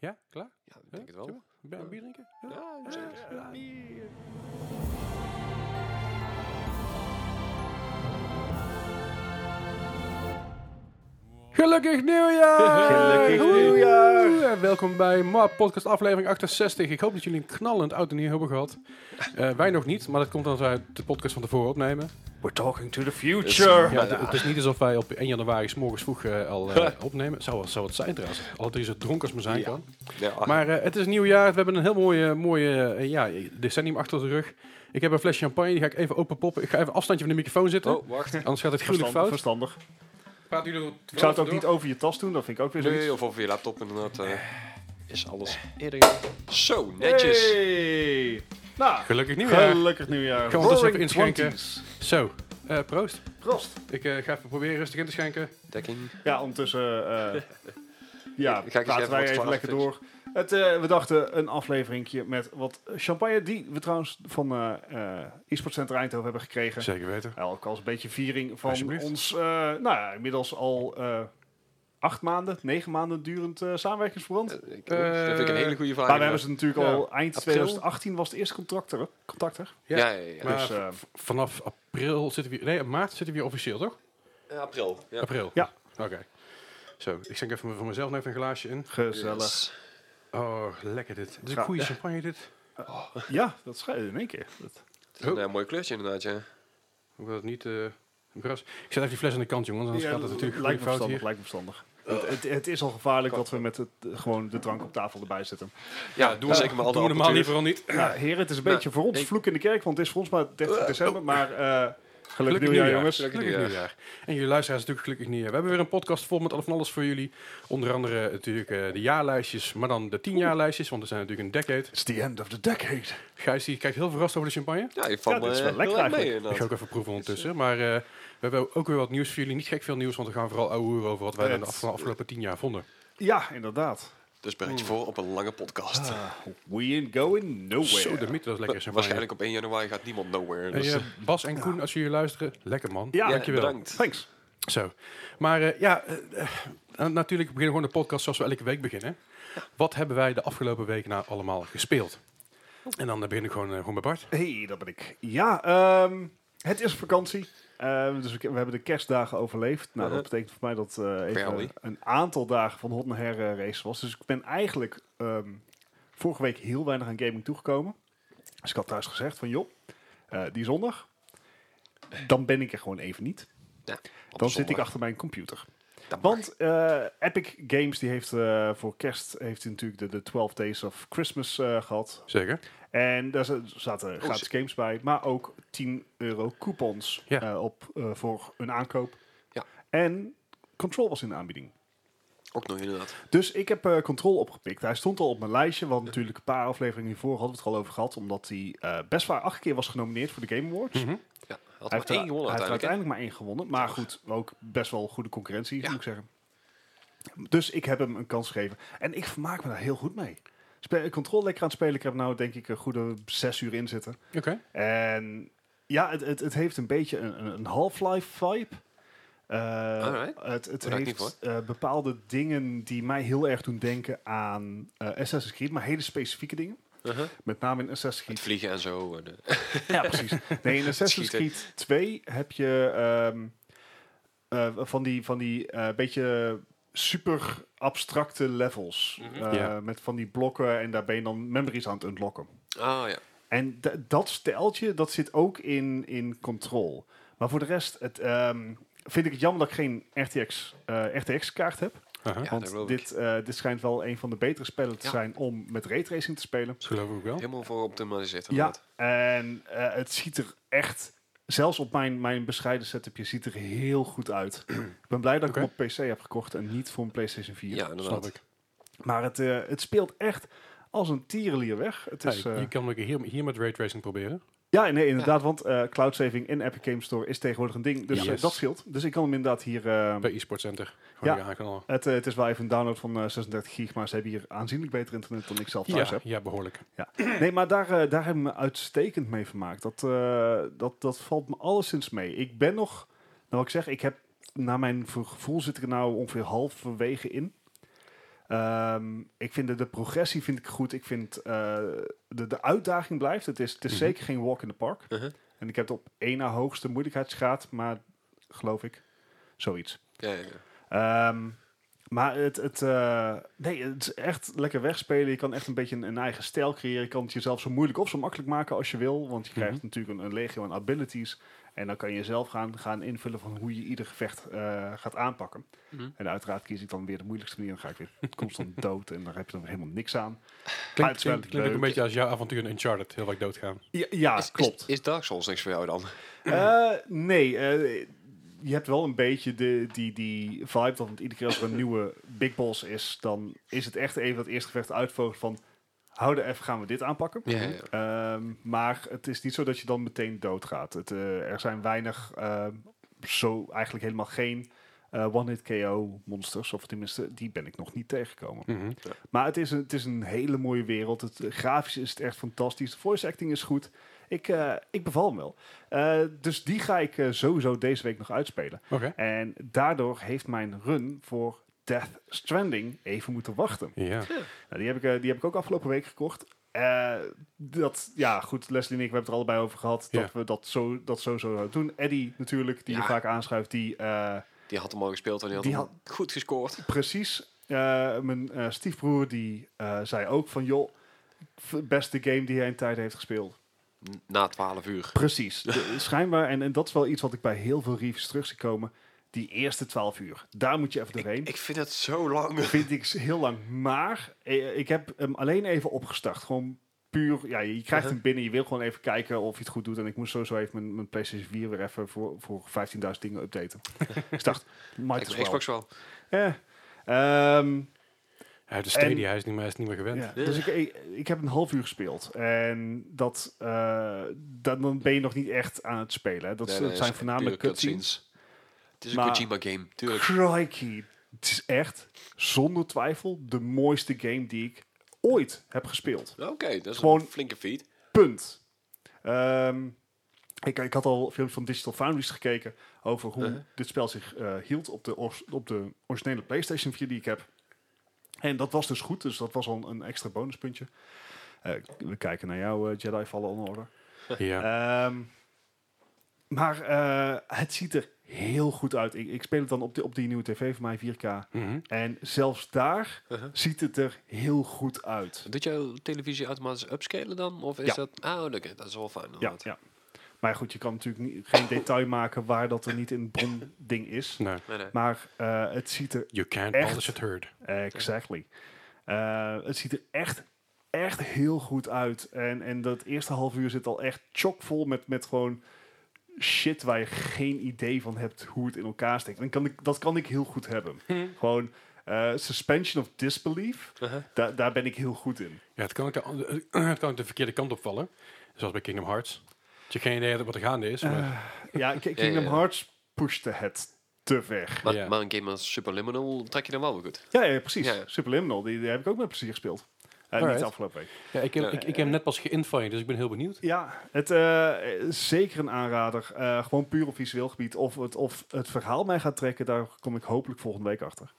Ja, klaar? Ja, ik denk het wel. Zullen we Bij een bier drinken? Ja. Ja, zeker. Gelukkig nieuwjaar! Gelukkig Oeh. nieuwjaar! En Welkom bij MAP Podcast aflevering 68. Ik hoop dat jullie een knallend oud en nieuw hebben gehad. Eh, wij nog niet, maar dat komt omdat wij de podcast van tevoren opnemen. We're talking to the future. Ja, het, het is niet alsof wij op 1 januari s morgens vroeg eh, al eh, opnemen. Zou, wel- zou het zijn trouwens. Alle drie zo dronken als maar zijn Ja. kan. Ja, Maar eh, het is een nieuw jaar. We hebben een heel mooie, mooie eh, ja, decennium achter de rug. Ik heb een fles champagne. Die ga ik even openpoppen. Ik ga even een afstandje van de microfoon zitten. oh, wacht. Anders gaat het gruwelijk Verstandig, fout. verstandig. Praten jullie Ik zou het ook niet over je tas doen, dat vind ik ook weer zoiets. Nee, of over je laptop inderdaad. eh, is alles eerder. Zo, netjes. Hey! Nou, Gelukkig nieuwjaar. gelukkig nieuwjaar. Ik ga ondertussen even Roaring inschenken. 20s. Zo, eh, proost. Proost. Ik eh, ga even proberen rustig in te schenken. Dekking. Ja, ondertussen eh ja, Ik- ik ga eens praten even wat wij even verhaal lekker fixen. door. Het, eh, we dachten een afleveringje met wat champagne, die we trouwens van eh eh e-sport Center Eindhoven hebben gekregen. Zeker weten. Ja, ook als een beetje viering van Alsjeblieft. ons, eh, nou ja, inmiddels al eh, acht maanden, negen maanden durend eh, samenwerkingsverband. Eh, ik- dat vind ik een hele goede vraag. Maar we hebben ze natuurlijk Ja. al eind April. 2018 was de eerste contract er. Contact er. ja, ja, ja, ja. Maar Dus, eh, v- vanaf april zitten we hier... Nee, maart zitten we hier officieel, toch? Ja, Eh, april. Ja. April? Ja. Oké. Zo, ik schenk even voor mezelf nog even een glaasje in. Gezellig. Yes. Oh, lekker dit. Dit is een Ga- goede champagne, dit. Ja, dat scheelde in één keer. Dat- Het is Oh. een eh, mooi kleurtje inderdaad, ja. Ik wil het niet... eh, bras. Ik zet even die fles aan de kant, jongens, anders gaat het natuurlijk lijkt goede me fout verstandig. hier. Lijkt me verstandig. Het, het, het is al gevaarlijk dat we met het, eh, gewoon de drank op tafel erbij zetten. Ja, doe zeker maar al de Doe normaal apparatuur. liever al niet. Nou, heren, het is een Nou, beetje voor ons ik- vloek in de kerk, want het is voor ons maar 30 december. Maar eh gelukkig, Gelukkig nieuwjaar, nieuwjaar, jongens. Gelukkig Gelukkig nieuwjaar. En jullie luisteraars natuurlijk gelukkig nieuwjaar. We hebben weer een podcast vol met al van alles voor jullie. Onder andere natuurlijk eh, de jaarlijstjes, maar dan de tienjaarlijstjes, want er zijn natuurlijk een decade. It's the end of the decade. Gijs die kijkt heel verrast over de champagne. Ja, ik val Ja, dit is eh, wel lekker heel erg mee eigenlijk. Ik ga inderdaad. ook even proeven ondertussen. Maar eh, we hebben ook weer wat nieuws voor jullie. Niet gek veel nieuws, want we gaan vooral ouwehoeren over wat wij Het- de af- afgelopen tien jaar vonden. Ja, inderdaad. Dus bereid Hmm. je voor op een lange podcast. We ain't going nowhere. Zo, de mythe, dat is lekker champagne. Waarschijnlijk op 1 januari gaat niemand nowhere. Dus. Hey, eh, Bas en Koen, als jullie luisteren, lekker man. Ja, ja, dankjewel. bedankt. Thanks. Zo. Maar eh, ja, eh, eh, en natuurlijk beginnen we gewoon de podcast zoals we elke week beginnen. Wat hebben wij de afgelopen week nou allemaal gespeeld? En dan eh, begin ik gewoon, eh, gewoon bij Bart. hey, dat ben ik. Ja, ehm, het is vakantie. Ehm, dus we, we hebben de kerstdagen overleefd. Nou, dat Eh. betekent voor mij dat eh, Barely. even een aantal dagen van hot naar her eh, race was. Dus ik ben eigenlijk ehm, vorige week heel weinig aan gaming toegekomen. Dus ik had thuis gezegd van, joh, eh, die zondag, dan ben ik er gewoon even niet. Op Dan zondag. zit ik achter mijn computer. Dat mag. Want eh, Epic Games die heeft eh, voor kerst heeft hij natuurlijk de, de 12 Days of Christmas eh, gehad. Zeker. En daar za- Oh, zaten gratis games bij, maar ook 10 euro coupons Ja. eh, op, eh, voor een aankoop. Ja. En Control was in de aanbieding. Ook nog inderdaad. Dus ik heb eh, Control opgepikt. Hij stond al op mijn lijstje, want natuurlijk een paar afleveringen hiervoor hadden we het er al over gehad. Omdat hij eh, best waar acht keer was genomineerd voor de Game Awards. Mhm. Ja, had Hij maar heeft, er- één gewonnen hij heeft uiteindelijk. hè? er uiteindelijk maar één gewonnen. Maar goed, ook best wel goede concurrentie, Ja. moet ik zeggen. Dus ik heb hem een kans gegeven. En ik vermaak me daar heel goed mee. Spe Control lekker aan het spelen. Ik heb nou denk ik een goede zes uur in zitten. Oké. En ja, het, het, het heeft een beetje een, een- een Half-Life vibe. Eh, Alright. Het, het Daar raak ik niet heeft eh, bepaalde dingen die mij heel erg doen denken aan eh, Assassin's Creed, maar hele specifieke dingen. Uh-huh. Met name in Assassin's Het Creed. vliegen en zo. En, eh, Ja, precies. Nee, in Assassin's schieten. Creed 2 heb je ehm, eh, van die, van die eh, beetje super abstracte levels. Mhm. Eh, Ja. Met van die blokken en daar ben je dan memories aan het unlocken. ah ja. En d- dat steltje, dat zit ook in, in Control. Maar voor de rest het, ehm, vind ik het jammer dat ik geen RTX, RTX-kaart heb. Aha. Ja, dat geloof want ik. dit, eh, dit schijnt wel een van de betere spellen te Ja. zijn om met raytracing te spelen. Dat geloof ik ook wel. Helemaal voor optimaliseerd Oh. Ja, inderdaad. en eh, het ziet er echt, zelfs op mijn, mijn bescheiden setupje, ziet er heel goed uit. ik ben blij dat Oké. ik hem op PC heb gekocht en niet voor een PlayStation 4. Ja, inderdaad. Snap ik. Maar het, eh, het speelt echt als een tierenlier weg. Het is, Hey, eh, je kan ook hier, hier met raytracing proberen. Ja, nee, inderdaad, want eh cloud saving in Epic Games Store is tegenwoordig een ding. Dus Ja. eh, Yes. dat scheelt. Dus ik kan hem inderdaad hier... eh, Bij eSport Center. Gewoon Ja. ja. aanknallen. het, eh, het is wel even een download van eh, 36 gig, maar ze hebben hier aanzienlijk beter internet dan ik zelf thuis Ja, heb. ja, behoorlijk. Nee, maar daar, eh, daar heb ik me uitstekend mee vermaakt. Dat, eh, dat, dat valt me alleszins mee. Ik ben nog... Nou, wat ik zeg, ik heb... Naar mijn ver- gevoel zit ik er nou ongeveer halverwege in. Eh, Ehm, ik vind de, de progressie vind ik goed. Ik vind eh, de, de uitdaging blijft. Het is, het is Mhm. zeker geen walk in the park. Mhm. En ik heb het op één na hoogste moeilijkheidsgraad, maar geloof ik, zoiets. Ja, ja, ja. Ehm, maar het, het, eh, nee, het is echt lekker wegspelen. Je kan echt een beetje een, een eigen stijl creëren. Je kan het jezelf zo moeilijk of zo makkelijk maken als je wil. Want je krijgt Mhm. natuurlijk een, een legio aan abilities. En dan kan je zelf gaan, gaan invullen van hoe je ieder gevecht eh, gaat aanpakken. Mhm. En uiteraard kies ik dan weer de moeilijkste manier. Dan ga ik weer constant dood en daar heb je dan weer helemaal niks aan. Klinkt, het is wel klinkt, klinkt ook een leuk. beetje als jouw avontuur in Uncharted. Heel vaak doodgaan. Ja, ja Is- is- Ah, klopt. Is, Dark Souls niks voor jou dan? Eh, nee, eh, je hebt wel een beetje de, die, die vibe dat want iedere keer als er een nieuwe big boss is, dan is het echt even dat eerste gevecht uitvogelen van houden even, gaan we dit aanpakken. Ja, ja, ja. Ehm, maar het is niet zo dat je dan meteen doodgaat. Het, eh, er zijn weinig, ehm, zo eigenlijk helemaal geen eh, one-hit KO monsters, of tenminste, die ben ik nog niet tegengekomen. Mhm. Maar het is een, het is een hele mooie wereld. Het, eh, grafisch is het echt fantastisch. De voice acting is goed. Ik, eh, ik beval hem wel. Eh, dus die ga ik eh, sowieso deze week nog uitspelen. Oké. En daardoor heeft mijn run voor Death Stranding even moeten wachten. Ja. Nou, die, heb ik, eh, die heb ik ook afgelopen week gekocht. Eh, dat, ja, goed, Leslie en ik we hebben het er allebei over gehad. Ja. Dat we dat zo, dat zo zouden doen. Eddie natuurlijk, die je Ja. vaak aanschuift. Die eh, Die had hem al gespeeld en die had, Die hem goed gescoord. Precies. Eh, mijn eh, stiefbroer die eh, zei ook van, joh, v- beste game die hij in tijd heeft gespeeld. N- Na 12 uur. Precies. De- schijnbaar, en, en dat is wel iets wat ik bij heel veel reviews terug zie komen, die eerste 12 uur. Daar moet je even doorheen. Ik vind het zo lang. Vind ik s- heel lang. Maar eh, ik heb hem alleen even opgestart. Gewoon puur, ja, je krijgt Uh-huh. hem binnen, je wil gewoon even kijken of je het goed doet. En ik moest sowieso even mijn, mijn PlayStation 4 weer even voor, voor 15.000 dingen updaten. ik dacht, might as Xbox, well. Xbox wel. Eh, ehm, Hij heeft de En- Stadia, hij is niet meer, hij is niet meer gewend. Ja, dus ik, ik, ik heb een half uur gespeeld. En dat, eh, dan, dan ben je nog niet echt aan het spelen. hè. Nee, Dat, nee, is- dat het zijn is voornamelijk pure cutscenes. Het is een Maar- Kojima game, tuurlijk. Crikey. Het is echt, zonder twijfel, de mooiste game die ik ooit heb gespeeld. Nou, Oké, dat is Gewoon- een flinke feed. Punt. Ehm, ik, ik had al films van Digital Foundries gekeken over hoe Uh-huh. dit spel zich eh, hield op de, ors- op de originele PlayStation 4 die ik heb. En dat was dus goed, dus dat was al een, een extra bonuspuntje. Eh, we kijken naar jou, eh, Jedi Fallen Order. Ja. Ehm, maar eh, het ziet er heel goed uit. Ik, ik speel het dan op die, op die nieuwe tv van mij, 4K. Mhm. En zelfs daar Uh-huh. ziet het er heel goed uit. Doet jouw televisie automatisch upscalen dan? Of is Ja. dat... Ah, oké, dat is wel fijn. Ja, inderdaad. ja. Maar goed, je kan natuurlijk niet, geen detail maken waar dat er niet in het bronding is. Nee. Nee, nee. Maar eh, het ziet er Nou, You can't Echt? polish it heard. Exactly. Eh, het ziet er echt, echt heel goed uit. En, en dat eerste half uur zit al echt chockvol met, met gewoon shit waar je geen idee van hebt hoe het in elkaar steekt. En kan ik, dat kan ik heel goed hebben. Gewoon eh, suspension of disbelief, Hm. Uh-huh. da- daar ben ik heel goed in. Ja, het kan, ook de, an- eh, het kan ook de verkeerde kant opvallen. Zoals bij Kingdom Hearts. Dat je geen idee hebt wat er gaande is. maar- Ja, Ki- Kingdom ja. Hearts pushte het te ver. Maar, Ja. maar een game als Superliminal trek je dan wel weer goed. Ja, ja precies. Ja. Superliminal, die, die heb ik ook met plezier gespeeld. Eh, niet Alright. de afgelopen week. ja, ik, heb, ik, ik heb eh, hem net pas geïnfoed, dus ik ben heel benieuwd. Ja, het eh, eh, zeker een aanrader. Eh, gewoon puur op visueel gebied. Of het, of het verhaal mij gaat trekken, daar kom ik hopelijk volgende week achter.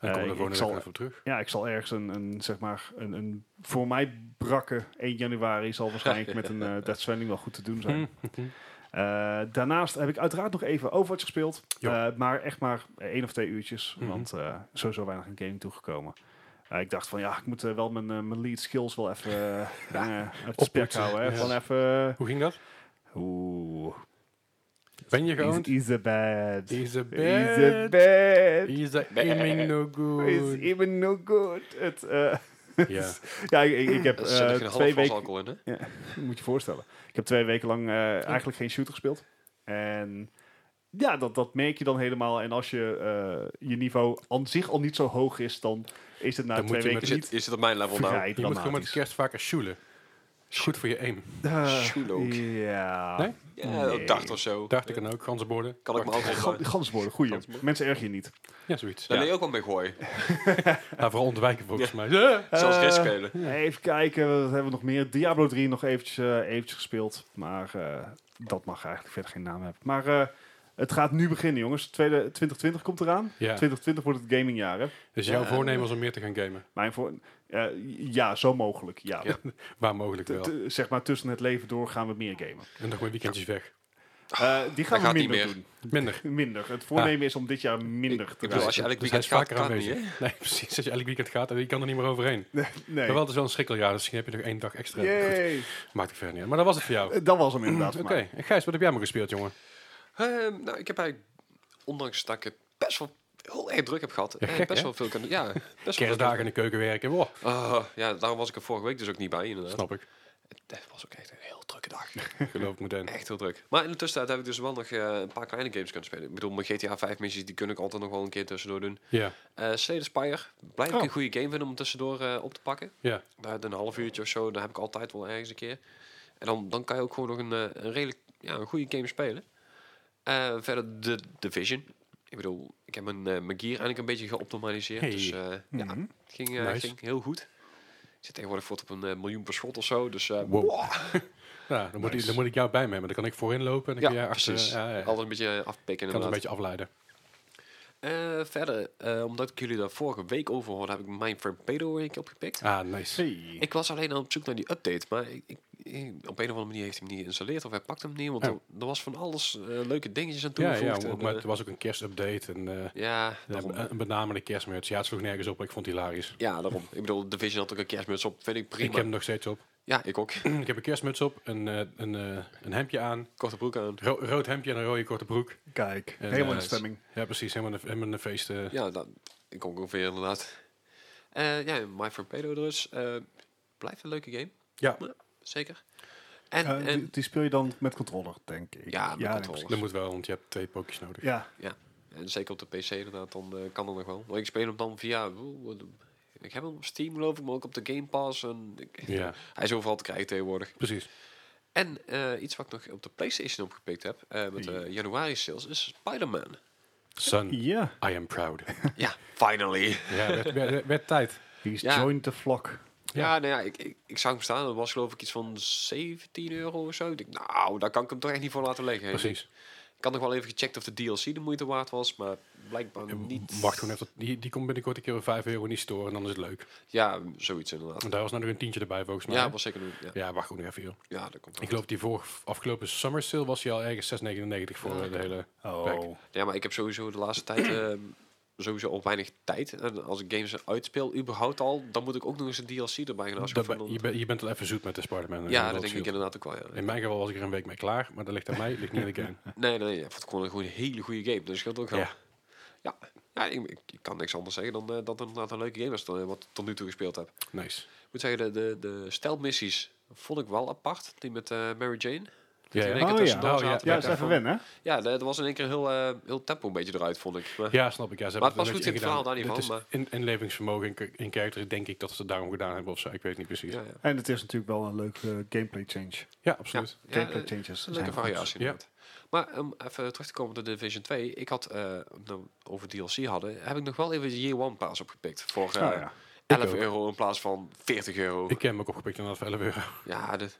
Dan Eh, komen we er ik- ik gewoon zal- even op terug. Ja, ik zal ergens een, een zeg maar, een, een voor mij brakke 1 januari zal waarschijnlijk met een eh Death Stranding wel goed te doen zijn. Hmm. Eh, daarnaast heb ik uiteraard nog even Overwatch gespeeld. Ja. Eh, maar echt maar één of twee uurtjes. Mhm. Want eh, sowieso weinig in gaming toegekomen. Eh, ik dacht van ja, ik moet eh, wel mijn, eh, mijn lead skills wel even eh eh, uit de spek Oppoetsen, houden. hè. ja. Gewoon even... Hoe ging dat? Oeh. Ben je Is, geoond? is a bad. Is a Is a bad. bad. Is a aiming no Is good. even no good. Het, eh, Ja. ja, ik, ik heb Er zit eh, er geen half twee glas weken... alcohol in, hè? Ja, moet je voorstellen. Ik heb twee weken lang eh, eigenlijk geen shooter gespeeld. En ja, dat, dat merk je dan helemaal. En als je eh, je niveau aan zich al niet zo hoog is, dan is het na Dan twee moet je Je weken met zit, je niet zit op mijn level nou. vrij Je moet gewoon met de dramatisch. kerst vaker shoelen. Is goed voor je aim. Eh, Shoelen ook. Ja. Nee? Ja, Nee. een dacht of zo. Dacht ik dan ook, ganzenborden. Kan ik me alcohol Gan- bij? Ganswoorden, goeie. Ganswoorden. Mensen erg je niet. Ja, zoiets. Daar Ja. leer je ook wel mee gooien. Nou, vooral ontwijken volgens mij. Zelfs Eh, rest spelen. Even kijken, wat hebben we nog meer? Diablo 3 nog eventjes, eh, eventjes gespeeld. Maar eh, dat mag eigenlijk verder geen naam hebben. Maar eh, Het gaat nu beginnen, jongens. Tweede, 2020 komt eraan. Ja. 2020 wordt het gamingjaar, hè? Dus jouw Ja. voornemen was om meer te gaan gamen. Mijn voor, eh, ja, zo mogelijk. Ja. Ja, Waar mogelijk T- wel. t- zeg maar tussen het leven door gaan we meer gamen. En nog maar weekendjes weg. Eh, die gaan Ah, gaat we niet minder meer. Ah. doen. Minder. Minder. Het voornemen is om dit jaar minder Ik te bedoel, als reizen. je elk Dus weekend gaat, kan het niet, aanwezig. nee, precies. Als je elk weekend gaat, en je kan er niet meer overheen. Nee. Maar wel, het is wel een schrikkeljaar, dus misschien heb je nog één dag extra. Goed, Yay. maakt het verder niet uit. Maar dat was het voor jou. Eh, Dat was hem inderdaad. Oké, voor mij. en Gijs, wat heb jij maar gespeeld, jongen? hè? Ehm, nou, ik heb eigenlijk, ondanks dat ik het best wel heel erg druk heb gehad, eh, gek, best hè? wel veel kunnen... Ja, best wel Kerstdagen in de keuken werken, wow, Ah, ja, daarom was ik er vorige week dus ook niet bij, inderdaad. snap ik. Het was ook echt een heel drukke dag. Geloof ik meteen. Echt heel druk. Maar in de tussentijd heb ik dus wel nog eh, een paar kleine games kunnen spelen. Ik bedoel, mijn GTA 5 missies, die kun ik altijd nog wel een keer tussendoor doen. Ja, Eh Slay the Spire, blijf ik Oh. een goede game vinden om tussendoor eh, op te pakken. ja. Daar een half uurtje of zo, daar heb ik altijd wel ergens een keer. En dan, dan kan je ook gewoon nog een, eh, een redelijk ja, een goede game spelen. Eh, verder de Division. Ik bedoel, ik heb mijn, eh, mijn gear eigenlijk een beetje geoptimaliseerd. Hey. Dus eh, ja, Mhm. het ging, eh, Nice. ging heel goed. Ik zit tegenwoordig voort op een eh, miljoen per schot of zo. Dus eh, Wow. Ja, dan, moet ik, dan moet ik jou bij me hebben. Dan kan ik voorin lopen en dan ja, kun jij achter... precies. Ja, ja. Altijd een beetje eh, afpikken Ik kan het inderdaad. een beetje afleiden. Eh, verder, eh, omdat ik jullie daar vorige week over hoorde, heb ik mijn Torpedo week opgepikt. Ah, nice. Hey. Ik was alleen al op zoek naar die update, maar ik, ik, ik- op een of andere manier heeft hij hem niet geïnstalleerd of hij pakt hem niet, want Ja. er, er was van alles eh, leuke dingetjes aan Ja, ja, toegevoegd. en, maar eh, het was ook een kerstupdate en eh, ja, daarom. een een benamende kerstmuts. Ja, het sloeg nergens op, maar ik vond het hilarisch. ja, daarom. Ik bedoel, Division had ook een kerstmuts op, vind ik prima. Ik heb hem nog steeds op. Ja, ik ook. ik heb een kerstmuts op, een, eh, een, eh, een hemdje aan, Korte broek aan. ro- rood hemdje en een rode korte broek. Kijk, En, helemaal in eh, de stemming. Ja, precies. Helemaal een, helemaal een feest. eh. Ja, dat, ik ook ongeveer inderdaad. Eh, ja, My Torpedo dus. eh, blijft een leuke game. Ja. Zeker. En, Eh, en die, die speel je dan met controller, denk ik. Ja, met nee, controller. precies. Dat moet wel, want je hebt twee pookjes nodig. Ja, En zeker op de PC inderdaad, dan eh, kan dat nog wel. Maar ik speel hem dan via... Ik heb hem op Steam geloof ik, maar ook op de Game Pass. En ik- Ja. Hij is overal te krijgen tegenwoordig. Precies. En eh, iets wat ik nog op de PlayStation opgepikt heb, eh, met de januari sales, is Spider-Man. Son, ja. I am proud. ja, finally. ja, werd, werd- werd tijd. He's Ja. joined the flock. Ja, nou ja, ik, ik, ik zag hem staan. Dat was geloof ik iets van 17 euro of zo. Ik dacht, nou, daar kan ik hem toch echt niet voor laten liggen. Precies. Ik had nog wel even gecheckt of de DLC de moeite waard was, maar blijkbaar niet. Wacht gewoon even. tot- Die, die komt binnenkort een keer voor 5 euro niet storen en dan is het leuk. Ja, zoiets inderdaad. Want daar was nou nog een tientje erbij volgens mij. Ja, hè? was zeker doen. Ja, ja wacht gewoon nog even joh. ja dat komt wel. Ik geloof die vorige, afgelopen summer sale was hij al ergens 6,99 voor eh, de hele... Oh. Ja, maar ik heb sowieso de laatste tijd ehm, sowieso al weinig tijd. En als ik games uitspeel, überhaupt al, dan moet ik ook nog eens een DLC erbij gaan Dat afschaffen. ben- je, bent- je bent al even zoet met de Spider-Man. eh, ja, World dat denk ik Shield. inderdaad ook wel. Ja. In mijn geval was ik er een week mee klaar, maar dat ligt aan mij, ligt niet aan de game. Nee, nee, ja, ik vond het gewoon een goede, hele goede game. Dus scheelt ook wel. Ja. Ja, ja, ik, ik- ik kan niks anders zeggen dan eh, dat het inderdaad een leuke game was dan, eh, wat ik tot nu toe gespeeld heb. Nice. Ik moet zeggen, de, de, de stelmissies vond ik wel apart. Die met eh, Mary Jane. Ja, ja. in één keer Oh, ja. tussendoor Oh, ja. zaten. Ja, Ja, is even Van- wennen, hè? Ja, dat was in één keer heel, eh, heel tempo een beetje eruit, vond ik. Maar, Ja, snap ik. Ja, ze Eh, hebben Maar het past een goed in het beetje verhaal daar niet gedaan. van, Dit is In, inlevingsvermogen in, in characters denk ik dat ze het daarom gedaan hebben of zo. Ik weet niet precies. ja, Ja, ja. En het is natuurlijk wel een leuke gameplay change. absoluut. Ja, Gameplay eh, changes. Een leuke zijn goed. variatie. Ja. inderdaad. Maar om even terug te komen op de Division 2. Ik had, eh, nou, over DLC hadden, heb ik nog wel even de Year One Pass opgepikt. Voor eh, Nou ja. 11 ook. euro in plaats van 40 euro. Oh, Ik heb hem ook opgepikt inderdaad voor 11 euro. Ja, dat,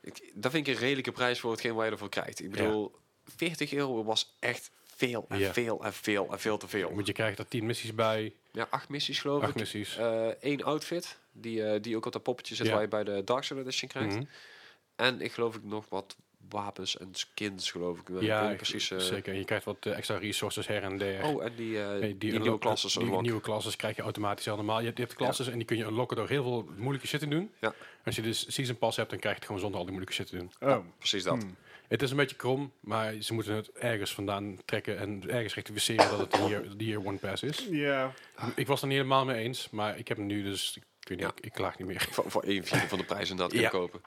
ik, dat vind ik een redelijke prijs voor hetgeen waar je ervoor krijgt. Ik bedoel, 40 euro was echt veel en Ja. veel en veel en veel te veel. Want je krijgt er 10 missies bij, Ja, acht missies geloof 8 ik. missies. Eh, Eén outfit, die, eh, die ook op dat poppetje zit Ja. waar je bij de Dark Souls Edition krijgt. Mhm. En ik geloof ik nog wat wapens en skins geloof ik. Ik weet Ja, niet precies. eh, zeker. En je krijgt wat eh, extra resources her en der. Oh, en die, eh, Eh, die, nieuwe unlock- klassen die zo lang. nieuwe classes krijg je automatisch allemaal. Je hebt, je hebt classes en die kun je unlocken door heel veel moeilijke shit te doen. Ja. Als je dus season pass hebt, dan krijg je het gewoon zonder al die moeilijke shit te doen. Oh. Precies dat. Hmm. Het is een beetje krom, maar ze moeten het ergens vandaan trekken en ergens rectificeren dat het de year, de year one pass is. Ja. Ik was er niet helemaal mee eens, maar ik heb hem nu, dus ik, ik weet niet, Ja. ik, ik klaag niet meer. Voor, voor één vierde van de prijs inderdaad kunnen Ja. kopen.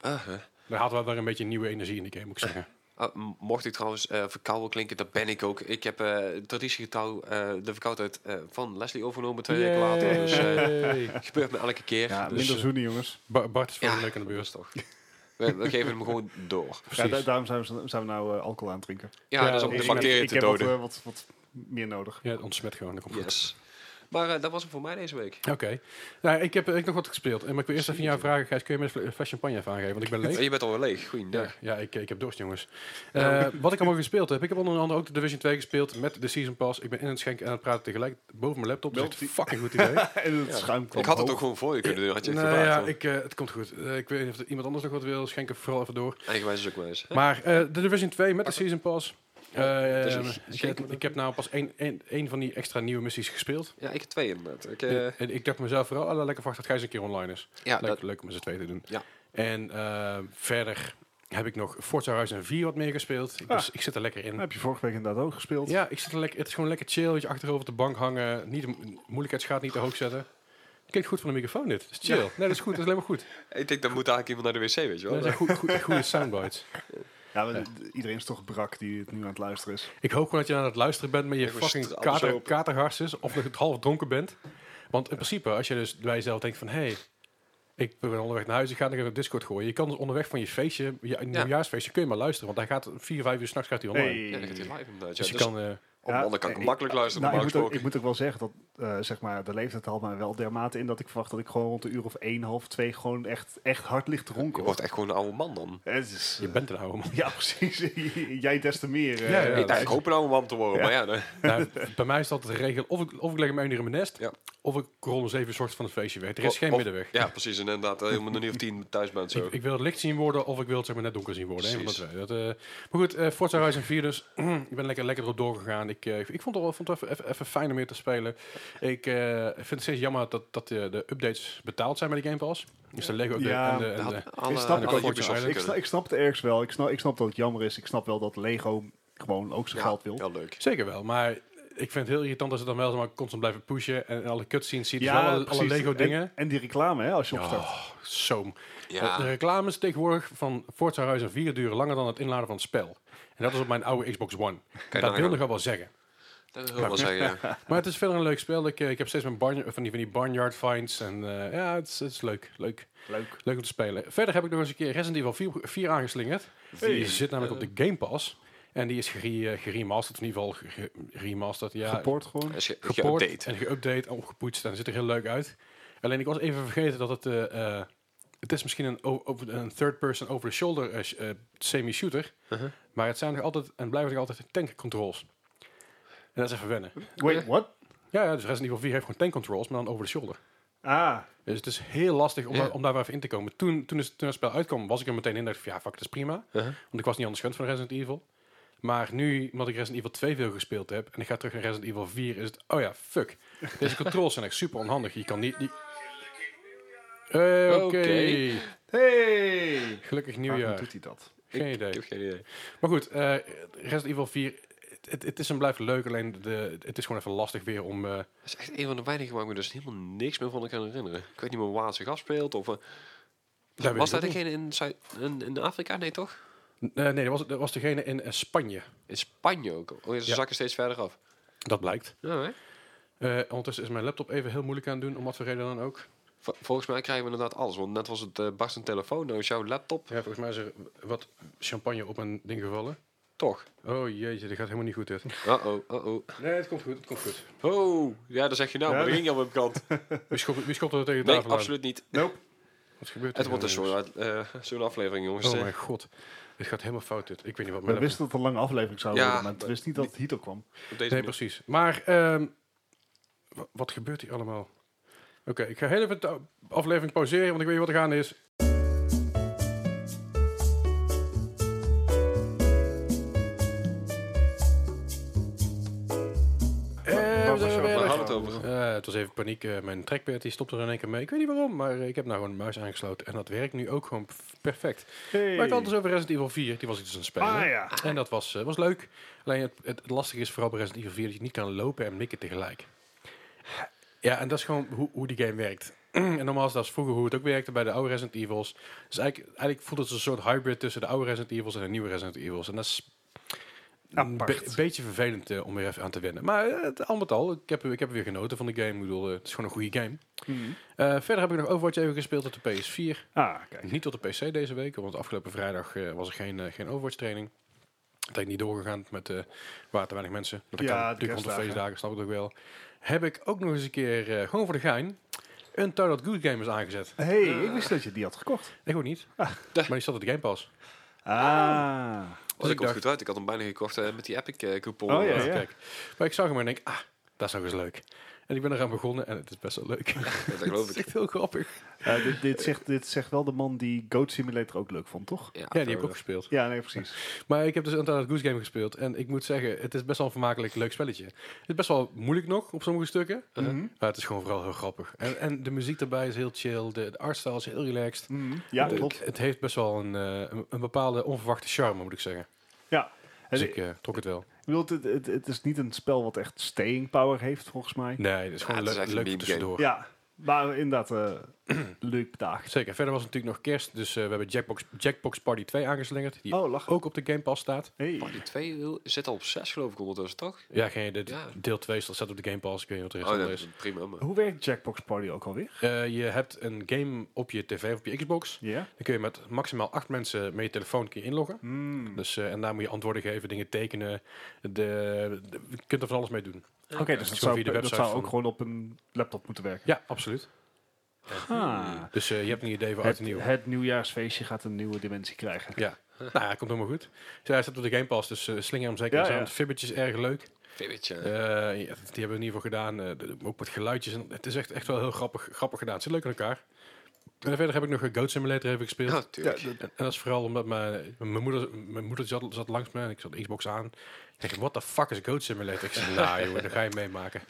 Ah, hè. Daar had wel weer een beetje nieuwe energie in de game, moet ik zeggen. Ah, m- mocht ik trouwens eh verkouden klinken, dat ben ik ook. Ik heb eh traditiegetouw, eh de verkoudheid eh, van Leslie overgenomen twee weken later. Dus eh, Yay. gebeurt me elke keer. Ja, dus, minder eh, zoenen, jongens. Ba- Bart is volgende Ja. week aan de beurs. toch. We, we geven hem gewoon door. Ja, Precies. da- daarom zijn we, zijn we nou eh, alcohol aan het drinken. Ja, Ja, dat is om ik- de ik- bacteriën ik te heb wat, doden. eh, wat, wat meer nodig. Ja, het ontsmet gewoon. Dat komt goed. Yes. Maar eh, dat was hem voor mij deze week. Oké. Nou, ik heb eh, ik nog wat gespeeld. Eh, Maar ik wil eerst even aan jou vragen, Gijs. Kun je me een fle- een fles champagne even aangeven? Want ik ben leeg. Oh, Je bent alweer leeg. Goeiedag. Ja, ja ik, ik heb dorst, jongens. Nou. Eh, wat ik allemaal gespeeld heb. Ik heb onder andere ook de Division 2 gespeeld met de Season Pass. Ik ben in het schenken en aan het praten tegelijk boven mijn laptop. Dat is echt een fucking goed idee. en het schuim kwam Ik had het hoog. ook gewoon voor je kunnen doen. Had je echt Nou gevraagd, ja, hoor. ik, eh, het komt goed. Eh, ik weet niet of er iemand anders nog wat wil. Schenk er vooral even door. Eigenwijs is ook wel eens. Maar eh, de Division 2 met de Season Pass. Eh, het is een ik, schenk- heb, ik heb nou pas één, één, één van die extra nieuwe missies gespeeld. Ja, ik heb twee inderdaad. Ik, eh, En ik dacht mezelf vooral, ah, lekker wacht dat Gijs een keer online is. ja, leuk, dat, leuk om ze twee te doen. Ja. En eh, verder heb ik nog Forza Horizon 4 wat meer gespeeld. Ik, Ah. dus, ik zit er lekker in. Dat heb je vorige week inderdaad ook gespeeld. Ja, ik zit er lekker, het is gewoon lekker chill. Weet je, achterover op de bank hangen. Niet de mo- moeilijkheidsgraad niet te hoog zetten. Klinkt goed van de microfoon dit. Dat is chill. Nee, dat is goed. Dat is alleen maar goed. ik denk, dan moet eigenlijk iemand naar de wc, weet je wel. Dat zijn goede, goede, goede soundbites. Ja, maar d- iedereen is toch brak die het nu aan het luisteren is. Ik hoop gewoon dat je aan het luisteren bent met je Ik was fucking stra- alles kater, open. katerhars is. Of dat je half dronken bent. Want in principe, als je dus bij jezelf denkt van... Hey, ik ben onderweg naar huis, ik ga nog even op Discord gooien. Je kan dus onderweg van je feestje, je nieuwjaarsfeestje, kun je maar luisteren. Want hij gaat vier, vijf uur s'nachts gaat hij online. Ja, dan gaat hij live inderdaad. Ja, Dus je dus kan... eh, Op de andere kant kan ik makkelijk luisteren, Nou, ik, normaal moet ook, ik gesproken. moet ook wel zeggen dat eh, zeg maar, de leeftijd haalt mij wel dermate in dat ik verwacht dat ik gewoon rond de uur of 1, half 2 gewoon echt, echt hard ligt te Je ronken. hoor. wordt echt gewoon een oude man dan. Het is, je eh, bent nou een oude man. ja, precies. Jij des te meer. eh. Ja, ja. ik, dacht, ik hoop een oude man te worden, Ja. maar ja. nee. Nou, bij mij is dat de regel. Of ik, of ik leg hem één uur in mijn nest. Ja. Of ik rol om zeven uur 's ochtends van het feestje weg. Er is Of- geen of- middenweg. Ja, precies. En inderdaad, eh, helemaal nog niet of tien thuis bent zo. Ik, ik wil het licht zien worden of ik wil het zeg maar net donker zien worden. Een van de Precies. twee. Dat, eh, maar goed, eh Forza Horizon 4 dus. ik ben lekker, lekker erop doorgegaan. Ik, eh, ik vond het, wel- vond het even, even, even fijn om meer te spelen. Ik eh, vind het steeds jammer dat, dat eh, de updates betaald zijn bij de Game Pass. Dus de Lego update Ja, en de... En Dat de- had alle- ik snap het alle ook. Ubisoft Ik Ik, sna- kunnen. ik snap het ergens wel. Ik snap, ik snap dat het jammer is. Ik snap wel dat Lego gewoon ook zijn Ja, geld wil. Ja, leuk. zeker wel, maar ik vind het heel irritant dat ze dan wel zomaar constant blijven pushen. En, en alle cutscenes ziet, dus alle, alle precies. Lego En- dingen. En, die reclame, hè, als je opstart. Zoom. Ja. De reclames tegenwoordig van Forza Horizon 4 duren langer dan het inladen van het spel. En dat is op mijn oude Xbox One. dan dat wil gaan. nogal wel zeggen. Dat wil ik wel zeggen, ja. Maar het is verder een leuk spel. Ik, eh, ik heb steeds mijn barn, van, die, van die barnyard finds. En eh, ja, het is, het is leuk. leuk. Leuk. Leuk om te spelen. Verder heb ik nog eens een keer Resident Evil 4, 4 aangeslingerd. Die zit namelijk op de Game Pass. En die is gere, eh, geremasterd. Of in ieder geval ge- ge- geremasterd. Ja, Eh, Support gewoon. Als je geport geüpdate. en geüpdate en opgepoetst. En het ziet er heel leuk uit. Alleen ik was even vergeten dat het... eh, eh, het is misschien een, o- over- een third-person over-the-shoulder eh, sh- eh, semi-shooter. Uh-huh. Maar het zijn nog altijd en blijven nog altijd tank controls. En dat is even wennen. Wait, what? Ja, ja, dus Resident Evil 4 heeft gewoon tank controls, maar dan over de shoulder. Ah, Dus het is heel lastig om, Ja. daar- om daar weer even in te komen. Toen, toen, is, toen het spel uitkwam, was ik er meteen in. dacht ik van, ja, fuck, dat is prima. Uh-huh. Want ik was niet anders gewend van Resident Evil. Maar nu, omdat ik Resident Evil 2 veel gespeeld heb... en ik ga terug naar Resident Evil 4, is het... Oh ja, fuck. Deze controls zijn echt super onhandig. Je kan niet... die- Eh, Oké. Oké. hey! Gelukkig Waarom nieuwjaar. doet hij dat? Geen Ik idee. heb geen idee. Maar goed, eh Resident Evil 4... Het, het is en blijft leuk, alleen de, het is gewoon even lastig weer om... eh, Dat is echt een van de weinigen waar ik me dus helemaal niks meer van kan herinneren. Ik weet niet meer waar het zich afspeelt. Of, eh, weet ik was dat ook degene in, Zuid in, in Afrika? Nee, toch? n- eh, nee, dat was, dat was degene in eh, Spanje. In Spanje ook. al. Oh, ja, ze Ja. zakken steeds verder af. Dat blijkt. Ja, hè? Eh, ondertussen is mijn laptop even heel moeilijk aan het doen, om wat voor reden dan ook. Vol- volgens mij krijgen we inderdaad alles. Want net was het eh barst een telefoon, nou is jouw laptop. Ja, volgens mij is er wat champagne op een ding gevallen. Toch? Oh jeetje, dit gaat helemaal niet goed dit. Uh-oh, uh-oh. Nee, het komt goed, het komt goed. Oh, ja, dat zeg je nou, Ja, maar dat dat- ging al op kant. Wie schopt, wie schopt er tegen de Nee, tafel aan? absoluut niet. Nope. Wat gebeurt er? Het wordt een hier, jongens? soort, eh, zo'n aflevering, jongens. Oh Eh, mijn god, dit gaat helemaal fout dit. Ik weet niet wat We mijn laptop... wisten dat het een lange aflevering zou Ja, worden, maar we maar- wisten niet dat het hierdoor kwam. op deze Nee, manier. precies. Maar ehm, wa- wat gebeurt hier allemaal? Oké, ik ga heel even de aflevering pauzeren, want ik weet niet wat er gaande is. Eh, Waar we was zijn je weer over? Waar terug. hadden we het over? Eh, het was even paniek. eh, mijn trackpad die stopte er in één keer mee. Ik weet niet waarom, maar eh, ik heb nou gewoon een muis aangesloten. En dat werkt nu ook gewoon p- perfect. Hey. Maar ik had het dus over Resident Evil 4. Die was ik dus aan het spelen. Ah ja. En dat was, eh, was leuk. Alleen het, het, het lastige is vooral bij Resident Evil 4 dat je niet kan lopen en mikken tegelijk. Ja, en dat is gewoon hoe, hoe die game werkt. en normaal is dat als vroeger hoe het ook werkte bij de oude Resident Evils. Dus eigenlijk, eigenlijk voelt het als een soort hybrid tussen de oude Resident Evils en de nieuwe Resident Evils. En dat is een Apart. be- beetje vervelend eh, om weer even aan te wennen. Maar eh, het, al met al, ik heb, ik heb weer genoten van de game. Ik bedoel, eh, het is gewoon een goede game. Mhm. Eh, verder heb ik nog Overwatch even gespeeld op de PS4. Ah, kijk. Niet tot de PC deze week, want afgelopen vrijdag eh, was er geen, eh, geen Overwatch training. Het heeft niet doorgegaan met eh waar te weinig mensen. Maar dat Ja, kan de natuurlijk rond de kerstdagen. feestdagen, snap ik ook wel. heb ik ook nog eens een keer, eh, gewoon voor de gein, een Toilet Good Gamers aangezet. hey, ik wist dat je die had gekocht. Ik ook niet. Maar die zat op de Game Pass. Ah. Dus Was ik ik ook dacht, goed uit. Ik had hem bijna gekocht eh, met die Epic eh, coupon. Oh, ja, ja, ja. kijk. Maar ik zag hem en denk, ah, dat is nog eens leuk. En ik ben eraan begonnen en het is best wel leuk. Dat Dat geloof is ik. Ah, echt heel grappig. Eh, dit, dit, zegt, dit zegt wel de man die Goat Simulator ook leuk vond, toch? Ja, die heb ik ook gespeeld. Ja, nee, precies. Maar ik heb dus Untitled Goose Game gespeeld. En ik moet zeggen, het is best wel een vermakelijk leuk spelletje. Het is best wel moeilijk nog op sommige stukken. eh, Mhm. Maar het is gewoon vooral heel grappig. En, en de muziek daarbij is heel chill. De, de artstyle is heel relaxed. Mhm. Ja, het, klopt. het heeft best wel een, eh, een, een bepaalde onverwachte charme, moet ik zeggen. Dus Het- ik eh, trok het wel. Ik bedoel, het, het, het is niet een spel wat echt staying power heeft, volgens mij. Nee, het is gewoon het is leuk- echt een leuk meme game. tussendoor. Ja, maar inderdaad eh, leuk bedaagd. Zeker. Verder was het natuurlijk nog kerst. Dus eh, we hebben Jackbox, Jackbox Party 2 aangeslingerd. Die Oh, lachen. ook op de Game Pass staat. Hey. Maar die twee zit al op zes geloof ik ondertussen, toch? Ja, geen, de, Ja. deel 2 staat op de Game Pass. Ik weet niet wat er Oh, is. dat is. is prima. Maar. Hoe werkt Jackbox Party ook alweer? Eh, je hebt een game op je tv of op je Xbox. Ja. Dan kun je met maximaal acht mensen met je telefoon kun je inloggen. Hmm. Dus, eh, en daar moet je antwoorden geven, dingen tekenen. De, de- je kunt er van alles mee doen. Oké, dus dat is gewoon zou, via de dat website zou van- ook gewoon op een laptop moeten werken. Ja, absoluut. Ah. Dus eh, je hebt een idee voor uit Het, en nieuw. het nieuwjaarsfeestje gaat een nieuwe dimensie krijgen. Ja, nou ja, komt helemaal goed. Dus hij staat op de Game Pass, dus eh, slinger hem zeker Ja, eens ja. aan. Het fibbetje is erg leuk. Fibbetje. Eh, ja, die hebben we in ieder geval gedaan. eh, de- ook met geluidjes. En het is echt, echt wel heel grappig, grappig gedaan. Het zit leuk aan elkaar. En verder heb ik nog een Goat Simulator even gespeeld. Ja, tuurlijk. Ja, dat- En, en dat is vooral omdat mijn, mijn moeder, mijn moeder zat, zat langs me en ik zat de Xbox aan. Ik zeg, what the fuck is Goat Simulator? Ik zei, nou jongen, dat ga je meemaken.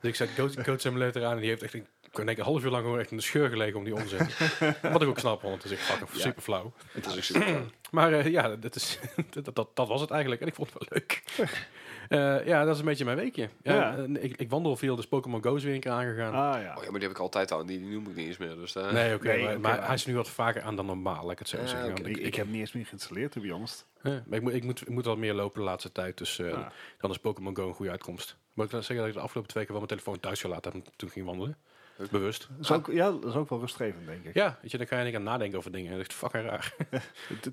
Dus ik zet Goat, Goat Simulator aan en die heeft echt een, ik denk een half uur lang gewoon echt in de scheur gelegen om die om te zetten. Wat ik ook snap, want het is echt fucking Ja. super flauw. Het is ook oh, super. Maar eh, ja, dat, is, dat, dat, dat was het eigenlijk. En ik vond het wel leuk. Eh, ja, dat is een beetje mijn weekje. Ja, Ja. en Ik, ik wandel veel, dus Pokémon Go is weer een keer aangegaan. Ah ja. Oh ja, maar die heb ik altijd al. en Die, die noem ik niet eens meer. Dus daar. Nee, oké, Nee, maar, oké, maar maar- hij is nu wat vaker aan dan normaal, laat ik het zo Ja, zeggen. oké. Want ik, ik heb hem niet eens meer geïnstalleerd, to be honest. Ja, maar ik, moet, ik, moet, ik moet wel meer lopen de laatste tijd, dus eh, Ja. dan is Pokémon Go een goede uitkomst. Maar ik wil zeggen dat ik de afgelopen twee keer wel mijn telefoon thuis gelaten heb en toen ging wandelen. Bewust. Dat is ook, ja, dat is ook wel rustgevend, denk ik. Ja, weet je, dan ga je denk aan nadenken over dingen. En dat is echt fucking raar.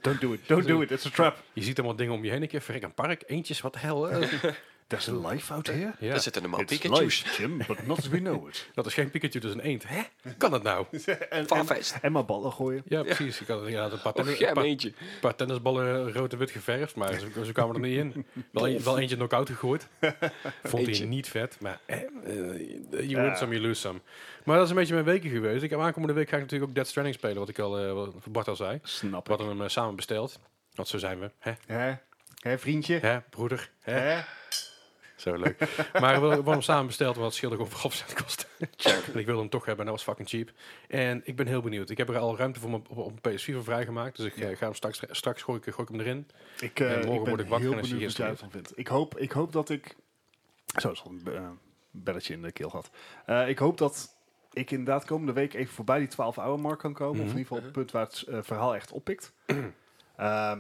Don't do it, don't do it, it's a trap. Je ziet allemaal dingen om je heen. Ik keer verrek een park, eentjes, wat de hel. eh. There's a life out here. ja. Daar zitten normaal It's Pikachu's. life, Jim, but not as we know it. Dat is geen Pikachu, dat is een eend. Hè? Kan dat nou? en, en, Farfetch'd. en maar ballen gooien. Ja, precies. Ik had inderdaad een paar, tennis- Och, jij een paar- meentje. een paar tennisballen rood en wit geverfd, maar ze, ze kwamen er niet in. Wel, een- wel eentje knock-out gegooid. Vond hij Eentje. niet vet, maar eh, eh, you Ja. win some, you lose some. Maar dat is een beetje mijn weken geweest. Ik heb aankomende week ga ik natuurlijk ook Dead Stranding spelen, wat ik al, eh, wat Bart al zei. Snap We hadden hem eh, samen besteld. Want zo zijn we. Hè, Hè? Hè, vriendje? hè broeder? Hè? Hè? Zo leuk. maar we hadden hem samen besteld, want het scheelde gewoon vooraf zijn kosten. Check. En ik wilde hem toch hebben en dat was fucking cheap. En ik ben heel benieuwd. Ik heb er al ruimte voor mijn, op, op PS4 voor vrijgemaakt. Dus ik eh, ga hem straks, straks gooi, ik, gooi ik hem erin. Ik, eh, En morgen ik ben word ik wakker heel en is hij benieuwd wat jij geïnstalleerd. ervan vindt. Ik hoop, ik hoop dat ik... Zo, er is al een be- eh, belletje in de keel gehad. Eh, ik hoop dat ik inderdaad komende week even voorbij die 12-hour mark kan komen. Of in Mhm. ieder geval op het punt waar het eh, verhaal echt oppikt. Ehm,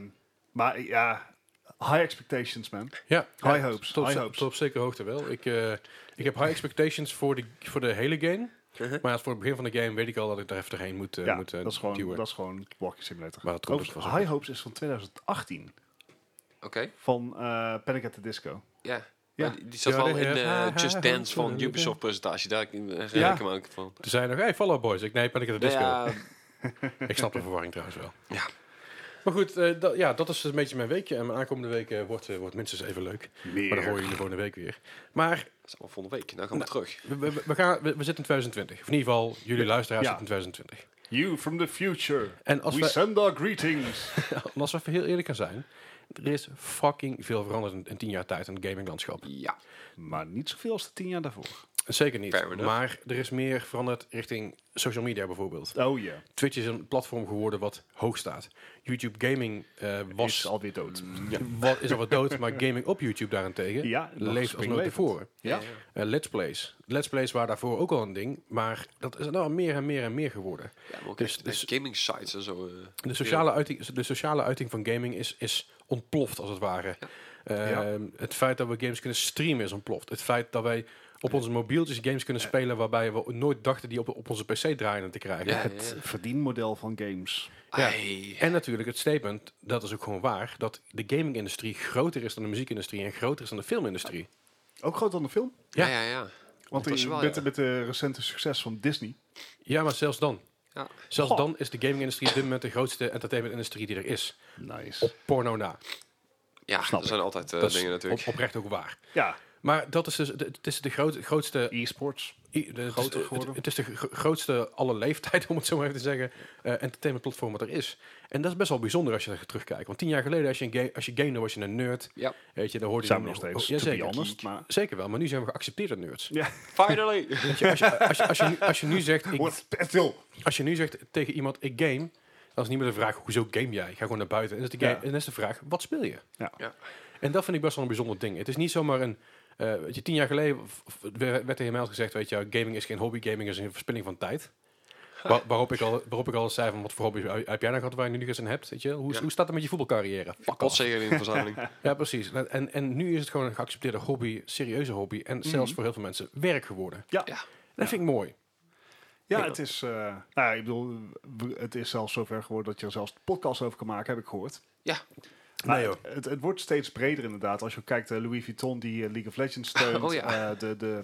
maar eh, ja, high expectations, man. Ja. High Ja, hopes, Tot, high ze- hopes. tot op zekere hoogte wel. Ik, eh, ik heb high expectations voor de, voor de hele game. Uh-huh. Maar ja, voor het begin van de game weet ik al dat ik er even doorheen moet, eh ja, moet eh, dat, is gewoon, duwen. dat is gewoon Walking Simulator. Maar dat komt dus Overigens, vanzelf. High Hopes is van 2018. Oké, Van eh Panic at the Disco. ja. Ja. Ja. Die, die zat Ja, wel die- in eh, ja. Just Dance van Ja. Ubisoft presentatie. Daar herinner Ja. ik me ook van. Toen zei hij nog, hey, Follow Boys. Ik, nee, ben ik het disco. Ja, Ik snap de verwarring trouwens wel. Ja. Maar goed, eh, dat- ja, dat is een beetje mijn weekje. En mijn aankomende week eh, wordt, eh, wordt minstens even leuk. Maar dan hoor je jullie gewoon een week weer. Maar dat is allemaal volgende week. Dan gaan Nou, we terug. We, we, we gaan, we, we zitten in 2020. Of in ieder geval, jullie luisteraars Ja. zitten in 2020. You from the future. En als We we, send our greetings. en als we even heel eerlijk gaan zijn, er is fucking veel veranderd in, in 10 jaar tijd in het gaminglandschap. Ja. Maar niet zoveel als de tien jaar daarvoor. Zeker Fair niet. enough. Maar er is meer veranderd richting social media bijvoorbeeld. Oh ja. Twitch is een platform geworden wat hoog staat. YouTube Gaming eh, was, Is is, alweer dood. wat, is al wat dood, maar gaming op YouTube daarentegen Ja, nog leeft als nooit springlevend. tevoren. Ja. Eh, let's Plays. Let's Plays waren daarvoor ook al een ding, maar dat is nou meer en meer en meer geworden. Ja, maar ook Dus- echt, dus- echt eh, gaming sites en zo. eh. De sociale, uiting, de sociale uiting van gaming is, is ontploft, als het ware. Ehm, Het feit dat we games kunnen streamen is ontploft. Het feit dat wij op onze mobieltjes games kunnen spelen... waarbij we nooit dachten die op, op onze PC draaien te krijgen. Ja, ja, Het verdienmodel van games. Ja. Ai. En natuurlijk het statement, dat is ook gewoon waar... dat de gaming-industrie groter is dan de muziekindustrie... en groter is dan de filmindustrie. Ook groot dan de film? ja, Ja. ja, ja. Want dat is in- wel, met, ja. met de recente succes van Disney. Ja, maar zelfs dan. Ja. Zelfs Goh. dan is de gaming-industrie op dit moment de grootste entertainment-industrie die er is. Nice. Porno na. Ja, Snap er zijn altijd eh, dat is dingen natuurlijk. op- oprecht ook waar. Ja, Maar dat is dus, de- het is de groot- grootste e-sports. I- de- het, is, Groter het- geworden. het is de gro- grootste alle leeftijd, om het zo maar even te zeggen, eh entertainment platform wat er is. En dat is best wel bijzonder als je daar terugkijkt. Want tien jaar geleden, als je, een ga- als je gamede, was je een nerd. Ja. Weet je, dan hoorde Zijn je... we nog steeds, oh, to be jazeker. honest. Maar Zeker wel, maar nu zijn we geaccepteerde nerds. Finally! Weet je, Als je, als je, als je, nu- als je nu zegt, ik, Wordt stil. als je nu zegt tegen iemand, ik game, dan is niet meer de vraag, hoezo game jij? Ik ga gewoon naar buiten. En dat is de, ga- Ja. en dat is de vraag, wat speel je? Ja. Ja. En dat vind ik best wel een bijzonder ding. Het is niet zomaar een... eh, weet je, tien jaar geleden v- v- werd tegen mij al gezegd, weet je, gaming is geen hobby, gaming is een verspilling van tijd. Wa- waarop, ik al, waarop ik al zei van, wat voor hobby heb jij nou gehad waar je nu eens in hebt? Weet je? Hoe, Ja. hoe staat het met je voetbalcarrière? Fuck Pot off. zeker in de verzameling. Ja, precies. En, en nu is het gewoon een geaccepteerde hobby, serieuze hobby. En zelfs voor heel veel mensen werk geworden. Ja. Mhm. Ja. Dat vind ik mooi. Ja, Ja. het is, eh, nou ja, ik bedoel, we- het is zelfs zover geworden dat je er zelfs podcast over kan maken, heb ik gehoord. Ja. Maar Nee, het, het, het wordt steeds breder inderdaad. Als je kijkt, eh, Louis Vuitton die eh, League of Legends steunt. Oh ja. eh, de, de,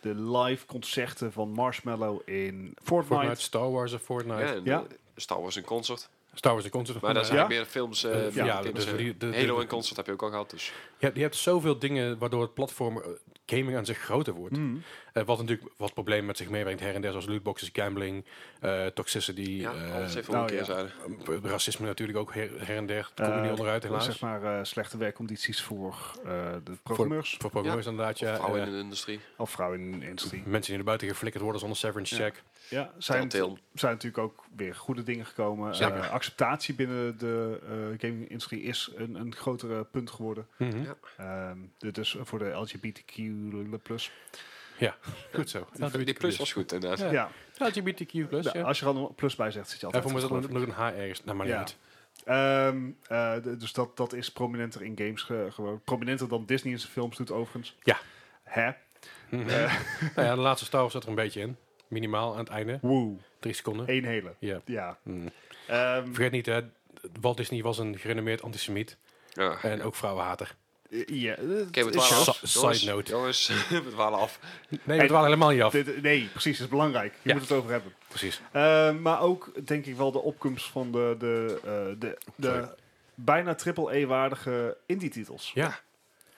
de live concerten van Marshmallow in Fortnite. Fortnite, Star Wars of Fortnite. Ja, en, Ja. eh, Star Wars een concert. Star Wars de concert. Maar daar Ja. zijn Ja? meer films. eh, Eh, ja, films, dus eh, die- de- de- Halo en concert heb je ook al gehad. Dus. Je hebt, je hebt zoveel dingen waardoor het platform eh, gaming aan zich groter wordt. Mm. Eh, wat natuurlijk wat problemen met zich meebrengt her en der, zoals lootboxes, gambling, eh, toxicity, Ja, eh, alles heeft nou wel een keer ja. zeiden. eh, racisme natuurlijk ook her, her en der. Daar kom je Eh, niet onderuit helaas. Zeg maar eh, slechte werkcondities voor eh, de voor, programmeurs. voor programmeurs inderdaad, ja. Vrouwen Eh, in de industrie. Of vrouwen in de industrie. mensen die naar buiten geflikkerd worden zonder severance Ja. check. Ja, zijn, Telltale. zijn natuurlijk ook weer goede dingen gekomen. Zeker. Eh, acceptatie binnen de eh gaming-industrie is een, een grotere punt geworden. Mhm. Ja. Ehm, dit is voor de LGBTQ+. Plus. Goed zo. Die plus was goed inderdaad. Ja. Ja, LGBTQ+. Plus, ja. nou, als je er dan een plus bij zegt, zit je Ja, altijd voor mij zat goed, er geloof nog een H ergens. Nou, maar niet Ja. uit. ik. Ehm, eh, d- dus dat, dat is prominenter in games ge- geworden. Prominenter dan Disney in zijn films doet, overigens. Ja. Hè? Mhm. nou ja, de laatste Star Wars zat er een beetje in. Minimaal aan het einde. Woe. Drie seconden. Eén hele. Ja. Ja. Mhm. Ehm, Vergeet niet, hè, Walt Disney was een gerenommeerd antisemiet. Ja. En ook vrouwenhater. ja. Oké, we Is- dwalen af. Side Jongens, note. Jongens, we dwalen af. Nee, we waren helemaal niet af. dit- nee, precies. is belangrijk. Je Ja. moet het over hebben. Precies. Eh, maar ook denk ik wel de opkomst van de, de, eh, de, de Sorry. bijna triple-E-waardige indie-titels. Ja.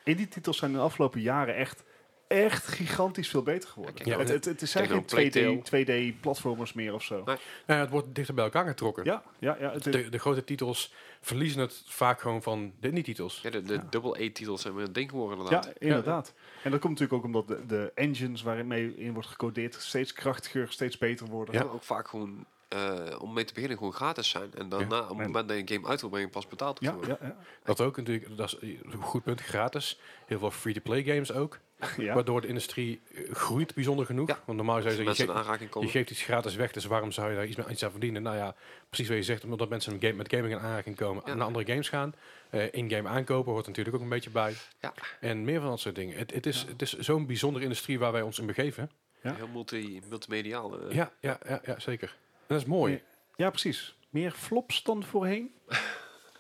Indie-titels zijn in de afgelopen jaren echt, echt gigantisch veel beter geworden. Kijk, Ja. het, het, het zijn Kijk, geen Playtale. 2D, 2D-platformers meer of zo. Nee. Nou ja, het wordt dichter bij elkaar getrokken. Ja, ja, ja. Het, De, de grote titels verliezen het vaak gewoon van de niet-titels. Ja, de de double-A-titels zijn weer een ding geworden inderdaad. ja, inderdaad. En dat komt natuurlijk ook omdat de, de engines waarmee in wordt gecodeerd steeds krachtiger, steeds beter worden. Dat kan ook vaak gewoon, eh, om mee te beginnen, gewoon gratis zijn. En daarna, op het moment dat je een game uit wil brengen, pas betaald Ja, wordt. ja, ja. Dat ook natuurlijk, dat is een goed punt, gratis. Heel veel free-to-play games ook. ja. Waardoor de industrie eh, groeit bijzonder genoeg. Ja. Want normaal zou je Dus Mensen zeggen, je, in aanraking ge- je komen. geeft iets gratis weg, dus waarom zou je daar iets, mee- iets aan verdienen? Nou ja, precies wat je zegt, omdat mensen met, game, met gaming in aanraking komen, Ja. naar andere games gaan. Eh, in-game aankopen hoort natuurlijk ook een beetje bij. Ja. En meer van dat soort dingen. Het, het is, het is zo'n bijzondere industrie waar wij ons in begeven. Ja. Heel multi, multimediaal. eh. Ja, ja, ja, ja zeker. En dat is mooi. ja, precies. Meer flops dan voorheen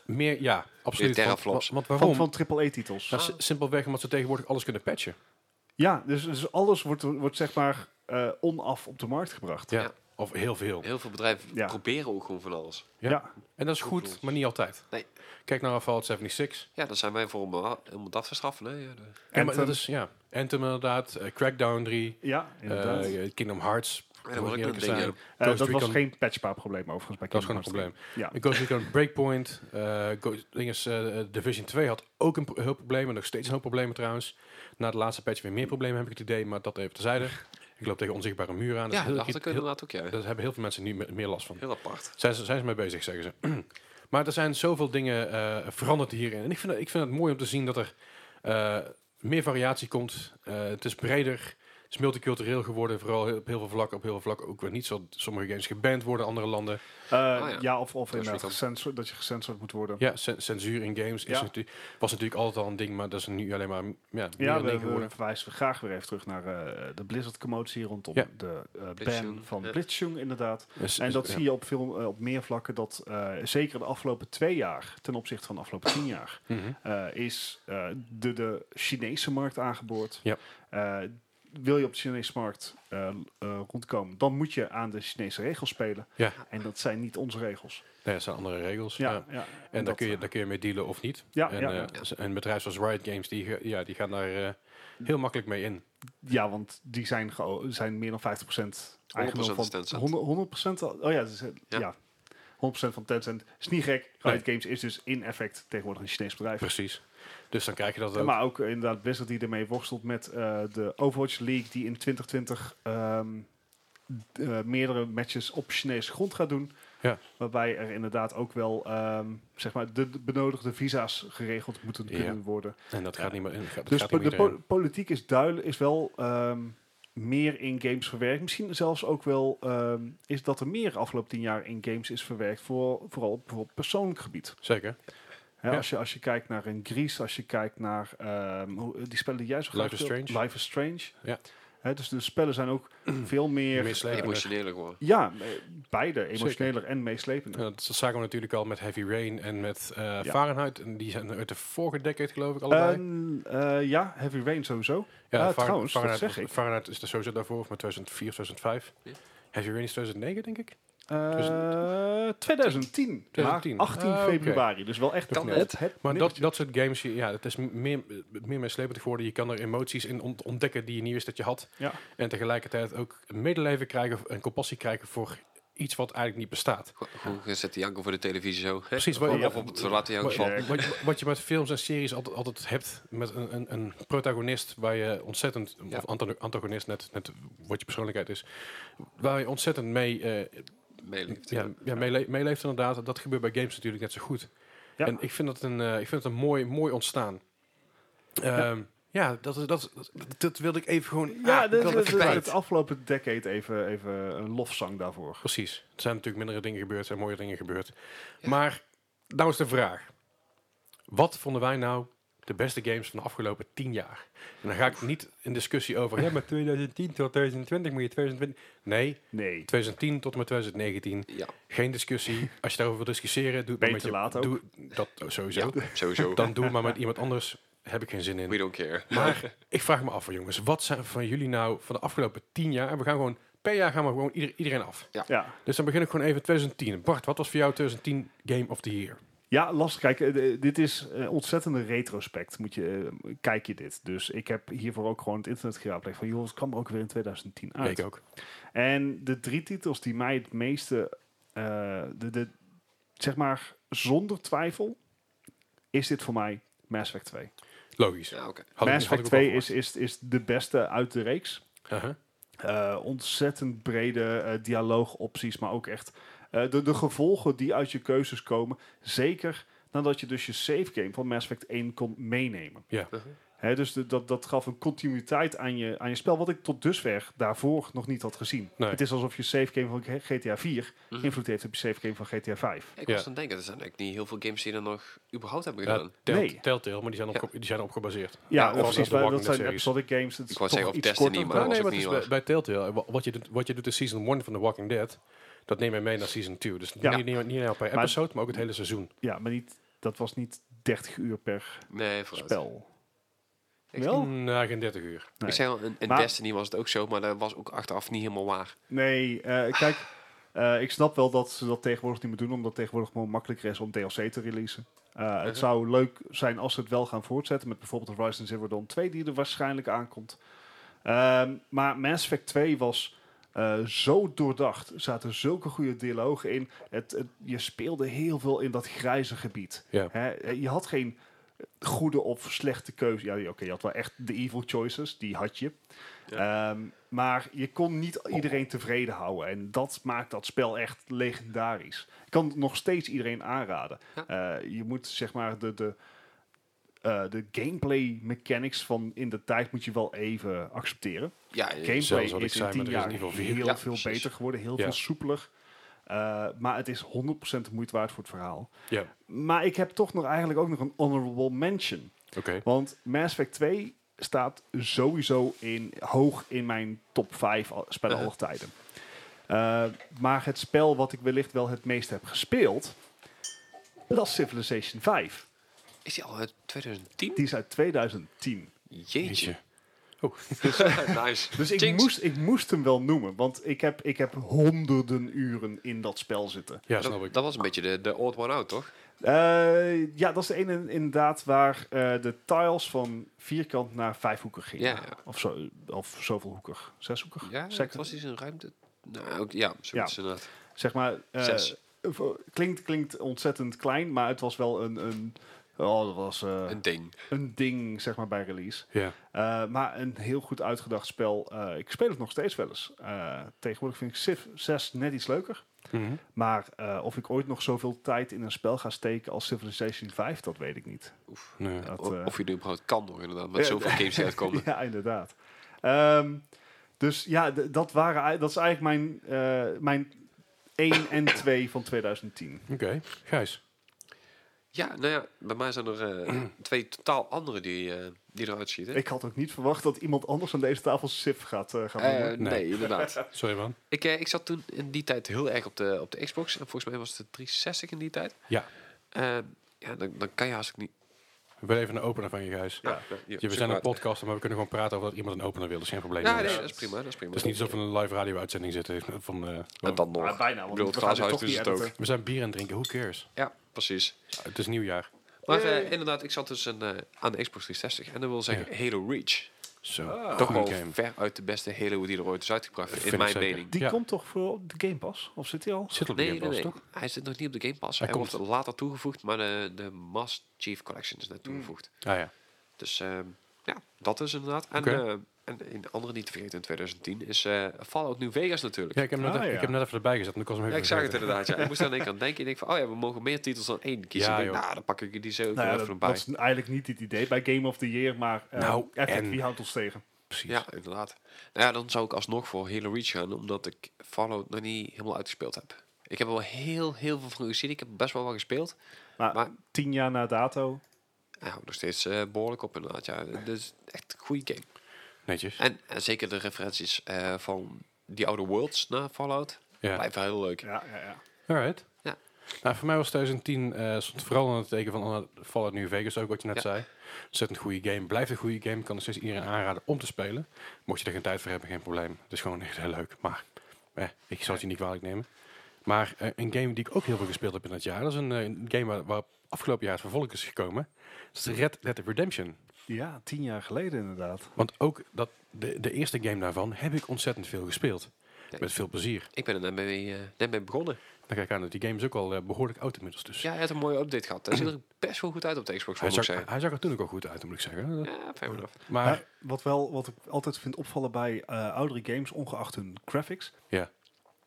Meer, ja, absoluut. Meer Want- teraflops. Want, want van, waarom? van triple-E-titels. Nou, Ah. si- simpelweg omdat ze tegenwoordig alles kunnen patchen. Ja, dus, dus alles wordt, wordt zeg maar eh, onaf op de markt gebracht. Ja. Ja. Of heel veel. Heel veel bedrijven Ja. proberen ook gewoon van alles. Ja. Ja. En dat is goed, maar niet altijd. Nee. Kijk naar Fallout 76. Ja, daar zijn wij voor om, eh, om het af te straffen. Hè? Ja, de- Ja, maar Anthem. dat is, ja. Anthem inderdaad, eh, Crackdown 3, Ja, inderdaad. eh, Kingdom Hearts. dat was ook een ding, ja. Eh, Ghost dat was Recon- geen patchpa-probleem overigens bij Dat is Kingdom gewoon een Hearts 3. Ja. Ghost Recon Breakpoint, eh, Go- ding is, eh, Division 2 had ook een pro- heel probleem en nog steeds een hoop problemen trouwens. Na de laatste patch weer meer problemen heb ik het idee, maar dat even terzijde. Ik loop tegen onzichtbare muren aan. Dat, ja is heel, dat had ik heel- inderdaad ook, ja. daar Eh, hebben heel veel mensen nu me- meer last van. Heel apart. Zijn ze, zijn ze mee bezig, zeggen ze. maar er zijn zoveel dingen eh, veranderd hierin. En ik vind, het- ik vind het mooi om te zien dat er eh, meer variatie komt. Eh, het is breder. Het is multicultureel geworden, vooral heel- op heel veel vlakken. Op heel veel vlakken ook weer niet, zodat sommige games geband worden, andere landen. Eh, Ah, ja. ja. of, of Dat is inderdaad wel- gecensored- dat je gecensoord moet worden. Ja, cen- censuur in games is Ja. natuurlijk- was natuurlijk altijd al een ding, maar dat is nu alleen maar ja, meer Ja, een ding we, we geworden. verwijzen we graag weer even terug naar eh, de Blizzard-commotie rondom Ja. de eh, ban Blitzchung, van ja. Blitzchung, inderdaad. Dus- En dat ja. zie je op, veel, eh, op meer vlakken dat eh, zeker de afgelopen twee jaar, ten opzichte van de afgelopen tien jaar, Mhm. eh, is eh, de, de Chinese markt aangeboord. Ja. Eh, wil je op de Chinese markt eh, eh, rondkomen, dan moet je aan de Chinese regels spelen. Ja. En dat zijn niet onze regels. Nee, dat zijn andere regels. Ja, ja. ja. En, En daar dat, kun, je, eh, daar kun je mee dealen of niet. Ja, en, ja, eh, een bedrijf zoals Riot Games, die, ge- ja, die gaan daar eh, heel makkelijk mee in. eh, ja, want die zijn, geo- zijn meer dan 50% eigendom van 100% Tencent. 100, 100% al- oh ja, dus, eh, ja. Ja. 100% van Tencent. Is niet gek. Riot Games is dus in effect tegenwoordig een Chinees bedrijf. Precies. Dus dan krijg je dat Ja, ook. maar ook eh, inderdaad Blizzard die ermee worstelt met eh, de Overwatch League die in 2020 ehm, d- eh, meerdere matches op Chinese grond gaat doen. Ja. Waarbij er inderdaad ook wel ehm, zeg maar de de benodigde visa's geregeld moeten Ja. kunnen worden. en dat gaat niet meer in. Dat dus gaat po- niet de meer po- politiek is duidelijk, is wel ehm, meer in games verwerkt. Misschien zelfs ook wel ehm, is dat er meer afgelopen tien jaar in games is verwerkt, voor, vooral op bijvoorbeeld persoonlijk gebied. Zeker. Hè, Ja. als, je, als je kijkt naar een Grease, als je kijkt naar ehm, hoe- die spellen die jij zo graag Life is speelt, Strange. Life is Strange. Ja. Hè, dus de spellen zijn ook veel meer... Meeslepend. Emotioneler geworden. ja, eh, beide. Emotioneler en meeslepender. Ja, Eh, dat zagen we natuurlijk al met Heavy Rain en met eh, Ja. Fahrenheit. En die zijn uit de vorige decade, geloof ik, allebei. En, eh, ja, Heavy Rain sowieso. ja, Fahrenheit- eh, trouwens, dat Fahrenheit, zeg ik. Fahrenheit is er sowieso daarvoor, of maar 2004, 2005. Ja. Heavy Rain is 2009, denk ik. Eh 2010. 2010. Maar 18 Dus- Ah, oké. februari. Dus wel echt Kan net het. het Maar dat, nippertje. dat soort games, je- ja, het is meer, meer meeslepend geworden. Je kan er emoties in ont- ontdekken die je niet wist dat je had. Ja. En tegelijkertijd ook medeleven krijgen en compassie krijgen voor iets wat eigenlijk niet bestaat. Gewoon- Gewoon gezet die janken voor de televisie zo. Precies, Wat, wat- of op het verlaten Wat, janken Ja, van. wat, je- wat je met films en series altijd, altijd hebt, met een, een, een protagonist waar je ontzettend, Ja. of antago- antagonist, net, net wat je persoonlijkheid is, waar je ontzettend mee, eh, Meeleeft. ja, ja, meele- meeleeft inderdaad. Dat gebeurt bij games natuurlijk net zo goed. Ja. En ik vind dat een, eh, ik vind het een mooi, mooi ontstaan. Ehm, ja, dat, is- dat, is- dat, dat wilde ik even gewoon... Ja, ah, dat ik is wilde het even kwijt. het afgelopen decade even, even een lofzang daarvoor. Precies. Er zijn natuurlijk mindere dingen gebeurd, er zijn mooie dingen gebeurd. Maar nou is de vraag. Wat vonden wij nou de beste games van de afgelopen tien jaar? En dan ga ik niet in discussie over... Ja, maar 2010 tot 2020 moet je 2020... Nee, Nee. 2010 tot en met 2019. Ja, Geen discussie. Als je daarover wil discussiëren... Doe het maar Beter met je, laat ook. Doe, dat sowieso. ja, sowieso. Dan doe het maar met iemand anders. Heb ik geen zin in. We don't care. Maar ik vraag me af, jongens. Wat zijn van jullie nou van de afgelopen tien jaar... En we gaan gewoon... Per jaar gaan we gewoon ieder- iedereen af. Ja. Dus dan begin ik gewoon even 2010. Bart, wat was voor jou 2010 Game of the Year? Ja, lastig. Kijk, eh, de- dit is eh, ontzettende retrospect. Moet je, eh, kijk je dit. Dus ik heb hiervoor ook gewoon het internet geraadpleegd. Van, joh, het kwam er ook weer in 2010 uit. Ik ook. En de drie titels die mij het meeste... eh, de, de, zeg maar, zonder twijfel... is dit voor mij Mass Effect 2. Logisch. Ja, oké. Had ik- Mass had Effect ik ook al 2 is, is, is de beste uit de reeks. verwacht. Uh-huh. Eh, ontzettend brede eh, dialoogopties, maar ook echt eh, de, de gevolgen die uit je keuzes komen. Zeker nadat je dus je save game van Mass Effect 1 kon meenemen. Ja. Mhm. Hè, dus de- dat, dat gaf een continuïteit aan je, aan je spel, wat ik tot dusver daarvoor nog niet had gezien. Nee. Het is alsof je save game van G- GTA 4 Mhm. invloed heeft op je save game van GTA 5. Ik Ja. was aan het denken, er zijn eigenlijk niet heel veel games die er nog überhaupt hebben Ja, gedaan. Eh, Tell- Nee. Telltale, maar die zijn, op, Ja. ge- die zijn op gebaseerd. Ja, of precies. de maar Walking dat zijn Dead series. episodic games. Het is Ik wou toch zeggen, of iets Destiny, korter, maar dat was Nou, nee, ook maar niet het is bij, waar. bij Telltale. eh, wa- Wat je, doet, wat je doet in Season 1 van The Walking Dead, dat neem je mee naar Season 2. Dus Ja. niet, niet, niet alleen per Maar- episode, maar ook het hele seizoen. Ja, maar niet, dat was niet 30 uur per Nee, vooruit. spel. Echt Wel? Na geen 30 uur. Nee. Ik zei al, in, in Maar- Destiny was het ook zo, maar dat was ook achteraf niet helemaal waar. Nee, eh, kijk, eh, ik snap wel dat ze dat tegenwoordig niet meer doen, omdat het tegenwoordig gewoon makkelijker is om DLC te releasen. Eh, Mhm. Het zou leuk zijn als ze het wel gaan voortzetten met bijvoorbeeld Horizon Zero Dawn 2, die er waarschijnlijk aankomt. Ehm, maar Mass Effect 2 was eh, zo doordacht. Er zaten zulke goede dialogen in. Het, het- je speelde heel veel in dat grijze gebied. Ja. Hè, eh, je had geen goede of slechte keuze. Ja, oké, je had wel echt de evil choices, die had je. Ehm, maar je kon niet iedereen tevreden houden. En dat maakt dat spel echt legendarisch. Ik kan het nog steeds iedereen aanraden. Eh, je moet zeg maar de, de, eh, de gameplay mechanics van in de tijd moet je wel even accepteren. Ja, eh, Gameplay zelfs is wat ik in zei, 10 met jaar Resident Evil vier. heel Ja, veel precies. beter geworden, heel Ja. veel soepeler. Eh, maar het is 100% de moeite waard voor het verhaal. Ja, Maar ik heb toch nog eigenlijk ook nog een honorable mention. oké. Want Mass Effect 2 staat sowieso in, hoog in mijn top 5 al- spellen Uh-huh. aller tijden. Eh, maar het spel wat ik wellicht wel het meest heb gespeeld, dat is Civilization 5. Is die al uit 2010? Die is uit 2010. Jeetje. Jeetje. Oh. nice. Dus ik Jinx. moest, ik moest hem wel noemen, want ik heb, ik heb honderden uren in dat spel zitten. Ja, snap Dat, ik. dat was een beetje de, de odd one out, toch? Eh, ja, dat is de ene inderdaad waar eh, de tiles van vierkant naar vijfhoekig gingen. Ja. Of, zo, of zoveel hoekig. Zeshoekig? Ja, Zeg- het was iets in ruimte. Nou, ook, ja, zoiets inderdaad. Zeg maar... eh, Zes. v- Klinkt, klinkt ontzettend klein, maar het was wel een... een oh, dat was eh, Een ding. een ding, zeg maar, bij release. Ja. Eh, maar een heel goed uitgedacht spel. Eh, ik speel het nog steeds wel eens. Eh, tegenwoordig vind ik Civ 6 net iets leuker. Mhm. Maar eh, of ik ooit nog zoveel tijd in een spel ga steken als Civilization 5, dat weet ik niet. Nee. Dat, Of, eh, of je nu überhaupt kan nog, inderdaad. Met Ja, zoveel games die uitkomen. ja, inderdaad. Ehm, dus ja, d- dat, waren, i- dat is eigenlijk mijn, eh, mijn 1 en 2 van 2010. Oké, Gijs. Ja, nou ja, bij mij zijn er eh, twee totaal andere die, eh, die eruit schieten. Ik had ook niet verwacht dat iemand anders aan deze tafel Civ gaat eh, gaan Eh, noemen. nee. Nee. inderdaad. Sorry man. ik, eh, ik zat toen in die tijd heel erg op de, op de Xbox. En volgens mij was het de 360 in die tijd. Ja. Eh, ja, dan, dan kan je haast niet... We willen even een opener van je, Gijs. Ja, ja, ja, Ja, we zijn een podcast, maar we kunnen gewoon praten over dat iemand een opener wil. Dat is geen probleem. Ja, jongens. nee, dat is prima. Dat is prima. dus Het is niet alsof we in een live radio-uitzending zitten. Van, eh, En dan nog. Ah, bijna, want ik bedoel, het we gaan dit glaashuis toch is niet het ook. editen. we zijn bier aan het drinken, who cares? Ja, precies. Ja, het is nieuwjaar. Maar eh, Yay. inderdaad, ik zat dus een, eh, aan de Xbox 360. En dat wil zeggen Halo Reach. Zo, Ah. Toch toch wel een game. ver uit de beste Halo die er ooit is uitgebracht. Vind in ik mijn zeker. mening. Die Ja. komt toch voor op de Game Pass? Of zit die al? Zit op de Nee, Game nee, Pass, nee. toch? Hij zit nog niet op de Game Pass. Hij, Hij komt. wordt later toegevoegd, maar de, de Mass Chief Collection is Hmm. net toegevoegd. Ah ja. Dus ehm, ja, dat is inderdaad. En, Oké. ehm, en een andere niet te vergeten in 2010 is eh, Fallout New Vegas natuurlijk. ja, ik heb, hem net, Ah, even- ja. ik heb hem net even erbij gezet, maar ik was hem Ja, even ik zag het vergeten. inderdaad. Ja. Ik moest daar in één keer aan denken. Ik denk van, oh ja, we mogen meer titels dan één kiezen. Ja, ik denk, joh. nou, dan pak ik die zo ook Nou ja, wel even dat, bij. dat is eigenlijk niet het idee bij Game of the Year, maar eh Nou, Epic, en- wie houdt ons tegen? Precies. Ja, inderdaad. Nou ja, dan zou ik alsnog voor Halo Reach gaan, omdat ik Fallout nog niet helemaal uitgespeeld heb. Ik heb er wel heel, heel veel van gezien. Ik heb best wel wat gespeeld. Maar, Maar- tien jaar na dato, Hij houdt nog steeds eh, behoorlijk op inderdaad. Ja, het is echt een goede game. Netjes. En, eh, zeker de referenties eh, van die oude worlds naar Fallout. Ja. Blijven heel leuk. ja, ja, ja. Alright. Ja. Nou, voor mij was 2010 eh, stond vooral aan het teken van eh, Fallout New Vegas, ook wat je net Ja. zei. Ontzettend goede game, blijft een goede game, kan er steeds iedereen aanraden om te spelen. Mocht je er geen tijd voor hebben, geen probleem. Het is gewoon echt heel leuk, maar eh, ik zal het je niet kwalijk nemen. Maar eh, een game die ik ook heel veel gespeeld heb in dat jaar, dat is een, eh, een game waar, waar afgelopen jaar het vervolg is gekomen. Dat is Red Dead Redemption. Ja, tien jaar geleden inderdaad. Want ook dat, de, de eerste game daarvan heb ik ontzettend veel gespeeld. Kijk. Met veel plezier. Ik ben er net mee, eh, net mee begonnen. Dan kijk ik aan dat die game is ook al eh, behoorlijk oud inmiddels. Dus. Ja, hij had een mooie update gehad. Hij ziet er best wel goed uit op de Xbox, hij, moet ik zag, zeggen. hij zag er toen ook al goed uit, moet ik zeggen. Dat- Ja, fair enough. Maar Maar wat, wel, wat ik altijd vind opvallen bij eh, oudere games, ongeacht hun graphics, ja,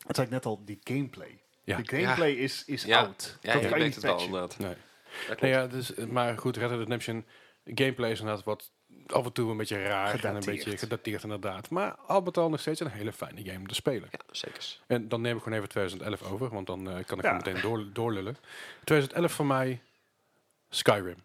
dat zei ik net al, die gameplay. Ja. De gameplay is, is Ja, oud. ja, dat je kan merkt je niet het wel patchen. inderdaad. nee. Dat klopt. nee ja, dus, eh, maar goed, Red Dead Redemption gameplay is inderdaad wat af en toe een beetje raar en een Gedateerd. beetje gedateerd inderdaad. Maar al met al nog steeds een hele fijne game te spelen. ja, zeker. En dan neem ik gewoon even 2011 over, want dan eh, kan ik Ja. gewoon meteen door, doorlullen. 2011 voor mij Skyrim.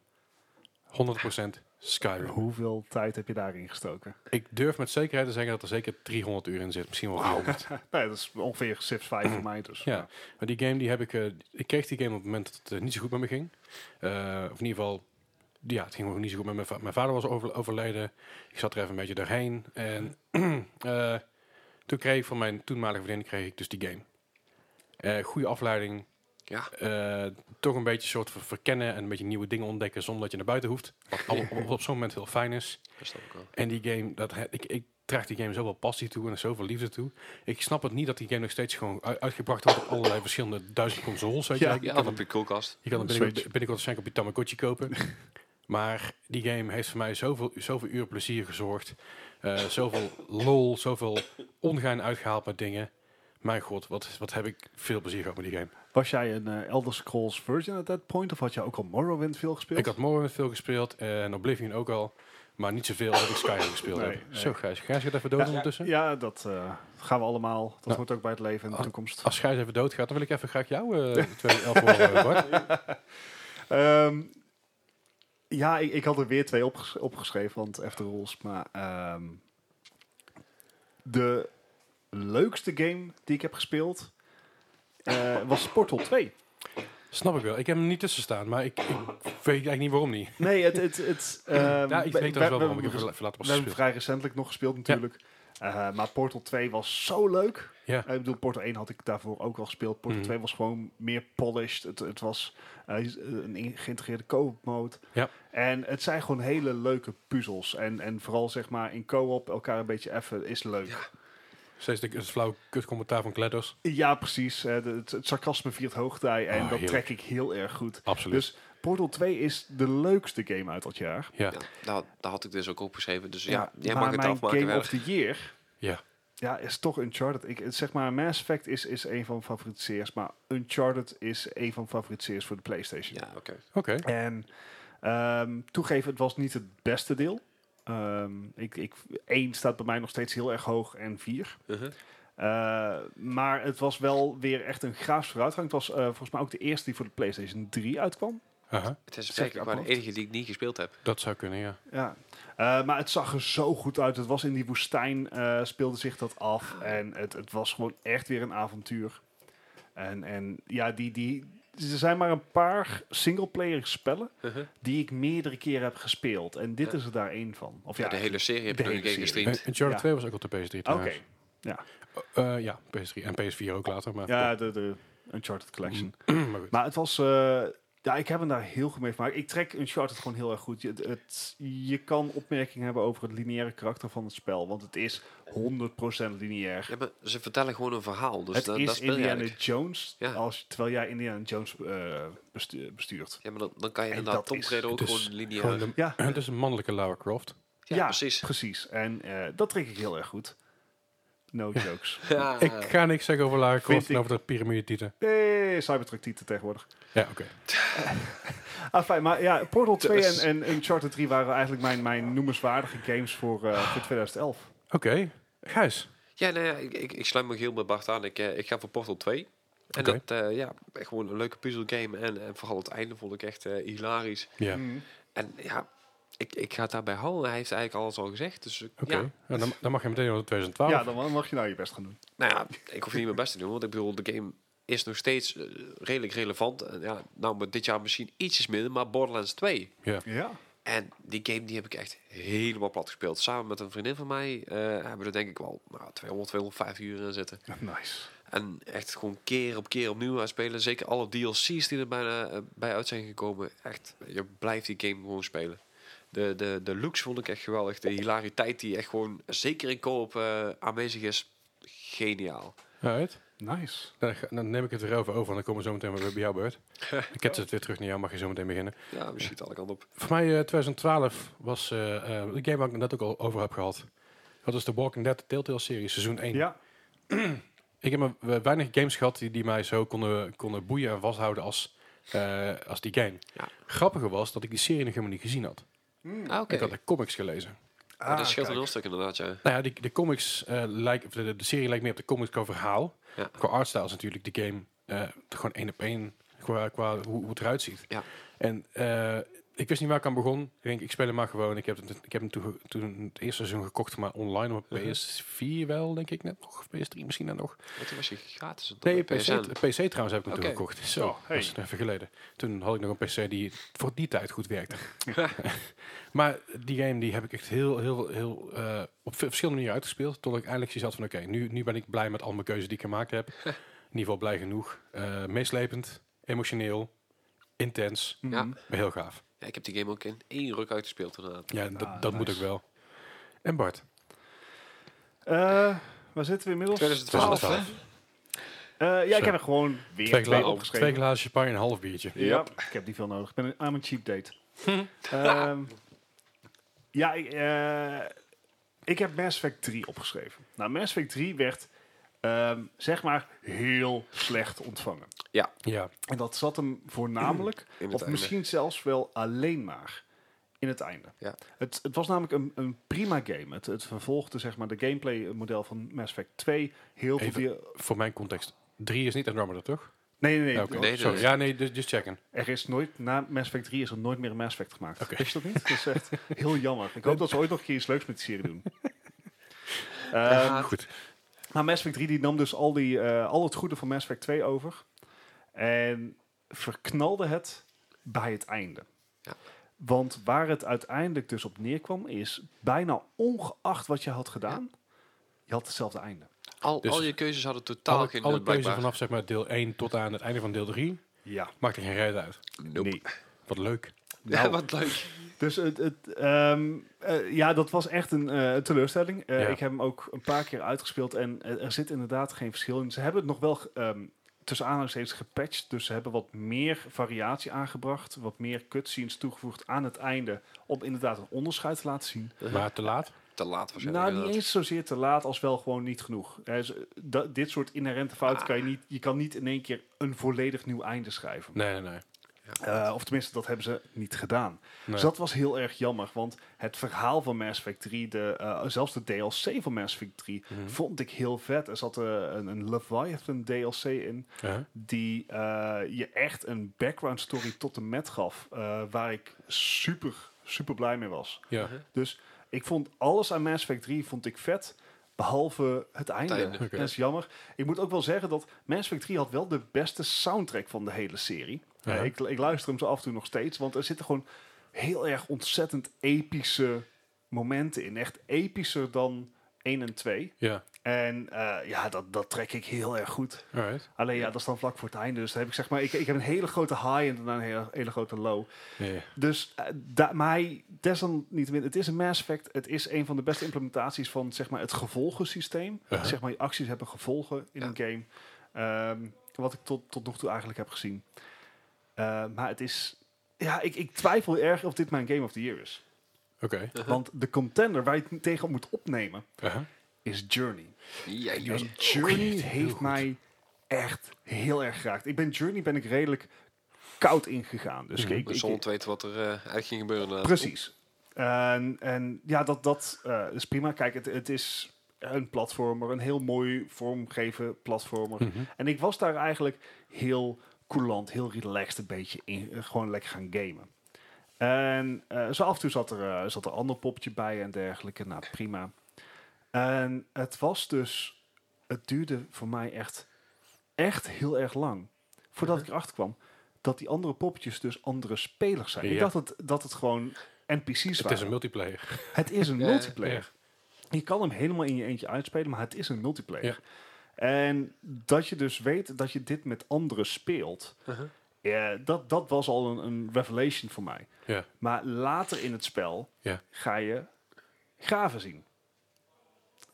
100% eh. Skyrim. Hoeveel tijd heb je daarin gestoken? Ik durf met zekerheid te zeggen dat er zeker 300 uur in zit. Misschien wel 400. Nou, ja, dat is ongeveer Civ 5 voor mij dus. Ja, maar die game die heb ik... eh, ik kreeg die game op het moment dat het eh, niet zo goed met me ging. Eh, of in ieder geval... Ja, het ging gewoon niet zo goed met mijn vader. Mijn vader was over- overleden. Ik zat er even een beetje doorheen. En eh, toen kreeg ik van mijn toenmalige vriendin kreeg ik dus die game. Eh goede afleiding. Ja. Eh, toch een beetje soort van verkennen en een beetje nieuwe dingen ontdekken zonder dat je naar buiten hoeft. Wat al- op, op zo'n moment heel fijn is. Dat snap ik wel. En die game, dat, he- ik, ik draag die game zoveel passie toe en zoveel liefde toe. Ik snap het niet dat die game nog steeds gewoon u- uitgebracht wordt op allerlei verschillende duizend consoles. Weet je. Ja. wel. Je, Ja, kan of hem, op je koelkast. je kan hem Switch. binnenkort, binnenkort waarschijnlijk op je Tamagotchi kopen. Maar die game heeft voor mij zoveel, zoveel uur plezier gezorgd. Eh, zoveel lol, zoveel ongein uitgehaald met dingen. Mijn god, wat, wat heb ik veel plezier gehad met die game. Was jij een eh, Elder Scrolls Virgin at that point? Of had jij ook al Morrowind veel gespeeld? Ik had Morrowind veel gespeeld en Oblivion ook al. Maar niet zoveel als ik Skyrim gespeeld Nee, heb. nee. Zo, Gijs. Gijs gaat even dood ja, ondertussen. Ja, dat eh, gaan we allemaal. Dat Nou. hoort ook bij het leven en de Ah. toekomst. Als Gijs even doodgaat, dan wil ik even graag jou eh 2011 horen, eh, Bart. Ehm, ja, ik, ik had er weer twee opges- opgeschreven, want After Rules. Maar ehm, de leukste game die ik heb gespeeld eh, was Portal 2. Snap ik wel. Ik heb hem niet tussen staan, maar ik, ik weet eigenlijk niet waarom niet. Nee, het... het, het ehm, Ja, ik we- weet we- dat wel we- waarom ik hem we- verla- verlaten was We hebben hem gespeeld. vrij recentelijk nog gespeeld natuurlijk. Eh, maar Portal 2 was zo leuk. Ja. Eh, ik bedoel, Portal 1 had ik daarvoor ook al gespeeld. Portal Mhm. 2 was gewoon meer polished. Het, het was eh, een in- geïntegreerde co-op mode. Ja. En het zijn gewoon hele leuke puzzels. En, en vooral zeg maar in co-op elkaar een beetje effen is leuk. Ja, Steeds de, het flauwe kutcommentaar van Kledders. precies. Eh, de- het, het sarcasme viert hoogtij. En Oh, dat heerlijk. trek ik heel erg goed. Absoluut. Dus Portal 2 is de leukste game uit dat jaar. ja. Ja, daar, daar had ik dus ook opgeschreven. Dus ja, Ja, jij maar mag het mijn afmaken. Game verder. of the Year Ja. ja, is toch Uncharted. Ik, het- zeg maar, Mass Effect is, is een van mijn favoriete series, maar Uncharted is een van mijn favoriete series voor de PlayStation. Ja, oké. Oké. En ehm, toegeven, het was niet het beste deel. Ehm ik, ik, één staat bij mij nog steeds heel erg hoog en vier. Uh-huh. Eh, maar het was wel weer echt een graafs vooruitgang. Het was eh, volgens mij ook de eerste die voor de PlayStation 3 uitkwam. Aha. Het is Zeg eigenlijk ik maar de apart. enige die ik niet gespeeld heb. Dat zou kunnen, ja. Ja, Eh, maar het zag er zo goed uit. Het was in die woestijn, eh, speelde zich dat af. En het, het was gewoon echt weer een avontuur. En, en ja, die, die, er zijn maar een paar singleplayer spellen Uh-huh. die ik meerdere keren heb gespeeld. En dit Ja. is er daar één van. Of ja, Ja, de hele serie heb de ik nog een hele keer serie. gestreamd. Eh, Uncharted Ja. 2 was ook op de PS3 Oké, trouwens. Eh, ja, PS3 en PS4 ook later. Maar, ja, de, de Uncharted Collection. maar goed. Maar het was... eh, ja, ik heb hem daar heel goed mee gemaakt. Ik trek Uncharted gewoon heel erg goed. Je, het- het, je kan opmerkingen hebben over het lineaire karakter van het spel. Want het is 100% lineair. Ja, maar ze vertellen gewoon een verhaal. Dus het da- dat is speel je Indiana eigenlijk. Jones, Ja. als, terwijl jij Indiana Jones eh, bestu- bestuurt. Ja, maar dan, dan kan je En inderdaad dat Tom is- dus Raider ook het is gewoon lineair. Gewoon de- Ja, Het is een mannelijke Lara Croft. ja, precies. precies. En eh, dat trek ik heel erg goed. No jokes. Ja. Ik ga niks zeggen over Lara Croft en ik- over de piramide tieten. Nee, Eh, Cybertruck titel tegenwoordig. Ja, oké. Ah, fijn, maar ja, Portal 2 Dus- en, en Uncharted 3 waren eigenlijk mijn, mijn noemenswaardige games voor, eh, voor 2011. Oké. Gijs. Ja, nou ja, ik, ik, ik sluit me heel bij Bart aan. Ik, eh, ik ga voor Portal 2. En Oké. dat, eh, ja, echt gewoon een leuke puzzelgame. En, en vooral het einde vond ik echt eh, hilarisch. Ja. Mm. En ja, ik, ik ga het daarbij houden. Hij heeft eigenlijk alles al gezegd. Dus ik- Oké. ja, Nou, dan, dan mag je meteen over 2012. Ja, dan mag je nou je best gaan doen. nou ja, ik hoef niet mijn best te doen. Want ik bedoel, de game is nog steeds eh, redelijk relevant. En ja, nou, maar dit jaar misschien ietsjes minder, maar Borderlands 2. Ja. En die game die heb ik echt helemaal plat gespeeld. Samen met een vriendin van mij eh, hebben we er denk ik wel nou, 200, 205 uur in zitten. Nice. En echt gewoon keer op keer opnieuw uitspelen. Zeker alle DLC's die er bijna eh, bij uit zijn gekomen. Echt, je blijft die game gewoon spelen. De, de, de looks vond ik echt geweldig. De hilariteit die echt gewoon, zeker in co-op eh, aanwezig is. Geniaal. Alright. Nice. Dan, ga- dan neem ik het weer over over en dan komen we zo meteen weer bij jouw beurt. ik heb het weer terug naar jou, mag je zo meteen beginnen. Ja, misschien alle kanten op. Voor mij eh, 2012 was eh, eh, de game waar ik het net ook al over heb gehad. Dat is de Walking Dead Telltale-serie, seizoen 1. Ja. Ik heb maar we- weinig games gehad die, die mij zo konden, konden boeien en vasthouden als, eh, als die game. Ja. Grappiger was dat ik die serie nog helemaal niet gezien had. Ah, oké. Ik had Ah, de comics gelezen. Ja, dat scheelt kijk. een heel stuk inderdaad, ja. Nou ja, die, de comics eh, lijken, of de, de serie lijkt meer op de comics qua verhaal. Ja. Qua artstyle is natuurlijk de game eh, gewoon één op één qua, qua hoe, hoe het eruit ziet. Ja. En eh, ik wist niet waar ik aan begon. Ik denk, ik speel hem maar gewoon. Ik heb, het, ik heb hem toen, ge- toen het eerste seizoen gekocht, maar online op Mhm. PS4 wel, denk ik net nog. Of PS3 misschien dan nog. Maar toen was je gratis. dan Nee, bij PC, PSN. t- PC trouwens heb ik hem Oké. toen gekocht. Zo, Oh, hey. dat is even geleden. Toen had ik nog een PC die voor die tijd goed werkte. maar die game die heb ik echt heel, heel, heel eh, op ve- verschillende manieren uitgespeeld. Tot ik eindelijk zoiets had van, oké, nu, nu ben ik blij met al mijn keuzes die ik gemaakt heb. In ieder geval blij genoeg. Eh, meeslepend, emotioneel, intens, Ja. Mhm. maar heel gaaf. Ja, ik heb die game ook in één ruk uitgespeeld inderdaad. Ja, dat, Ah, dat moet ik nice. wel. En Bart? Eh, waar zitten we inmiddels? 2012, hè? Eh, ja, Zo. ik heb er gewoon weer Twee, twee, gla opgeschreven. twee glazen champagne en een half biertje. Ja, ik heb die veel nodig. Ik ben een, I'm een cheap date. Ehm, ja, ik, eh, ik heb Mass Effect 3 opgeschreven. Nou, Mass Effect 3 werd, ehm, zeg maar, heel slecht ontvangen. Ja, En dat zat hem voornamelijk, In het of einde. misschien zelfs wel alleen maar, in het einde. Ja. Het, het was namelijk een, een prima game. Het, het vervolgde, zeg maar, de gameplay model van Mass Effect 2. Heel veel... Even- via- voor mijn context. Drie is niet Andromeda, toch? Nee, nee, nee. Oké, nee, nee, sorry. nee. Ja, nee, dus just checken. Er is nooit, na Mass Effect 3 is er nooit meer een Mass Effect gemaakt. Oké. Wist je dat niet? Dat is echt heel jammer. Ik hoop dat ze ooit nog een keer iets leuks met die serie doen. Ehm, Ja, Goed. maar Mass Effect 3 die nam dus al, die, eh, al het goede van Mass Effect 2 over. En verknalde het bij het einde. Ja. Want waar het uiteindelijk dus op neerkwam, is bijna ongeacht wat je had gedaan, je had hetzelfde einde. Al, Dus al je keuzes hadden totaal Alle, eh, geen alle keuzes blijkbaar. vanaf zeg maar, deel 1 tot aan het einde van deel 3 Ja, maakt er geen reet uit. Nope. nee. Wat leuk. Ja, Nou, wat leuk. Dus het, het, ehm, eh, ja, dat was echt een eh, teleurstelling. Eh, Ja. Ik heb hem ook een paar keer uitgespeeld en eh, er zit inderdaad geen verschil in. Ze hebben het nog wel ehm, tussen aanhalingstekens gepatcht, dus ze hebben wat meer variatie aangebracht, wat meer cutscenes toegevoegd aan het einde om inderdaad een onderscheid te laten zien. Maar te laat. Te laat waarschijnlijk. Nou, niet inderdaad. eens zozeer te laat als wel gewoon niet genoeg. Eh, ze- da- dit soort inherente fouten kan je niet. Je kan niet in één keer een volledig nieuw einde schrijven. Nee, nee, nee. Eh, of tenminste, dat hebben ze niet gedaan. Nee. Dus dat was heel erg jammer, want het verhaal van Mass Effect 3, de, eh, zelfs de DLC van Mass Effect 3, Mhm. vond ik heel vet. Er zat eh, een, een Leviathan DLC in, Ja. die eh, je echt een background story tot de met gaf, eh, waar ik super, super blij mee was. Ja. Dus ik vond alles aan Mass Effect 3 vond ik vet, behalve het einde. einde. Oké. Dat is jammer. Ik moet ook wel zeggen dat Mass Effect 3 had wel de beste soundtrack van de hele serie. Ja. Eh, ik, ik luister hem zo af en toe nog steeds, want er zitten gewoon heel erg ontzettend epische momenten in. Echt epischer dan 1 en 2. Ja. En eh, ja, dat, dat trek ik heel erg goed. Alright. Alleen ja, dat is dan vlak voor het einde. Dus dan heb ik zeg maar, ik, ik heb een hele grote high en daarna een hele, hele grote low. Nee. Dus, eh, da- maar hij, desalniettemin, het is een Mass Effect. Het is een van de beste implementaties van zeg maar, het gevolgensysteem. Uh-huh. Zeg maar, je acties hebben gevolgen in Ja. een game. Ehm, wat ik tot, tot nog toe eigenlijk heb gezien. Eh, maar het is... Ja, ik, ik twijfel erg of dit mijn Game of the Year is. Oké. Uh-huh. Want de contender waar je het tegen moet opnemen Aha. is Journey. Ja, die was En Journey echt heel heeft goed. mij echt heel erg geraakt. Ik ben Journey ben ik redelijk koud ingegaan. Dus Mhm. ik, ik, zonder te weten wat er eh eigenlijk ging gebeuren. inderdaad. Precies. En, en ja, dat, dat eh, is prima. Kijk, het, het is een platformer, een heel mooi vormgeven platformer. Mhm. En ik was daar eigenlijk heel coulant, heel relaxed een beetje in. eh, Gewoon lekker gaan gamen. En eh, zo af en toe zat er, eh, zat er een ander popje bij en dergelijke. Nou, prima. En het was dus... Het duurde voor mij echt, echt heel erg lang. Voordat ik erachter kwam dat die andere poppetjes dus andere spelers zijn. Ik Ja. dacht dat, dat het gewoon NPC's waren. Het is een multiplayer. Het is een Ja, multiplayer. Je kan hem helemaal in je eentje uitspelen, maar het is een multiplayer. En dat je dus weet dat je dit met anderen speelt, Uh-huh. eh, dat, dat was al een, een revelation voor mij. Ja. Maar later in het spel Ja. ga je graven zien.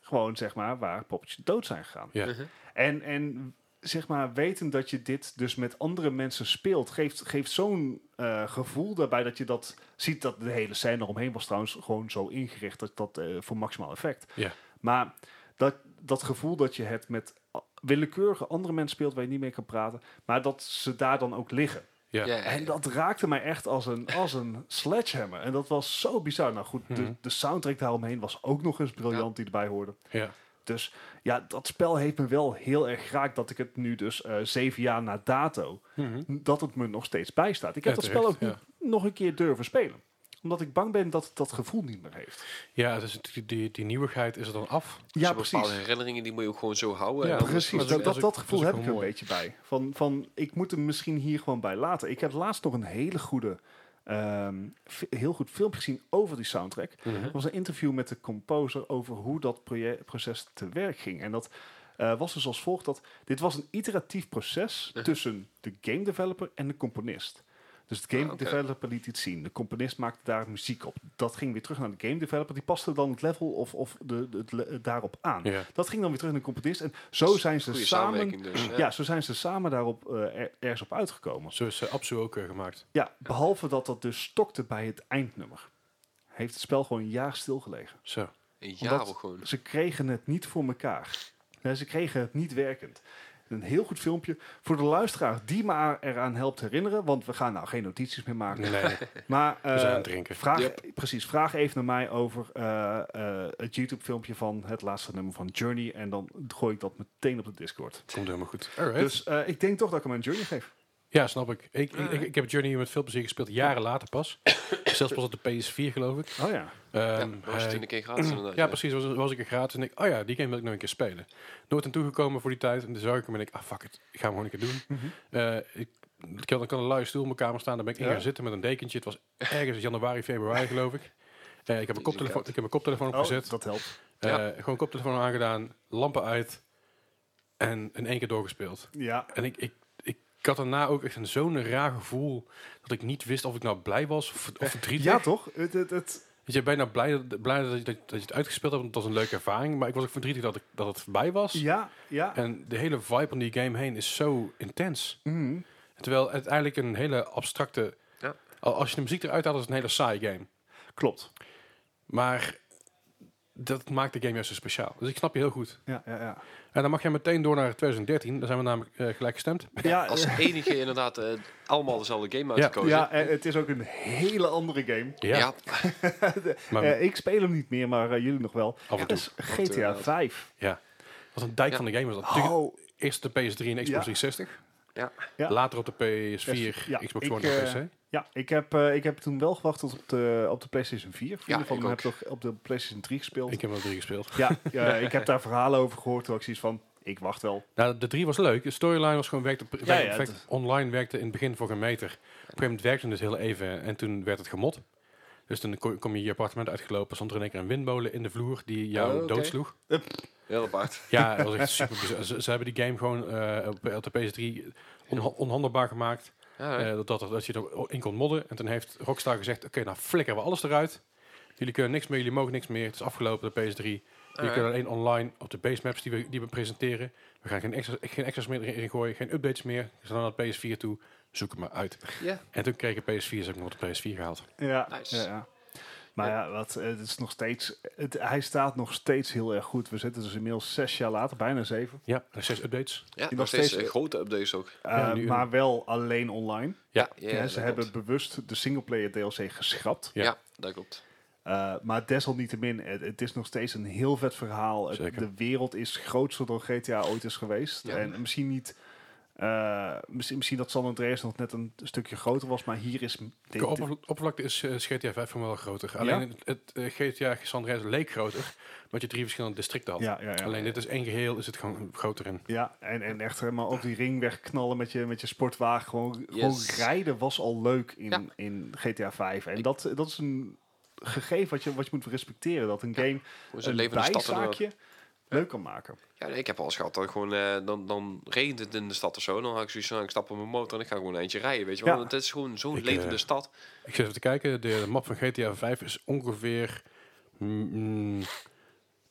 Gewoon zeg maar waar poppetjes dood zijn gegaan. Ja. Mhm. En, en zeg maar, weten dat je dit dus met andere mensen speelt, geeft, geeft zo'n eh, gevoel daarbij dat je dat ziet. Dat de hele scène eromheen was trouwens gewoon zo ingericht dat dat eh, voor maximaal effect. Ja. Maar dat, dat gevoel dat je het met a- willekeurige andere mensen speelt waar je niet mee kan praten, maar dat ze daar dan ook liggen. Ja. Ja, En dat raakte mij echt als een, als een sledgehammer. En dat was zo bizar. Nou goed, de, Mhm. de soundtrack daaromheen was ook nog eens briljant die erbij hoorde. Ja. Dus ja, dat spel heeft me wel heel erg geraakt dat ik het nu dus eh, zeven jaar na dato, Mhm. dat het me nog steeds bijstaat. Ik heb Ja, dat spel ook terecht, niet nog een keer durven spelen. Omdat ik bang ben dat het dat gevoel niet meer heeft. Ja, dus die, die, die nieuwigheid is er dan af. Ja, Zo Bepaalde precies. herinneringen die moet je ook gewoon zo houden. Ja, en dan- dat Precies, is- dat, dat dat, is dat ook- gevoel dat is heb ik ook er mooi. een beetje bij. Van, van, ik moet hem misschien hier gewoon bij laten. Ik heb laatst nog een hele goede, ehm, fi- heel goed filmpje gezien over die soundtrack. Mhm. Er was een interview met de composer over hoe dat proje- proces te werk ging. En dat eh, was dus als volgt dat dit was een iteratief proces Mhm. tussen de game developer en de componist. Dus de game Ah, oké. developer liet iets zien. De componist maakte daar muziek op. Dat ging weer terug naar de game developer. Die paste dan het level of, of de, de- het le- daarop aan. Ja. Dat ging dan weer terug naar de componist. En zo zijn ze Goede samen... samenwerking dus. Ja. Ja, zo zijn ze samen daarop eh, er- ergens op uitgekomen. Zo is eh, Absu ook eh, gemaakt. Ja, behalve dat dat dus stokte bij het eindnummer. Heeft het spel gewoon een jaar stilgelegen. Zo. Een jaar Omdat- ook Ehm, gewoon. Ze kregen het niet voor elkaar. Ja, ze kregen het niet werkend. Een heel goed filmpje voor de luisteraar die maar eraan helpt herinneren. Want we gaan nou geen notities meer maken. Nee, nee. Maar eh, We zijn aan het drinken. vraag, Yep. precies, vraag even naar mij over eh, eh, het YouTube filmpje van het laatste nummer van Journey. En dan gooi ik dat meteen op de Discord. Komt helemaal goed. Alright. Dus eh, ik denk toch dat ik hem aan Journey geef. ja, snap ik. Ik, ik, ik heb Journey met veel plezier gespeeld. Jaren later pas. Zelfs pas op de PS4 geloof ik. Oh ja. Ja, Ehm, dat was eh, het toen een keer gratis inderdaad. ja, precies. Was, was ik er gratis en ik, oh ja, die game wil ik nog een keer spelen. Nooit aan toegekomen voor die tijd. En toen zag ik hem en ik, ah fuck it, ik ga hem gewoon een keer doen. Mhm. Eh, ik Ik kan, ik kan een luie stoel in mijn kamer staan. Daar ben ik in Ja? gaan zitten met een dekentje. Het was ergens januari, februari geloof ik. Eh, ik, heb mijn koptelefoon, ik heb mijn koptelefoon Oh, opgezet. dat helpt. Eh, Ja. Gewoon koptelefoon aangedaan, lampen uit. En in één keer doorgespeeld. Ja, En ik, ik, ik had daarna ook echt een- zo'n raar gevoel... dat ik niet wist of ik nou blij was of, of verdrietig. ja toch? Het, het, het, Dus je bent bijna blij, dat- blij dat, je, dat je het uitgespeeld hebt, want het was een leuke ervaring. Maar ik was ook verdrietig dat, ik, dat het voorbij was. ja, ja. En de hele vibe om die game heen is zo intens. Mhm. Terwijl uiteindelijk een hele abstracte... Ja. al- Als je de muziek eruit haalt, is het een hele saaie game. Klopt. Maar dat maakt de game juist zo speciaal. Dus ik snap je heel goed. Ja, ja, ja. En dan mag jij meteen door naar 2013. Daar zijn we namelijk eh, gelijk gestemd. Ja, Als eh, enige inderdaad eh, allemaal dezelfde game Ja. uitgekozen. ja, eh, het is ook een hele andere game. Ja, Ja, maar Eh, ik speel hem niet meer, maar eh, jullie nog wel. af en Het toe. is Af en toe, GTA inderdaad. 5. Wat een dijk Ja. van de game was dat. Natuurlijk Oh, Eerst de PS3 en Xbox Ja. 360. Ja. Ja. Later op de PS4, Ja, Xbox ik, One en eh, PC. ja, ik heb, eh, ik heb toen wel gewacht tot op de, op de PlayStation 4. Vrienden Ja, van ik me ook. hebben toch op de PlayStation 3 gespeeld. Ik heb er drie gespeeld. Ja, ja, ik heb daar verhalen over gehoord. Toen had ik zoiets van, ik wacht wel. Nou, de drie was leuk. De storyline was gewoon werkte, werkte ja, perfect. het- Online werkte in het begin voor een meter. Op een gegeven moment werkte het dus heel even en toen werd het gemot. Dus toen ko- kom je je appartement uitgelopen, stond er in één keer een windmolen in de vloer die jou Oh, oké. doodsloeg. heel apart. Ja, dat was echt super bizar. Ze, ze hebben die game gewoon eh, op, op de PS3 onha- onhandelbaar gemaakt. Ja, Eh, dat, dat, dat je er in kon modden. En toen heeft Rockstar gezegd, oké, nou flikken we alles eruit. Jullie kunnen niks meer, jullie mogen niks meer. Het is afgelopen, de PS3. Jullie Ah, Alright. kunnen alleen online op de base maps die we, die we presenteren. We gaan geen extras, geen extras meer erin gooien, geen updates meer. Ze gaan naar de PS4 toe, zoek het maar uit. ja. En toen kreeg ik PS4, dus heb ik nog de PS4 gehaald. Ja, Nice. ja, ja. Maar ja, wat, eh, het is nog steeds, het, hij staat nog steeds heel erg goed. We zitten dus inmiddels zes jaar later, bijna zeven. Ja, en zes updates. ja nog nog steeds steeds- eh, grote updates ook. Eh, Ja, nu- maar wel alleen online. Ja. ja, Ja, dat ze klopt. hebben bewust de singleplayer DLC geschrapt. Ja. Ja. dat klopt. Eh, maar desalniettemin, het, het is nog steeds een heel vet verhaal. Het- Zeker. de wereld is groter dan GTA ooit is geweest. Ja. En misschien niet... eh, misschien, misschien dat San Andreas nog net een stukje groter was, maar hier is... m- dit- De oppervla- oppervlakte is eh, GTA 5 van wel groter. Alleen het, het, eh, GTA San Andreas leek groter, omdat je drie verschillende districten had. ja, ja, ja. Alleen dit is één geheel, is het gewoon groter in. Ja, en, en echt helemaal op die ring wegknallen met je, met je sportwagen. Gewoon, Yes. gewoon rijden was al leuk in, Ja. in GTA 5. En Ik- dat, dat is een gegeven wat je, wat je moet respecteren. Dat een game Hoe ze een leven in de stad. en ook. bijzaakje leuk kan maken. Ja, nee, ik heb al eens gehad dat gewoon, eh, dan, dan regent het in de stad of zo. Dan had ik zoiets van, nou, ik stap op mijn motor en ik ga gewoon eentje rijden, weet je wel. Ja. Want het is gewoon zo'n Ik, levende eh, stad. Ik zit even te kijken. De, de map van GTA 5 is ongeveer mm,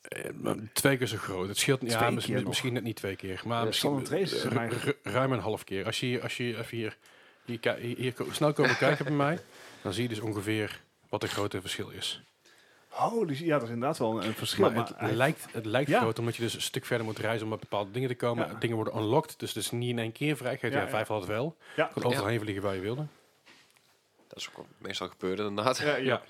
eh, twee keer zo groot. Het scheelt ja, Twee misschien, keer nog. misschien net niet twee keer, maar Ja, misschien San Andreas is ru- mijn- ru- ruim een half keer. Als je, hier- als je even hier, hier, ki- hier, hier ko- snel komen kijken bij mij, dan zie je dus ongeveer wat het grote verschil is. Holy, shit, ja, dat is inderdaad wel een, een verschil. maar maar het hij- lijkt, het lijkt Ja. groot omdat je dus een stuk verder moet reizen om bij bepaalde dingen te komen. Ja. Dingen worden unlocked, dus het is niet in één keer vrij. GTA Ja, ja. 5 had het wel. ja, Je kon overal heen vliegen waar je wilde. Dat is ook wel meestal gebeurd inderdaad. ja, ja. Ja.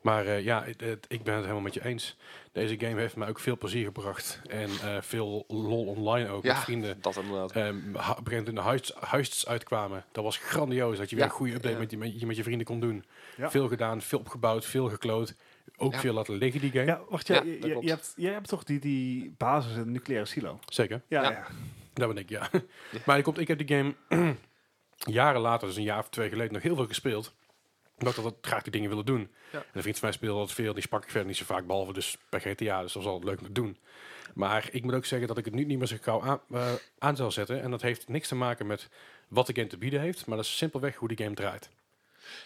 Maar eh, ja, het- het- ik ben het helemaal met je eens. Deze game heeft mij ook veel plezier gebracht. En eh, veel lol online ook. Met Ja, vrienden. dat inderdaad. Ehm, ha- op een gegeven moment toen de huis- huists uitkwamen. Dat was grandioos. Dat je weer Ja, een goede update ja. met, je, met, je, met je vrienden kon doen. Ja. Veel gedaan, veel opgebouwd, veel gekloot. Ook Ja. veel laten liggen die game. Ja, wacht, ja, Ja, je, dat je- klopt. je hebt, jij hebt toch die, die basis in de nucleaire silo? Zeker, Ja, ja. Ja. daar ben ik, ja. Maar ik, komt, ik heb die game jaren later, dus een jaar of twee geleden, nog heel veel gespeeld. Omdat ik dat graag die dingen willen doen. Ja. En een vriend van mij speelde dat veel, die sprak ik verder niet zo vaak, behalve dus bij GTA. Dus dat was altijd leuk om te doen. Maar ik moet ook zeggen dat ik het nu niet meer zo gauw aan, eh, aan zal zetten. En dat heeft niks te maken met wat de game te bieden heeft, maar dat is simpelweg hoe die game draait.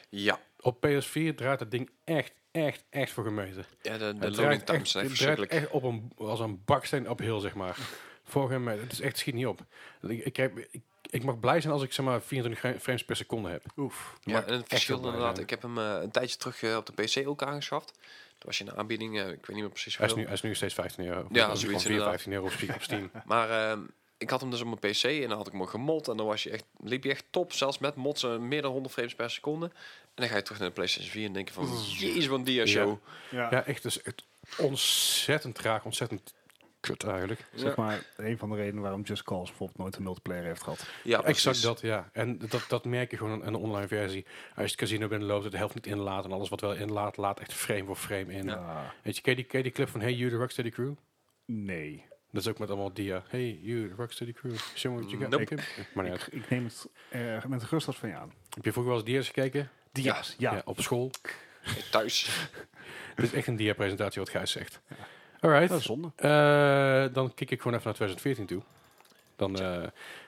Ja, Op PS4 draait dat ding echt, echt, echt voor gemeten. ja de, de Het loading draait times zijn echt, echt het draait verschrikkelijk. echt op een, als een baksteen op heel, zeg maar. Voor hem, eh, het is echt schiet niet op. Ik, ik, heb- ik, ik mag blij zijn als ik zeg maar 24 gra- frames per seconde heb. Oef. mag Ja, en het echt verschil heel blij inderdaad. zijn. Ik heb hem eh, een tijdje terug eh, op de PC ook aangeschaft. Toen was je in de aanbieding, eh, ik weet niet meer precies Hij is, hoeveel. nu, hij is nu steeds 15 euro. Ja, Of zoiets Van 4, inderdaad. 15 euro op Steam. Op Steam. Maar ehm, ik had hem dus op mijn PC en dan had ik hem gemod. En dan was je echt, liep je echt top, zelfs met mods, eh, meer dan 100 frames per seconde. En dan ga je terug naar de PlayStation 4 en denk je van, jeez, wat een dia-show. Ja, ja, echt. Dus het ontzettend traag, ontzettend kut eigenlijk. zeg maar een van de redenen waarom Just Cause bijvoorbeeld nooit een multiplayer heeft gehad. Ja, exact precies. dat, ja. En dat, dat merk je gewoon aan de online versie. Als je het casino binnenloopt, het helft niet inlaat. En alles wat wel inlaat, laat echt frame voor frame in. Ja. Weet je, ken je die, ken je die clip van Hey You, The Rocksteady Crew? Nee. Dat is ook met allemaal dia. Hey, you, Rocksteady Crew, show me what you got. Nope. Ik- maar nee, Ik, ik neem het eh, met een gerustheid van je aan. heb je vroeger wel eens dia's gekeken? Dia's, ja. op school. Thuis. Het is echt een dia-presentatie wat Gijs zegt. Alright. Dat is zonde. Eh, dan kijk ik gewoon even naar 2014 toe. Dan, eh,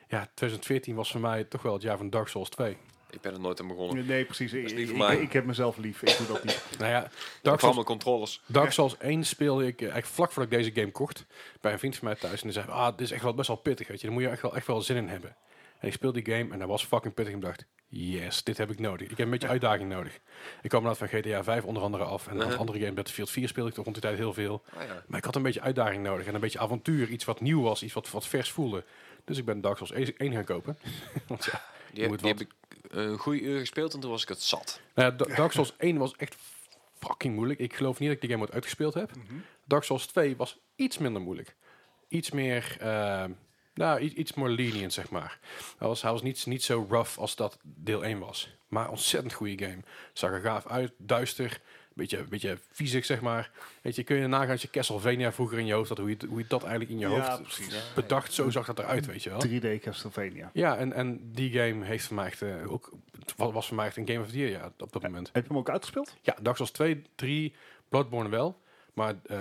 ja, 2014 was voor mij toch wel het jaar van Dark Souls 2. Ik ben er nooit aan begonnen. Nee, precies. Ik, is ik, niet voor mij. ik heb mezelf lief. Ik doe dat niet. Nou ja, Daarom Dark Souls, mijn controllers. Dark Souls 1 speelde ik eh, eigenlijk vlak voordat ik deze game kocht. Bij een vriend van mij thuis. En die zei, ah, dit is echt wel best wel pittig. Weet je. Daar moet je echt wel, echt wel zin in hebben. En ik speelde die game en dat was fucking pittig. En ik dacht, yes, dit heb ik nodig. Ik heb een beetje uitdaging nodig. Ik kwam inderdaad van GTA 5 onder andere af. En een aantal Uh-huh. andere game, Battlefield 4 speelde ik toch rond die tijd heel veel. Ah ja. Maar ik had een beetje uitdaging nodig en een beetje avontuur. Iets wat nieuw was, iets wat, wat vers voelde. Dus ik ben Dark Souls 1 gaan kopen. Want ja, Die, heb, moet die wat. heb ik eh, een goede uur gespeeld en toen was ik het zat. nou ja, Da- Dark Souls 1 was echt fucking moeilijk. Ik geloof niet dat ik die game ooit uitgespeeld heb. Mhm. Dark Souls 2 was iets minder moeilijk. Iets meer, eh, nou, i- iets more lenient, zeg maar. Hij was, hij was niet, niet zo rough als dat deel 1 was. Maar ontzettend goede game. Zag er gaaf uit, duister, beetje, beetje viezig, zeg maar. Weet je, kun je nagaan als je Castlevania vroeger in je hoofd had, hoe je, hoe je dat eigenlijk in je Ja, hoofd precies. bedacht. Zo zag dat eruit, weet je wel. 3D Castlevania. Ja, en, en die game heeft voor mij echt, eh, ook, het wa- was voor mij echt een game of the year ja, op dat moment. Heb je hem ook uitgespeeld? Ja, Dark Souls 2, 3, Bloodborne wel. Maar eh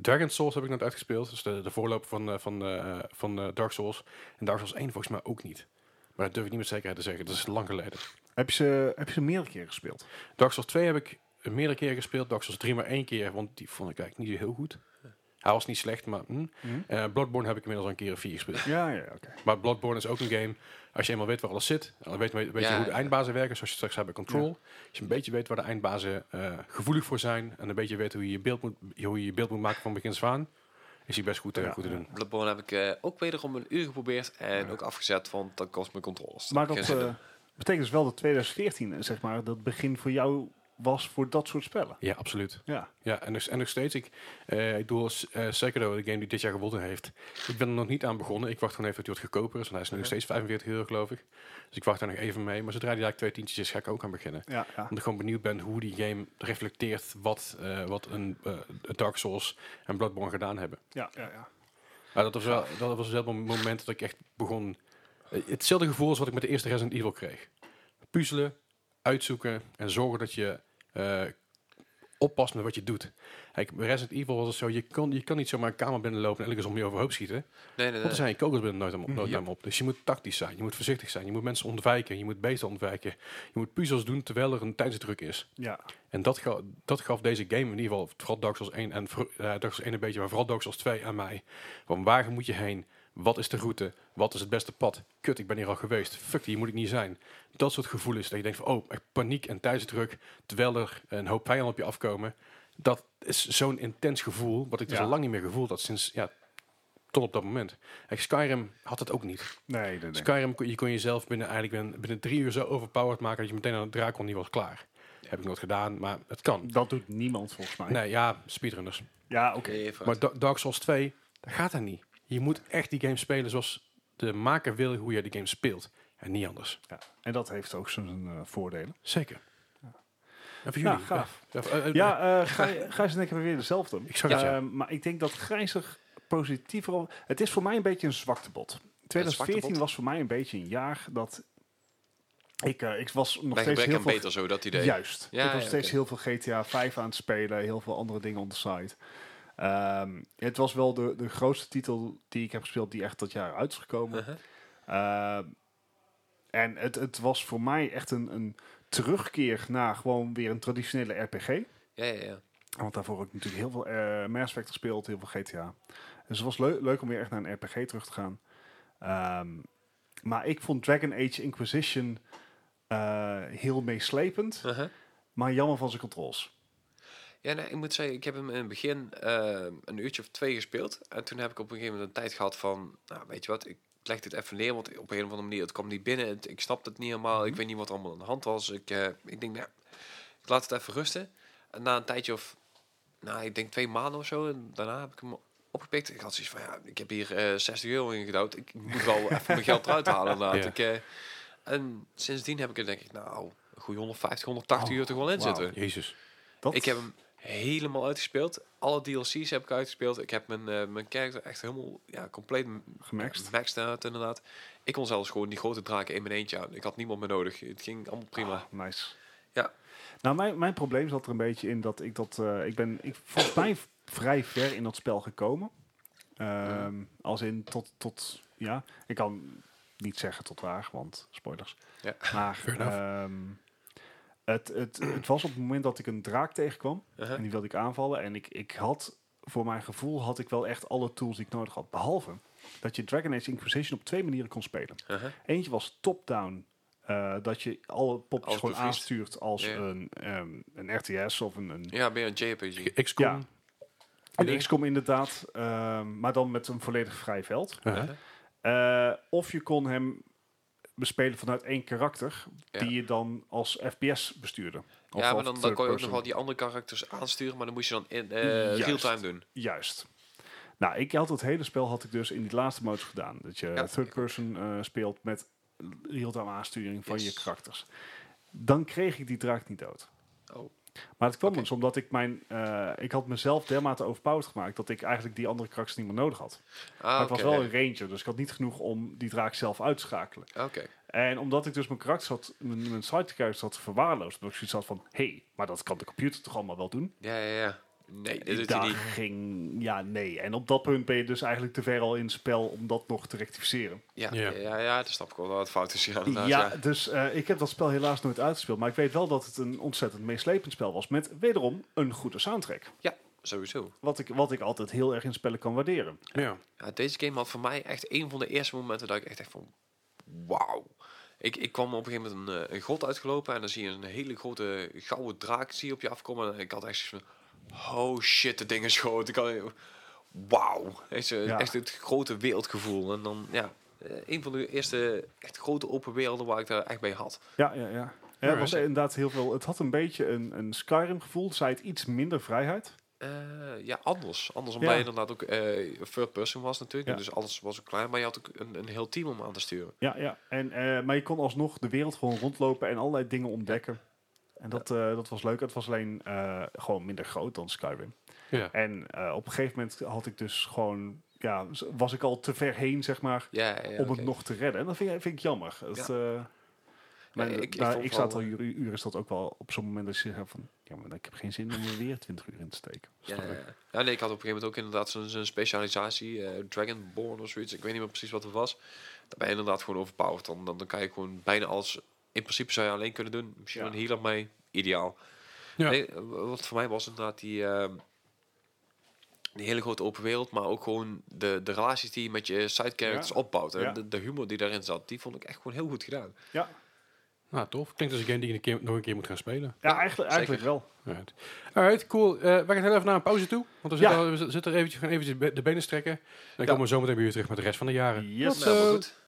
Dragon Souls heb ik net uitgespeeld. Dus de, de voorloper van, eh, van, eh, van eh, Dark Souls. En Dark Souls 1 volgens mij ook niet. Maar dat durf ik niet met zekerheid te zeggen. Dat is lang geleden. Heb je ze, heb je ze meerdere keren gespeeld? Dark Souls 2 heb ik meerdere keren gespeeld. Dark Souls 3 maar één keer. Want die vond ik eigenlijk niet heel goed. Hij was niet slecht, maar... hm. Eh, Bloodborne heb ik inmiddels al een keer of vier gespeeld. Ja, ja, oké. Maar Bloodborne is ook een game. Als je eenmaal weet waar alles zit, dan weet, weet je Ja, hoe de ja. eindbazen werken, zoals je straks zei bij Control. Als je een beetje weet waar de eindbazen eh, gevoelig voor zijn en een beetje weet hoe je je beeld moet, hoe je, je beeld moet maken van begin af aan, is die best goed, eh, Ja. goed te doen. Bloodborne heb ik eh, ook wederom een uur geprobeerd en ook afgezet, want dat kost mijn controllers. Maar Geen dat zin in. eh, betekent dus wel dat 2014, zeg maar, dat begin voor jou was voor dat soort spellen. Ja, absoluut. Ja. Ja, en nog, en nog steeds, ik, eh, ik doe als eh Sekiro, de game die dit jaar gewonnen heeft, ik ben er nog niet aan begonnen. Ik wacht gewoon even tot hij wat goedkoper is, want hij is nu nog steeds 45 euro geloof ik. Dus ik wacht daar nog even mee. Maar zodra die daar twee tientjes is, ga ik er ook aan beginnen. Ja, ja. Omdat ik gewoon benieuwd ben hoe die game reflecteert wat, eh, wat een eh, Dark Souls en Bloodborne gedaan hebben. ja, ja, ja. Maar dat was wel dat was wel een moment dat ik echt begon... eh, hetzelfde gevoel als wat ik met de eerste Resident Evil kreeg. Puzzelen, uitzoeken en zorgen dat je eh, oppast met wat je doet. Kijk, bij Resident Evil was het zo, je kan, je kan niet zomaar een kamer binnenlopen en elke zombie overhoop schieten. nee, nee, Want nee. er zijn je kogels binnen nooit, aan- nooit aan op. Dus je moet tactisch zijn, je moet voorzichtig zijn, je moet mensen ontwijken, je moet beesten ontwijken. Je moet puzzels doen terwijl er een tijdsdruk is. ja. En dat, ga- dat gaf deze game in ieder geval, vooral Dark Souls 1 en voor- eh, Dark Souls 1 een beetje, maar vooral Dark Souls 2 aan mij. Van waar moet je heen? Wat is de route? Wat is het beste pad? Kut, ik ben hier al geweest. Fuck, hier moet ik niet zijn. Dat soort gevoelens. Dat je denkt van, oh, echt paniek en tijdsdruk. Terwijl er een hoop vijanden op je afkomen. Dat is zo'n intens gevoel, wat ik dus Ja. al lang niet meer gevoeld had sinds, ja, tot op dat moment. Kijk, Skyrim had het ook niet. Nee, nee, nee. Dus Skyrim, kon- je kon jezelf binnen, eigenlijk binnen, binnen drie uur zo overpowered maken... dat je meteen aan het draak kon, die was klaar. Heb ik nooit gedaan, maar het kan. Dat doet niemand volgens mij. Nee, ja, speedrunners. Ja, oké. Nee, vooruit. Maar Da- Dark Souls 2, dat gaat dat niet. Je moet echt die game spelen zoals de maker wil hoe je die game speelt. En niet anders. Ja. En dat heeft ook zijn eh, voordelen. Zeker. En voor Ja, jullie. Nou, gaaf. Ja, eh, eh, Ja, eh, Gij- Gijs en ik hebben weer dezelfde. Ik zag het, ja. Eh, maar ik denk dat Gijzig positiever... op- Het is voor mij een beetje een zwaktebod. 2014 zwaktebod? was voor mij een beetje een jaar dat... Ik, eh, ik was nog Bij steeds gebrek heel aan veel... beter zo, dat idee. Juist. Ja, ik was ja, steeds oké. heel veel GTA 5 aan het spelen, heel veel andere dingen on the site. Ehm, het was wel de, de grootste titel die ik heb gespeeld die echt dat jaar uit is gekomen. Uh-huh. Ehm, en het, het was voor mij echt een, een terugkeer naar gewoon weer een traditionele RPG. Ja, ja, ja. Want daarvoor heb ik natuurlijk heel veel eh Mass Effect gespeeld, heel veel GTA. Dus het was leu- leuk om weer echt naar een RPG terug te gaan. Ehm, maar ik vond Dragon Age Inquisition eh, heel meeslepend, Uh-huh. maar jammer van zijn controls. Ja, nee, ik moet zeggen, ik heb hem in het begin eh, een uurtje of twee gespeeld. En toen heb ik op een gegeven moment een tijd gehad van, nou, weet je wat, ik leg dit even neer, want op een of andere manier, het kwam niet binnen, het- ik snapte het niet helemaal, ik weet niet wat er allemaal aan de hand was. Ik, eh, ik denk, nou, ik laat het even rusten. En na een tijdje of, nou, ik denk twee maanden of zo, en daarna heb ik hem opgepikt. Ik had zoiets van, ja, ik heb hier eh 60 euro in gedouwd, ik moet wel even mijn geld eruit halen. inderdaad. Ja. Ik, eh, en sindsdien heb ik er denk ik, nou, een goede 150, 180 uur toch wel in wauw. zitten. Jezus. Dat Ik heb hem helemaal uitgespeeld. Alle DLC's heb ik uitgespeeld. Ik heb mijn, eh, mijn character echt helemaal ja, compleet m- Gemaxt. maxed uit, inderdaad. Ik kon zelfs gewoon die grote draken in mijn eentje aan. Ik had niemand meer nodig. Het ging allemaal prima. Ah, nice. Ja. Nou, mijn, mijn probleem zat er een beetje in dat ik dat... eh, ik ben ik, volgens mij v- vrij ver in dat spel gekomen. Ehm, Mm. Als in tot, tot... Ja, ik kan niet zeggen tot waar, want spoilers. Ja. Maar Fair enough. ehm, het, het, het was op het moment dat ik een draak tegenkwam. Uh-huh. En die wilde ik aanvallen. En ik, ik had, voor mijn gevoel, had ik wel echt alle tools die ik nodig had. Behalve dat je Dragon Age Inquisition op twee manieren kon spelen. Uh-huh. Eentje was top-down. eh, dat je alle popjes Als gewoon bevriest. aanstuurt als Ja. een, ehm, een RTS of een... een Ja, meer een JPG. X- XCOM. ja. Een XCOM inderdaad, ehm, maar dan met een volledig vrij veld. Uh-huh. Uh-huh. Eh, of je kon hem bespelen vanuit één karakter, Ja. die je dan als FPS bestuurde. Of Ja, maar als dan, dan third kon je ook nog person. wel die andere karakters aansturen, maar dan moest je dan in eh, Juist. real-time doen. Juist. Nou, ik had het hele spel had ik dus in die laatste modus gedaan. Dat je Ja. third person eh, speelt met real-time aansturing van Yes. je karakters. Dan kreeg ik die draak niet dood. Oh. Maar het kwam Oké. dus omdat ik mijn... eh, ik had mezelf dermate overpowered gemaakt... dat ik eigenlijk die andere karakters niet meer nodig had. maar Ah, ik oké. was wel een ranger, dus ik had niet genoeg om die draak zelf uit te schakelen. Oké. En omdat ik dus mijn karakter had... mijn, mijn side characters had verwaarloosd... omdat ik zoiets had van... hé, hey, maar dat kan de computer toch allemaal wel doen? Ja, ja, ja. Nee, dat Die doet hij dag niet. ging, ja, nee. En op dat punt ben je dus eigenlijk te ver al in het spel om dat nog te rectificeren. Ja, Ja. ja. ja, dat snap ik wel. Dat het fout is. Ja, inderdaad, ja, ja. dus eh, ik heb dat spel helaas nooit uitgespeeld. Maar ik weet wel dat het een ontzettend meeslepend spel was. Met wederom een goede soundtrack. sowieso. Wat ik, wat ik altijd heel erg in spellen kan waarderen. Ja. Ja, deze game had voor mij echt een van de eerste momenten dat ik echt echt van... Wauw. Ik, ik kwam op een gegeven moment een, eh, een grot uitgelopen en dan zie je een hele grote gouden draak zie je op je afkomen. En ik had echt zoiets van... Oh shit, dat ding is groot. Ik had, wauw. Echt, eh, Ja. echt het grote wereldgevoel. En dan, ja... eh, Een van de eerste echt grote open werelden waar ik daar echt bij had. Ja, ja, ja. Ja, het was inderdaad heel veel. Het had een beetje een, een Skyrim gevoel. Zij het iets minder vrijheid. Eh, ja, anders. Anders Ja. omdat je inderdaad ook eh third person was natuurlijk. Ja. Dus alles was ook klein. Maar je had ook een, een heel team om aan te sturen. Ja, ja. En, eh, maar je kon alsnog de wereld gewoon rondlopen en allerlei dingen ontdekken. En dat, eh, dat was leuk. Het was alleen eh, gewoon minder groot dan Skyrim. Ja. En eh, op een gegeven moment had ik dus gewoon, ja, z- was ik al te ver heen, zeg maar, Ja, ja, ja, om oké. het nog te redden. En dat vind ik, vind ik jammer. Dat, eh, maar Nee, d- ik- ik daar- vond eh, ik wel, zat al uren, uren is dat ook wel op zo'n moment dat je zegt van, ja, maar ik heb geen zin om er weer 20 uur in te steken. Ja, ja, ja. Ja, nee, ik had op een gegeven moment ook inderdaad zo'n zo'n specialisatie, eh, Dragonborn of zoiets. Ik weet niet meer precies wat het was. Daar ben je inderdaad gewoon overpowered. Dan, dan, dan kan je gewoon bijna alles... In principe zou je alleen kunnen doen. Misschien Ja. een healer mee. Ideaal. Ja. Nee, eh, wat voor mij was inderdaad die... ehm, die hele grote open wereld, maar ook gewoon de, de relaties die je met je side characters Ja. opbouwt. En Ja. de, de humor die daarin zat, die vond ik echt gewoon heel goed gedaan. Ja, Nou, tof. Klinkt als een game die je een keer, nog een keer moet gaan spelen. ja eigenlijk, eigenlijk wel. Alright, Alright, cool. Eh we gaan heel even naar een pauze toe. Want we Ja. zitten, al- we zi- zitten er eventjes, gaan eventjes be- de benen strekken. En dan komen we zo meteen weer terug met de rest van de jaren. Yes. Tot Eh, Nou, maar zo. goed.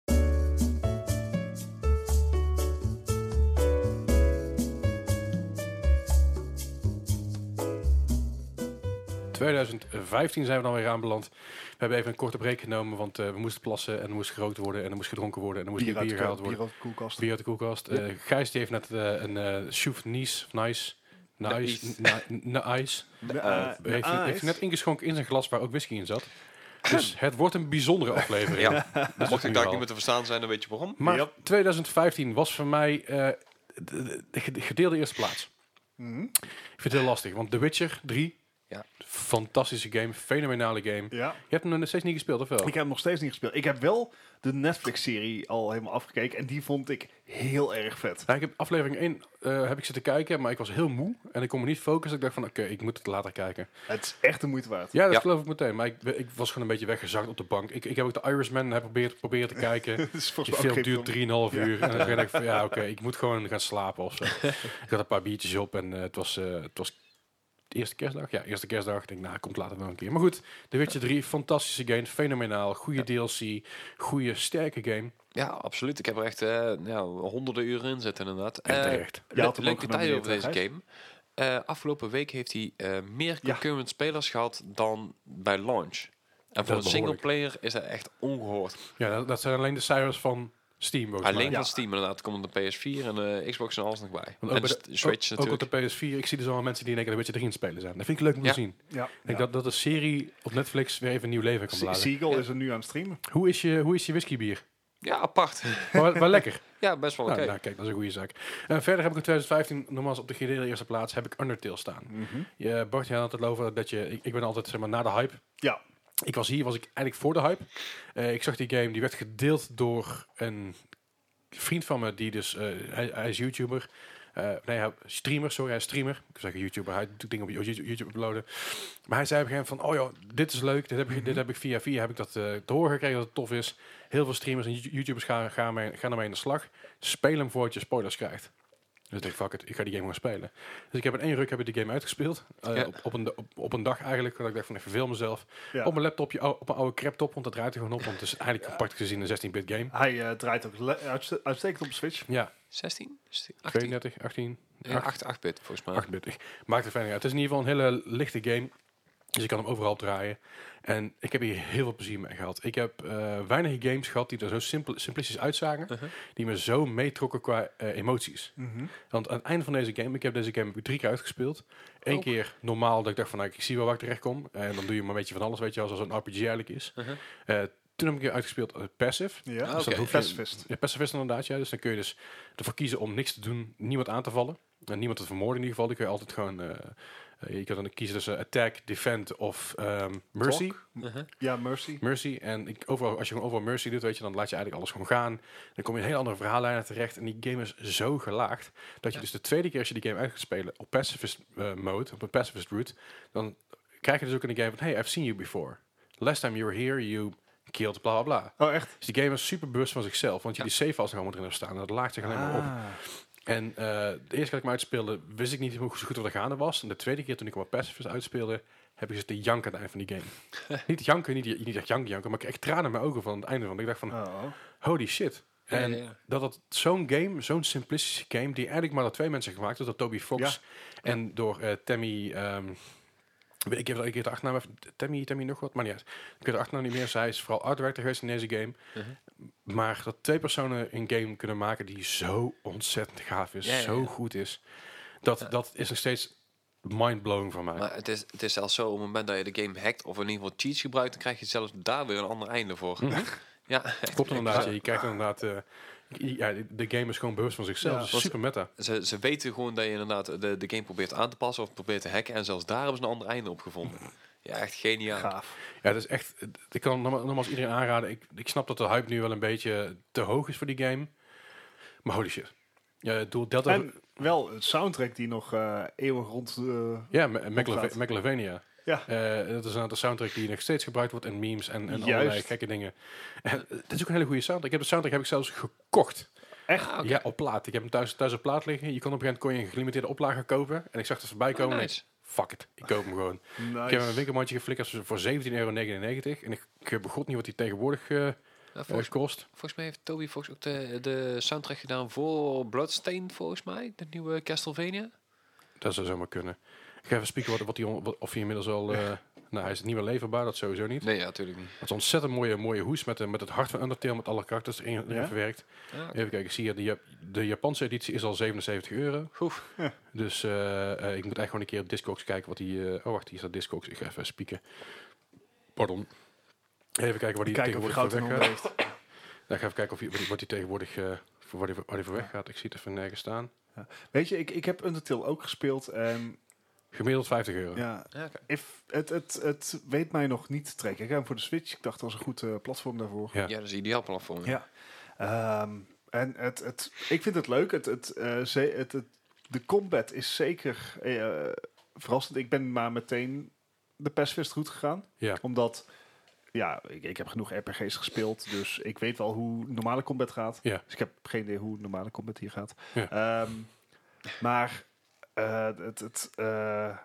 In 2015 zijn we dan weer aanbeland. We hebben even een korte break genomen, want eh, we moesten plassen en er moest gerookt worden en er moest gedronken worden en er moest bier, Bier uit de, gehaald ko- bier worden. uit de koelkast. Bier uit de koelkast. Eh Gijs die heeft net eh, een eh Sjoef Nice, Nice, Nice, Nice. Nice, Nice. Nee, eh, Hij heeft, ah, heeft is- net ingeschonken in zijn glas waar ook whisky in zat. Dus het wordt een bijzondere aflevering. Ja. Mocht ik daar wel. niet meer te verstaan zijn, dan weet je waarom. Maar Yep. 2015 was voor mij eh, de- de, de ge- gedeelde eerste plaats. Mhm. Ik vind het heel lastig, want The Witcher 3, Ja. fantastische game, fenomenale game. Ja. Je hebt hem nog steeds niet gespeeld, of wel? Ik heb hem nog steeds niet gespeeld. Ik heb wel de Netflix-serie al helemaal afgekeken. En die vond ik heel erg vet. Ja, ik heb aflevering 1 eh, heb ik zitten kijken, maar ik was heel moe en ik kon me niet focussen. Ik dacht van, oké, ik moet het later kijken. Het is echt de moeite waard. Ja, dat Ja. geloof ik meteen, maar ik, ik was gewoon een beetje weggezakt op de bank. Ik, ik heb ook de Irishman heb geprobeerd proberen te kijken. Het is Die volgens mij ook film geen duurt 3,5 film. uur. En dan denk ik van, ja, oké, ik moet gewoon gaan slapen of zo. ik had een paar biertjes op en eh, het, was, eh, het was de eerste kerstdag. Ja, eerste kerstdag. Ik denk, nou, komt later wel een keer. Maar goed, The Witcher 3, fantastische game, fenomenaal. Goede DLC, goede, sterke game. Ja, absoluut. Ik heb er echt eh, ja, honderden uren in zitten inderdaad. En Eh, terecht. Je had hem leuk ook detail over genomineerd, deze hè, game. Eh, afgelopen week heeft hij eh, meer concurrent spelers gehad dan bij launch. En voor is een single player is dat echt ongehoord. Ja, dat, dat zijn alleen de cijfers van Steam volgens Alleen mij. van Steam inderdaad komt op de PS4 en eh, Xbox en alles nog bij. Want bij en de de- Switch ook- natuurlijk. Ook op de PS4. Ik zie dus allemaal mensen die denken dat je erin spelen zijn. Dat vind ik leuk om Ja. te zien. Ik Ja. denk dat, dat de serie op Netflix weer even een nieuw leven kan Se- blazen. Seagull is er nu aan het streamen. Hoe is je, hoe is je whiskybier? Ja, apart. Wel, wel lekker. ja, best wel oké. Nou, nou, kijk, dat is een goede zaak. Eh, verder heb ik in 2015, nogmaals op de gedeelde eerste plaats, heb ik Undertale staan. Mhm. Je, Bart, je had het over dat je... Ik, ik ben altijd zeg maar, na de hype. Ja. Ik was hier, was ik eigenlijk voor de hype. Eh, ik zag die game, die werd gedeeld door een vriend van me, die dus... eh, hij, hij is YouTuber. Eh, nee, hij, streamer, sorry, hij is streamer. Ik zeg YouTuber, hij doet dingen op YouTube, YouTube uploaden. Maar hij zei op een gegeven moment van, oh ja, dit is leuk. Dit heb, ik, dit heb ik via via heb ik dat eh, te horen gekregen, dat het tof is. Heel veel streamers en You- YouTubers gaan, gaan, mee, gaan ermee aan de slag. Speel hem voordat je spoilers krijgt. Dus ik denk, fuck it, ik ga die game gewoon spelen. Dus ik heb in één ruk heb ik die game uitgespeeld. Eh, Ja. op, op, een, op, op een dag eigenlijk, dat ik dacht van, ik verveel mezelf. Ja. Op mijn laptopje, ou- op een oude craptop, want dat draait er gewoon op. Want het is eigenlijk praktisch gezien een 16-bit game. Hij eh, draait ook le- uitste- uitstekend op de Switch. Ja, 16? 16? 18? 32, 18, Ja, 8, 8 bit volgens mij. 8-bit. Maakt er verder niet uit. Het is in ieder geval een hele lichte game. Dus ik kan hem overal op draaien. En ik heb hier heel veel plezier mee gehad. Ik heb eh weinig games gehad die er zo simpel, simplistisch uitzagen. Uh-huh. Die me zo meetrokken qua eh, emoties. Mhm. Want aan het einde van deze game, ik heb deze game drie keer uitgespeeld. Eén Oh. keer normaal, dat ik dacht van nou, ik zie wel waar ik terecht kom. En dan doe je maar een beetje van alles, weet je wel, zoals een RPG eigenlijk is. Uh-huh. Eh, toen heb ik een keer uitgespeeld eh, passive. Ja. Ah, oké. hoef je- Pacifist. Ja, pacifist inderdaad, ja. Dus dan kun je dus ervoor kiezen om niks te doen, niemand aan te vallen. En niemand te vermoorden in ieder geval. Dan kun je altijd gewoon... eh, eh, je kan dan kiezen tussen attack, defend of ehm, mercy. Uh-huh. Ja, Mercy. Mercy. En ik, overal, als je gewoon overal mercy doet, weet je, dan laat je eigenlijk alles gewoon gaan. Dan kom je in een heel andere verhaallijnen terecht. En die game is zo gelaagd, dat je dus de tweede keer als je die game uit gaat spelen, op pacifist eh, mode, op een pacifist route, dan krijg je dus ook in de game van, hey, I've seen you before. Last time you were here, you killed bla bla bla. Oh, echt? Dus die game is super bewust van zichzelf, want je die save files nog allemaal erin hebt staan. En dat laagt zich alleen Ah. maar op. En eh, de eerste keer dat ik hem uitspeelde, wist ik niet hoe goed wat er gaande was. En de tweede keer toen ik hem op Pacifist uitspeelde, heb ik zitten janken aan het einde van die game. niet janken, niet, niet echt janken, janken, maar ik kreeg tranen in mijn ogen van het einde van. Ik dacht van, Oh. holy shit. Ja, En ja, ja. dat dat zo'n game, zo'n simplistische game, die eigenlijk maar door twee mensen gemaakt is, door Toby Fox en door eh, Tammy... ehm, weet ik heb ik heb de achternaam even... Tammy, Tammy nog wat? Maar niet uit. Ik weet de achternaam niet meer. Zij is vooral art director geweest in deze game. Mhm. Maar dat twee personen een game kunnen maken die zo ontzettend gaaf is, Ja, ja, ja. zo goed is, dat, dat is nog steeds mind-blowing voor mij. Maar het is, het is zelfs zo, op het moment dat je de game hackt of in ieder geval cheats gebruikt, dan krijg je zelfs daar weer een ander einde voor. Mhm. Ja, echt. Klopt inderdaad. ja. Je kijkt inderdaad... eh, ja, de game is gewoon bewust van zichzelf. Ja, Het is was- super meta. Ze, ze weten gewoon dat je inderdaad de, de game probeert aan te passen of probeert te hacken. En zelfs daar hebben ze een ander einde op gevonden. Ja, echt geniaal. Gaaf. Ja, dat is echt. Ik kan norma- nogmaals iedereen aanraden. Ik, ik snap dat de hype nu wel een beetje te hoog is voor die game. Maar holy shit. Ja, het doel Delta. En wel het soundtrack die nog eh, eeuwig rond... eh, ja, Ma- Ontgaat. Megalova- Megalovania. ja. Eh, dat is een aantal soundtrack die nog steeds gebruikt wordt in memes en, en allerlei Juist. gekke dingen. En het is ook een hele goede soundtrack. Ik heb de soundtrack heb ik zelfs gekocht. Echt? Ja, op plaat. Ik heb hem thuis, thuis op plaat liggen. Je kon op een gegeven moment kon je een gelimiteerde oplage kopen. En ik zag het voorbij komen. en ik, nice. fuck it, ik koop hem gewoon. Nice. Ik heb hem in een winkelmandje geflikkerd voor 17,99 euro. En ik, ik begot niet wat hij tegenwoordig eh, eh, Ja, volgens, kost. volgens mij heeft Toby Fox ook de, de soundtrack gedaan voor Bloodstained, volgens mij. De nieuwe Castlevania. Dat zou zomaar kunnen. Ik ga even spieken wat, wat die on- wat- of hij inmiddels al... eh, nou, hij is niet meer leverbaar, dat sowieso niet. Nee, ja, natuurlijk niet. Het is een ontzettend mooie, mooie hoes met, de- met het hart van Undertale, met alle karakters erin, erin Ja? verwerkt. Ja, Even kijken, ik zie je, de, Jap- de Japanse editie is al 77 euro. Oef. Dus eh, eh, ik moet echt gewoon een keer op Discogs kijken wat die... eh, oh, wacht, hier staat Discogs. Ik ga even spieken. Pardon. Even kijken waar die Kijken of je tegenwoordig goud voor in weg handen gaat. heeft. Nou, ik ga even kijken of die, wat die- wat die tegenwoordig... eh, voor waar die, waar die voor weg gaat. Ik zie het even nergens staan. Weet je, ik, ik heb Undertale ook gespeeld en Gemiddeld 50 euro. ja, Ja, oké. if, het, het, het weet mij nog niet te trekken. Ik heb hem voor de Switch, ik dacht dat was een goed eh, platform daarvoor. Ja. ja, dat is ideaal platform. Ja. Ehm, en het, het, ik vind het leuk. Het, het, eh, ze, het, het- de combat is zeker eh, verrassend. Ik ben maar meteen de pacifist route gegaan. Ja. Omdat, ja, ik, ik heb genoeg RPG's gespeeld. Dus ik weet wel hoe normale combat gaat. Ja. Dus ik heb geen idee hoe normale combat hier gaat. Ja. Ehm, maar eh, het, het, eh,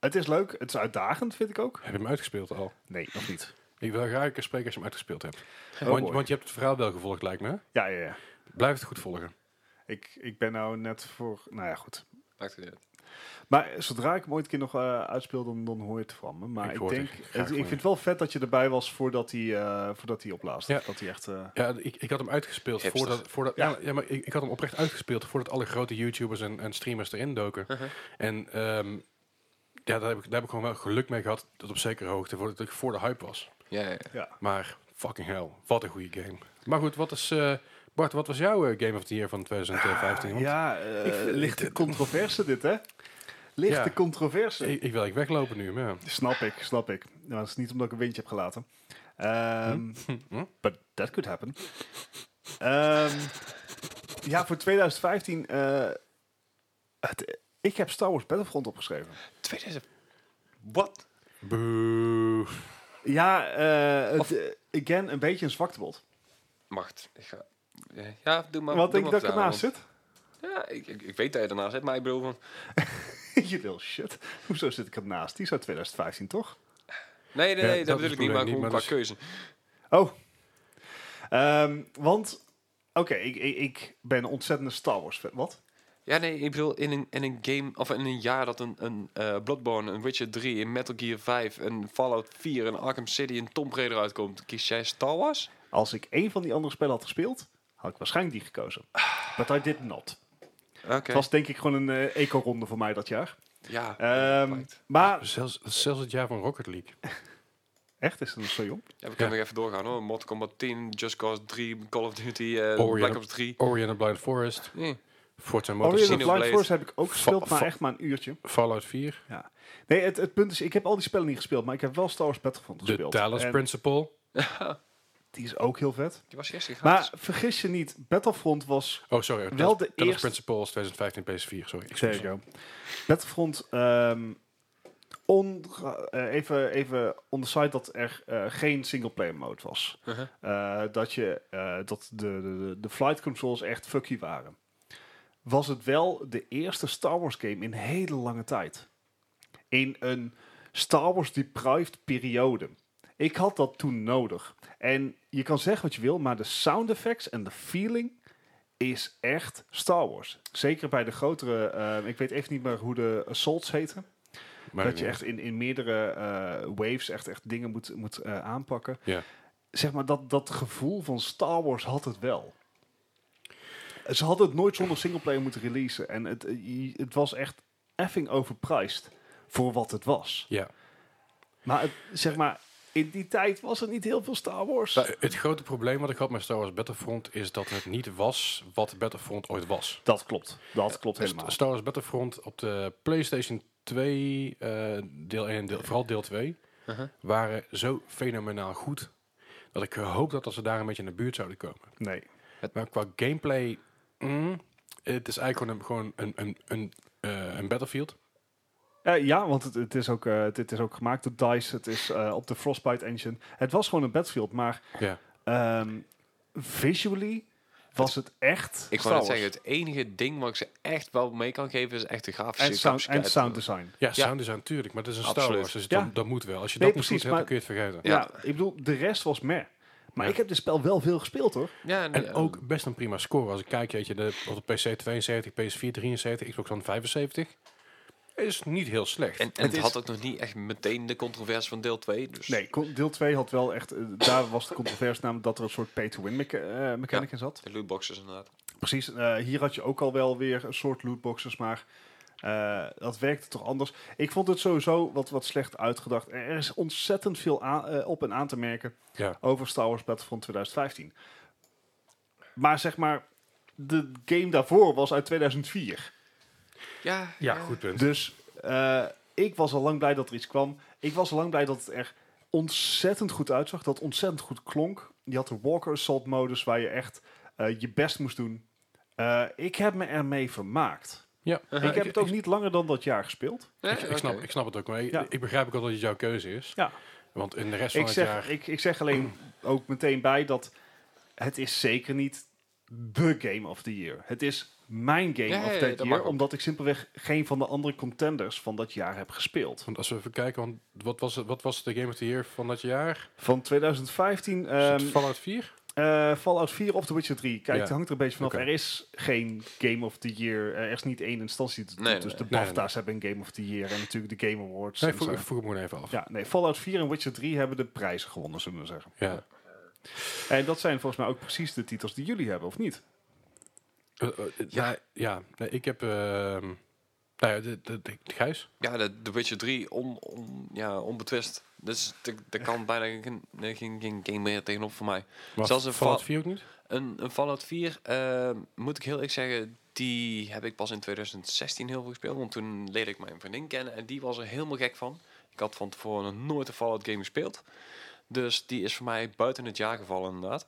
het is leuk. Het is uitdagend, vind ik ook. Heb je hem uitgespeeld al? Nee, nog niet. Ik wil graag een keer spreken als je hem uitgespeeld hebt. Oh want, boy. want je hebt het verhaal wel gevolgd, lijkt me. hè? Ja, ja, ja. Blijf het goed volgen. Ik, ik ben nou net voor... Nou ja, goed. Maakt het niet uit. Maar zodra ik hem ooit een keer nog eh, uitspeel, dan, dan hoor je het van me. Maar Ik ik, hoor het denk, echt graag het- ik van je. vind het wel vet dat je erbij was voordat hij, eh voordat hij oplaast. Ja. Dat hij echt... eh, Ja, ik, ik had hem uitgespeeld Hipster. voordat... voordat Ja. ja. ja, maar ik, ik had hem oprecht uitgespeeld voordat alle grote YouTubers en, en streamers erin doken. Uh-huh. En ehm, ja, daar, heb ik, daar heb ik gewoon wel geluk mee gehad, tot op zekere hoogte, voordat ik voor de hype was. Ja, ja, ja. ja. Maar fucking hell, wat een goede game. Maar goed, wat is... eh, Bart, wat was jouw eh, Game of the Year van 2015? Want Ja, eh, lichte controverse dit, hè? Lichte Ja. controverse. ik, ik wil echt weglopen nu, maar ja. Snap ik, snap ik. Nou, dat is niet omdat ik een windje heb gelaten. Ehm, Hm? But that could happen. Ehm, ja, voor 2015... eh, het, ik heb Star Wars Battlefront opgeschreven. 2000. Wat? Boe. Ja, eh, het, eh, again, een beetje een zwaktebod. Macht. Ik ga... Ja, doe maar. Wat doe denk je maar dat vertalen, ik ernaast zit? want- Ja, ik, ik, ik weet dat je ernaast zit, maar ik bedoel van... je wil shit. Hoezo zit ik ernaast? Die is uit 2015, toch? Nee, nee, Ja, nee, dat, dat bedoel is ik niet, maar bedoel ik gewoon niet, qua maar keuze. Oh. Ehm, want, oké, ik, ik, ik ben een ontzettende Star Wars fan. Wat? Ja, nee, ik bedoel, in een, in een game, of in een jaar dat een, een eh, Bloodborne, een Witcher 3, een Metal Gear 5, een Fallout 4, een Arkham City, een Tomb Raider uitkomt, kies jij Star Wars? Als ik één van die andere spellen had gespeeld, had ik waarschijnlijk die gekozen. But I did not. Oké. Het was denk ik gewoon een eh, eco-ronde voor mij dat jaar. Ja. Ehm, right. maar, Zelfs, zelfs het jaar van Rocket League. echt, is dat nog zo jong? ja, we kunnen ja. nog even doorgaan hoor. Mortal Kombat 10, Just Cause 3, Call of Duty, eh, Oh, ja. Black Ops 3. Ori and the Blind Forest, Nee. Forza Orient Motorsport, of Xenoblade. Blind Force heb ik ook Va- gespeeld, maar va- echt maar een uurtje. Fallout 4, Ja. Nee, het, het punt is, ik heb al die spellen niet gespeeld, maar ik heb wel Star Wars Battlefront The gespeeld. Talos En Principle. Die is ook heel vet. Die was eerst Maar gratis. vergis je niet, Battlefront was... Oh, sorry. Wel Talos- de Talos eerste- Principle is 2015 PS4, sorry. There you go. Battlefront... ehm on, eh, even, even on the side dat er eh, geen singleplayer mode was. Uh-huh. Eh, dat je, eh, dat de, de, de- de flight controls echt fucky waren. Was het wel de eerste Star Wars game in hele lange tijd. In een Star Wars deprived periode. Ik had dat toen nodig. En je kan zeggen wat je wil, maar de sound effects en de feeling is echt Star Wars. Zeker bij de grotere, eh, ik weet even niet meer hoe de assaults heten. Maar dat je echt in, in meerdere eh, waves echt, echt dingen moet, moet eh, aanpakken. Ja. Zeg maar, dat, dat gevoel van Star Wars had het wel. Ze hadden het nooit zonder singleplayer moeten releasen. En het, eh, je- het was echt effing overpriced voor wat het was. Ja. Maar het- zeg maar, in die tijd was er niet heel veel Star Wars. Nou, het grote probleem wat ik had met Star Wars Battlefront is dat het niet was wat Battlefront ooit was. Dus Dat klopt. Dat klopt helemaal. St- Star Wars Battlefront op de PlayStation 2, eh, deel 1 en deel, vooral deel 2, Uh-huh. waren zo fenomenaal goed dat ik hoop dat als ze daar een beetje in de buurt zouden komen. Nee. Maar qua gameplay, mm, het is eigenlijk gewoon een, gewoon een, een, een, eh, een Battlefield. Eh, ja, want het, het is ook, eh, het, het is ook gemaakt door DICE. Het is eh, op de Frostbite engine. Het was gewoon een Battlefield, maar Ja. ehm, visually was het echt Ik Star wou net Wars. zeggen, het enige ding wat ik ze echt wel mee kan geven is echt de grafische En sound, en capaciteit. sound design. ja, sound design natuurlijk, maar het is een Star Absoluut. Wars, dus Ja. dat, dat moet wel. Als je Nee, dat niet precies, goed hebt, dan maar- kun je het vergeten. Ja. Ja. ik bedoel, de rest was meh. Maar Ja. ik heb dit spel wel veel gespeeld, hoor. Ja, eh, nee, En ook best een prima score. Als ik kijk, weet je, de, op de PC 72, PS4 73, Xbox One 75. Is niet heel slecht. En, en Het het, is- had ook nog niet echt meteen de controverse van deel 2. Dus Nee, kon- deel 2 had wel echt... eh, daar was de controverse namelijk dat er een soort pay-to-win mecha- eh, mechanic Ja. in zat. De lootboxes inderdaad. Precies, eh, hier had je ook al wel weer een soort lootboxes, maar eh, dat werkte toch anders. Ik vond het sowieso wat, wat slecht uitgedacht. Er is ontzettend veel aan- eh, op en aan te merken ja. over Star Wars Battlefront 2015. Maar zeg maar, de game daarvoor was uit 2004. Ja, ja, goed punt. Dus eh, ik was al lang blij dat er iets kwam. Ik was al lang blij dat het er ontzettend goed uitzag. Dat het ontzettend goed klonk. Je had de Walker Assault modus waar je echt eh, je best moest doen. Eh, ik heb me ermee vermaakt. ja. ik heb het ook niet langer dan dat jaar gespeeld. Dus- Ja, Ik, ik snap, oké. ik snap het ook, maar ik- Ja. ik begrijp ook al dat het jouw keuze is. Ja. Want in de rest van Ik het zeg, jaar... ik, ik zeg alleen ook meteen bij dat het is zeker niet de Game of the Year. Het is mijn Game Ja, ja, ja, of the dat mag Year, ook. omdat ik simpelweg geen van de andere contenders van dat jaar heb gespeeld. Want als we even kijken, want wat was, het- wat was de Game of the Year van dat jaar? Van 2015 Is het ehm, Fallout 4? Eh, Fallout 4 of The Witcher 3. Kijk, Ja. het hangt er een beetje vanaf. Oké. Er is geen Game of the Year. Er is niet één instantie. die het Nee, doet. dus nee, nee. de BAFTA's hebben een Game of the Year. En natuurlijk de Game Awards. Nee, en ik vroeg, zo. ik vroeg me gewoon even af. Ja, nee, Fallout 4 en Witcher 3 hebben de prijzen gewonnen, zullen we zeggen. Ja. En dat zijn volgens mij ook precies de titels die jullie hebben, of niet? Eh, eh, ja, ja. Nee, ik heb... ehm, nou ja, de, de, de, de Gijs. Ja, de, de Witcher 3 on, on, ja, onbetwist. Dus daar kan bijna geen, nee, geen, geen game meer tegenop voor mij. Maar Zelfs een Fallout Fa- 4 ook niet? Een, een Fallout 4, eh, moet ik heel eerlijk zeggen, die heb ik pas in 2016 heel veel gespeeld. Want toen leerde ik mijn vriendin kennen en die was er helemaal gek van. Ik had van tevoren nog nooit een Fallout game gespeeld. Dus die is voor mij buiten het jaar gevallen inderdaad.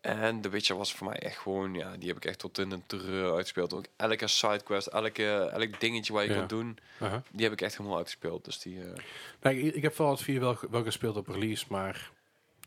En The Witcher was voor mij echt gewoon, ja, die heb ik echt tot in en terreur uitgespeeld. Ook elke sidequest, elke, elk dingetje waar je Ja. kan doen, Aha. die heb ik echt helemaal uitgespeeld. Dus die, eh, Nee, ik, ik heb Fallout 4 wel, ge- wel gespeeld op release, maar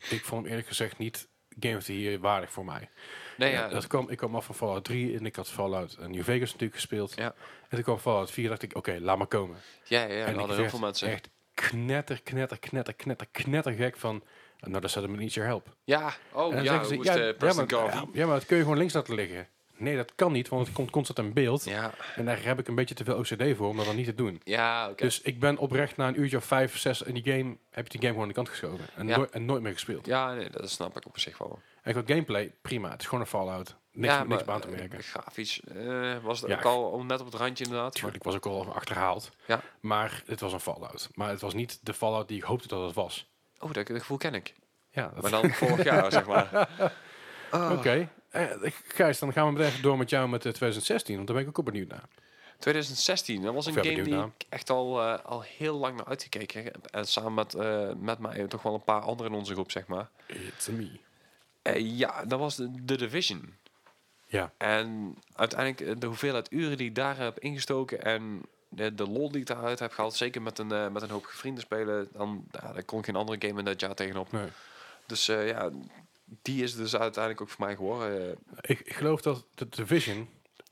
ik vond hem eerlijk gezegd niet Game of the Year waardig voor mij. nee, Ja, ja, dat kwam, ik kwam af van Fallout 3 en ik had Fallout New Vegas natuurlijk gespeeld. Ja. En toen kwam Fallout 4 dacht ik, oké, laat maar komen. ja, ja, en er ik hadden heel werd veel mensen. echt knetter, knetter, knetter, knetter, knetter gek van... Nou, dat staat me niet your help. Ja, oh en dan ja, zeggen hoe is ja, de ja, Preston maar, Garvey? ja, maar dat kun je gewoon links laten liggen. Nee, dat kan niet, want het komt constant in beeld. Ja, En daar heb ik een beetje te veel OCD voor om dat dan niet te doen. ja, oké. Dus ik ben oprecht na een uurtje of vijf, zes in die game... heb ik die game gewoon aan de kant geschoven. En, Ja. nooit- en nooit meer gespeeld. Ja, nee, dat snap ik op zich wel. En qua gameplay, prima. Het is gewoon een Fallout. Niks, ja, niks maar, aan te eh, merken. Grafisch eh, was het Ja, ook al om- net op het randje inderdaad. Maar, Tuurlijk, ik was ook al achterhaald. Ja. Maar het was een Fallout. Maar het was niet de Fallout die ik hoopte dat het was. oh, dat, dat gevoel ken ik. Ja, dat- Maar dan vorig jaar, zeg maar. oké. Eh, Gijs, dan gaan we meteen even door met jou met eh, 2016. Want daar ben ik ook op benieuwd naar. 2016, dat was een Of ja, game die benieuwd ik echt al, eh, al heel lang naar uitgekeken heb. En samen met, eh, met mij en toch wel een paar anderen in onze groep, zeg maar. It's me. Eh, ja, dat was de, de Division. Ja. En uiteindelijk eh, de hoeveelheid uren die ik daar heb ingestoken en de, de lol die ik daaruit heb gehaald, zeker met een, eh, met een hoop vrienden spelen, dan ja, daar kon geen andere game in dat jaar tegenop. Nee. Dus eh, ja, die is dus uiteindelijk ook voor mij geworden. eh. Ik, ik geloof dat de Division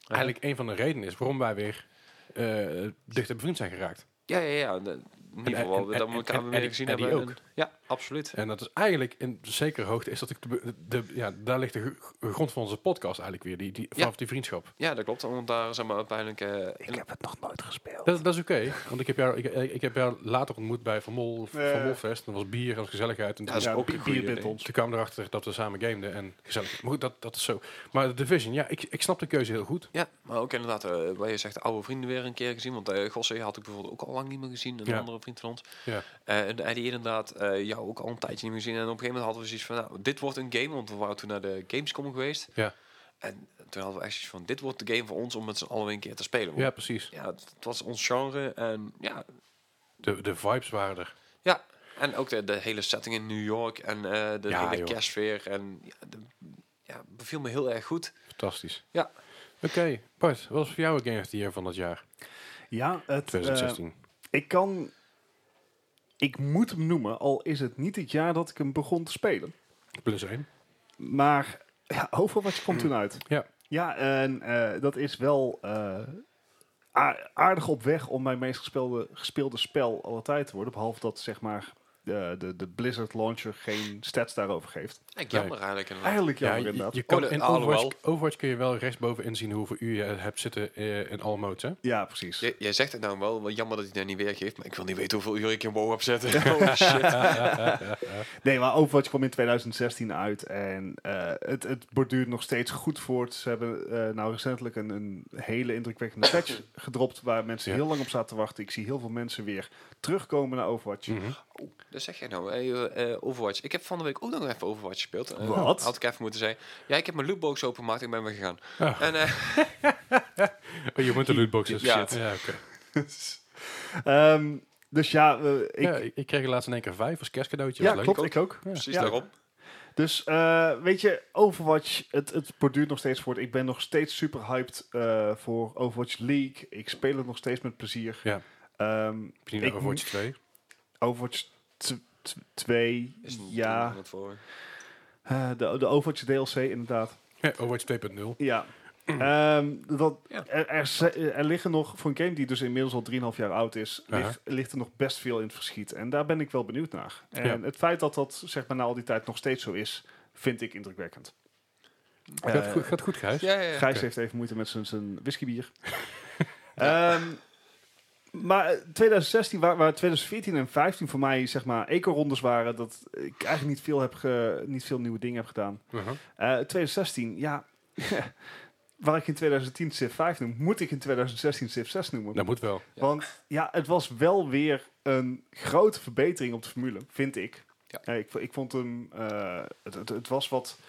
eigenlijk een van de redenen is... waarom wij weer eh dichter bevriend zijn geraakt. ja, ja, ja. de- in ieder En- geval, en- dat we en- elkaar en- weer en- gezien en die hebben. ook. En- ja, absoluut. En dat is eigenlijk in zekere hoogte... is dat ik de, de- ja, daar ligt de gr- grond van onze podcast eigenlijk weer. Die, die, vanaf die vriendschap. Ja, dat klopt. Want daar zijn we uiteindelijk... eh, in- heb het nog nooit gespeeld. Dat, dat is oké, want ik heb, jou, ik, ik heb jou later ontmoet bij Van Mol, Ja. Van Molfest. En dat was bier en dat was gezelligheid. En toen, Ja, dat is Ja, ook bi- een goede bier met ding. ons. toen kwamen we erachter dat we samen gameden en gezellig. Maar goed, dat, dat is zo. Maar de Division, ja, ik, ik snap de keuze heel goed. ja, maar ook inderdaad, eh waar je zegt, oude vrienden weer een keer gezien. Want eh Gosse had ik bijvoorbeeld ook al lang niet meer gezien. Een Ja. andere vriend van ons. Ja, Eh, en die inderdaad eh, jou ook al een tijdje niet meer gezien. En op een gegeven moment hadden we zoiets van, nou, dit wordt een game. Want we waren toen naar de Gamescom geweest. ja. En toen hadden we echt zoiets van, dit wordt de game voor ons om met z'n allen een keer te spelen. ja precies. ja, het het was ons genre en ja, De, de vibes waren er. ja. En ook de, de hele setting in New York en eh, de Ja, hele joh. kerstsfeer en ja, de, ja, beviel me heel erg goed. Fantastisch. Ja. Oké, Bart, wat was voor jou een Game of the Year van dat jaar? Ja, het, eh, 2016. ik kan... Ik moet hem noemen, al is het niet het jaar dat ik hem begon te spelen. Plus 1. Maar ja, Overwatch komt toen uit. Ja. Ja, en eh, dat is wel eh, a- aardig op weg om mijn meest gespeelde, gespeelde spel alle tijd te worden. Behalve dat zeg maar de, de, de Blizzard launcher geen stats daarover geeft. Ik jammer eigenlijk inderdaad. Eigenlijk jammer je- je, inderdaad. kan Oh, de- in alhoewel. Overwatch, Overwatch kun je wel rechtsboven inzien hoeveel uur je hebt zitten eh, in alle modes, hè? Ja, precies. J- jij zegt het nou wel, wel jammer dat hij dat niet weergeeft, maar ik wil niet weten hoeveel uur ik in WoW heb zitten. Oh shit. Nee, maar Overwatch kwam in 2016 uit en eh, het, het borduurt nog steeds goed voort. Ze hebben eh, nou recentelijk een, een hele indrukwekkende patch gedropt waar mensen Ja. heel lang op zaten te wachten. Ik zie heel veel mensen weer terugkomen naar Overwatch. Mhm. Dat zeg jij nou, hey, eh, eh, Overwatch. Ik heb van de week ook nog even Overwatch gespeeld. Eh, Wat? Had ik even moeten zeggen. Ja, ik heb mijn lootbox opengemaakt en ik ben weer gegaan. En, eh, Oh, je moet de lootboxes. Ja. ja oké. Ehm, dus ja, eh, ik, ja, ik, ik kreeg er laatst in één keer vijf als kerstcadeautje. ja was leuk. klopt, ik ook. precies Ja. daarom. Dus eh, weet je, Overwatch, het, het borduurt nog steeds voort. Ik ben nog steeds super hyped eh, voor Overwatch League. Ik speel het nog steeds met plezier. Ja. Ehm, Heb je Ik niet Overwatch 2? Overwatch tw- tw- 2, Is het ja. het voor. Eh, de, de Overwatch DLC inderdaad. Ja, Overwatch 2.0. Ja. Ehm, dat, Ja. er, er, zi- er liggen nog, voor een game die dus inmiddels al 3,5 jaar oud is, Ja. ligt, ligt er nog best veel in het verschiet. En daar ben ik wel benieuwd naar. En het feit dat dat zeg maar na al die tijd nog steeds zo is, vind ik indrukwekkend. gaat, Eh, goed, gaat goed, Gijs. Ja, ja, ja. Gijs heeft even moeite met zijn- zijn whiskybier. Ehm, maar eh, 2016, waar, waar 2014 en 15 voor mij zeg maar eco-rondes waren, dat ik eigenlijk niet veel, heb ge- niet veel nieuwe dingen heb gedaan. Uh-huh. Eh, 2016, ja. waar ik in 2010 Civ 5 noem, moet ik in 2016 Civ 6 noemen. Dat moet wel. Ja. Want ja, het was wel weer een grote verbetering op de formule, vind ik. Ja. Eh, ik, v- ik vond hem, eh, het, het, het was wat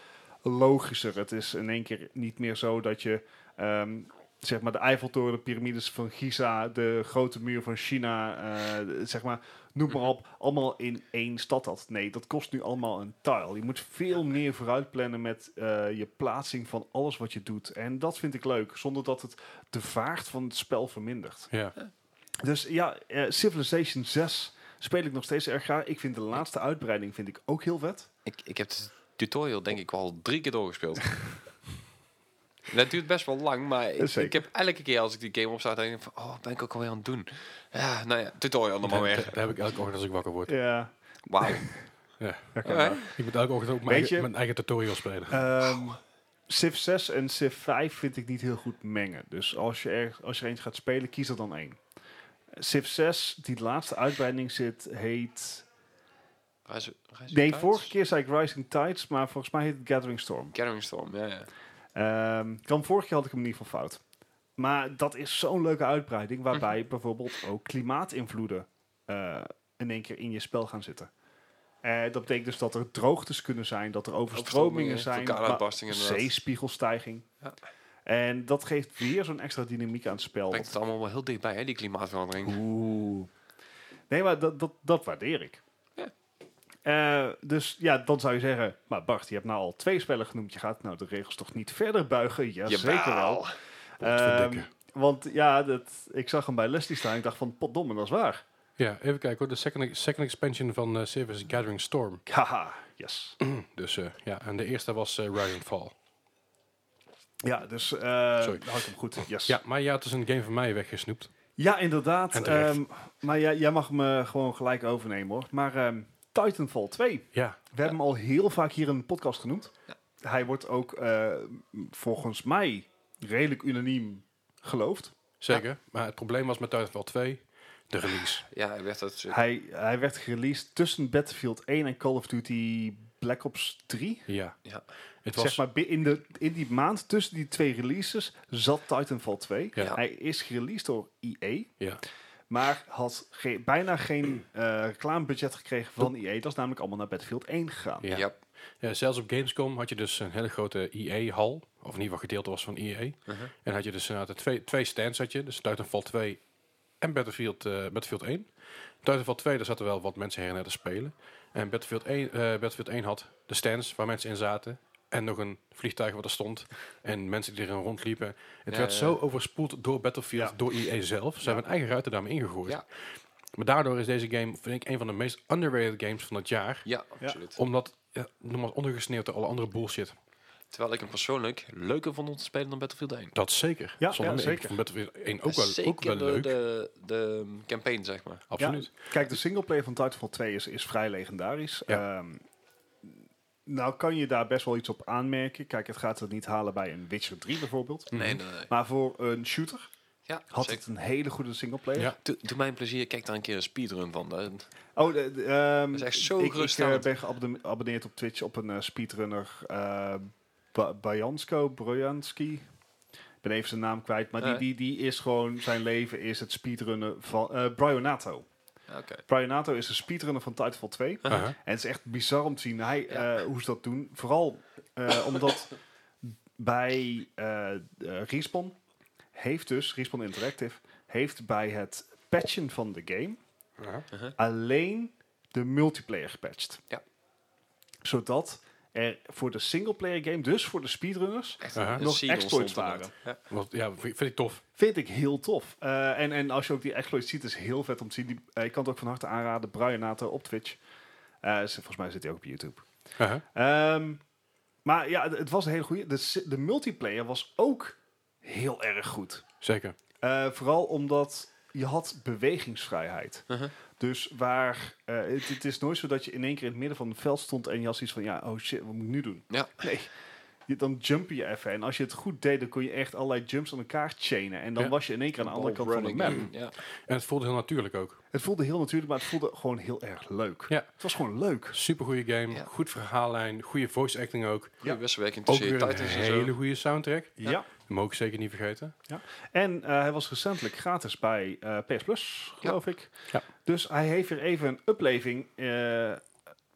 logischer. Het is in één keer niet meer zo dat je, ehm, zeg maar, de Eiffeltoren, de piramides van Giza, de grote muur van China, eh, de- zeg maar, noem maar op, allemaal in één stad had. Nee, dat kost nu allemaal een tile. Je moet veel meer vooruit plannen met eh, je plaatsing van alles wat je doet. En dat vind ik leuk, zonder dat het de vaart van het spel vermindert. Ja. Dus ja, eh, Civilization 6 speel ik nog steeds erg graag. Ik vind de laatste uitbreiding vind ik ook heel vet. Ik, ik heb de tutorial denk ik al drie keer doorgespeeld. En dat duurt best wel lang, maar ik, Zeker. ik heb elke keer als ik die game opstart, denk ik van, oh, ben ik ook alweer aan het doen? Ja, nou ja, tutorial nog maar Dat, weer. dat heb ik elke ochtend als ik wakker word. Ja. Wauw. Ja. Oké. Ik moet elke ochtend ook mijn, Weet eigen, je- mijn eigen tutorial spelen. Ehm, Civ 6 en Civ 5 vind ik niet heel goed mengen. Dus als je, er, als je er eentje gaat spelen, kies er dan één. Civ 6, die laatste uitbreiding zit, heet... Rise- Rise Nee, Tides? vorige keer zei ik Rising Tides, maar volgens mij heet het Gathering Storm. Gathering Storm, ja, ja. Ehm dan vorig jaar had ik hem in ieder geval fout. Maar dat is zo'n leuke uitbreiding waarbij Mhm. bijvoorbeeld ook klimaatinvloeden eh, in één keer in je spel gaan zitten. Eh, dat betekent dus dat er droogtes kunnen zijn, dat er overstromingen Overstromingen, zijn, vulkaanuitbarstingen maar inderdaad. zeespiegelstijging. Ja. En dat geeft weer zo'n extra dynamiek aan het spel. Brengt het allemaal wel heel dichtbij, hè, die klimaatverandering. Oeh. Nee, maar dat, dat, dat waardeer ik. Ja. Eh, dus ja, dan zou je zeggen, maar Bart, je hebt nou al twee spellen genoemd. Je gaat nou de regels toch niet verder buigen? Ja, zeker Jawel. wel. Potverdikke. Ehm, want ja, dat, ik zag hem bij Leslie staan. Ik dacht van, potdomme, dat is waar. Ja, even kijken hoor. De second, second expansion van eh Civ is Gathering Storm. Haha, yes. Dus eh, ja, en de eerste was eh, Rise and Fall. Ja, dus eh Sorry. had ik hem goed. Yes. Ja, maar ja, het is een game van mij weggesnoept. Ja, inderdaad. En terecht. Ehm, maar ja, jij mag me gewoon gelijk overnemen, hoor. Maar ehm, Titanfall 2. Ja, We hebben hem al heel vaak hier in de podcast genoemd. Hij wordt ook eh, volgens mij redelijk unaniem geloofd. zeker. Maar het probleem was met Titanfall 2, de release. Ja, hij werd dat... eh, Hij, hij werd gereleased tussen Battlefield 1 en Call of Duty Black Ops 3. Ja. Ja. Het was, Zeg maar bi- in, de, in die maand tussen die twee releases zat Titanfall 2. Ja. Hij is gereleased door EA, ja. maar had ge- bijna geen eh reclamebudget gekregen van EA. Dat is namelijk allemaal naar Battlefield 1 gegaan. Ja. Ja. Ja, zelfs op Gamescom had je dus een hele grote EA-hal. Of in ieder geval gedeelte was van E EA. Mhm. En had je dus inderdaad twee, twee stands. Had je, dus Titanfall 2 en Battlefield, eh, Battlefield 1. Titanfall 2, daar zaten wel wat mensen her en her te spelen. En Battlefield 1, eh, Battlefield 1 had de stands waar mensen in zaten. En nog een vliegtuig wat er stond. En mensen die erin rondliepen. Het Ja, werd ja, zo overspoeld door Battlefield, Ja. door EA zelf. Ze hebben een eigen ruiten daarmee ingegooid. Ja. Maar daardoor is deze game, vind ik, een van de meest underrated games van het jaar. ja, absoluut. Omdat, ja, nogmaals, ondergesneeuwd door alle andere bullshit. Terwijl ik hem persoonlijk leuker vond om te spelen dan Battlefield 1. Dat zeker. Ja, Zonder ja, meer. zeker. Ik vond Battlefield 1 ook wel, Zeker ook wel de, leuk. De, de campaign, zeg maar. Absoluut. Ja, kijk, de singleplayer van Titanfall 2 is, is vrij legendarisch. Ja. Ehm, nou kan je daar best wel iets op aanmerken. Kijk, het gaat het niet halen bij een Witcher 3 bijvoorbeeld. Mhm. Nee, nee, nee. Maar voor een shooter Ja, had zeker. het een hele goede singleplayer. Ja. Doe, doe mij een plezier, kijk daar een keer een speedrun van. Dat- Oh, de, de, ehm, Dat is echt zo ik, ik eh, geruststellend. ben geabonne- geabonneerd op Twitch op een eh, speedrunner. eh Ba- Bajansko, Brojanski. Ik ben even zijn naam kwijt. Maar die, Eh. die, die is gewoon, zijn leven is het speedrunnen van... eh Brionato. Ja, Oké. Brionato is een speedrunner van Titanfall 2. Ja. Uh-huh. Aha. En het is echt bizar om te zien hij, eh, hoe ze dat doen. Vooral eh, omdat bij eh, eh, Respawn heeft dus, Respawn Interactive, heeft bij het patchen van de game Uh-huh. Aha. alleen de multiplayer gepatcht. Ja. Zodat er voor de singleplayer game, dus voor de speedrunners, Echt Aha. een Nog seagull exploits stond er net. Ja. Want, ja, vind vind ik tof. vind ik heel tof. Eh, en, en als je ook die exploits ziet, is heel vet om te zien. Die, eh, ik kan het ook van harte aanraden, Brianato op Twitch. Eh, ze- volgens mij zit hij ook op YouTube. Uh-huh. Aha. Ehm, maar ja, het- het was een hele goede. De, si- de multiplayer was ook heel erg goed. Zeker. Eh, vooral omdat je had bewegingsvrijheid. Uh-huh. Dus waar, eh, het, het is nooit zo dat je in één keer in het midden van het veld stond en je had iets van, ja, oh shit, wat moet ik nu doen? Ja. Nee, je, dan jump je even. En als je het goed deed, dan kon je echt allerlei jumps aan elkaar chainen. En dan Ja. was je in één keer aan de andere kant van de map. Mm, Ja. En het voelde heel natuurlijk ook. Het voelde heel natuurlijk, maar het voelde gewoon heel erg leuk. Ja. Het was gewoon leuk. Supergoeie game, Ja. goed verhaallijn, goede voice acting ook. Goede wisselwerking Ook tussen je weer een titans en hele zo. goede soundtrack. Ja. Mogen ik zeker niet vergeten. En eh, hij was recentelijk gratis bij eh, PS Plus, geloof ik. Ja. Dus hij heeft weer even een upleving. eh,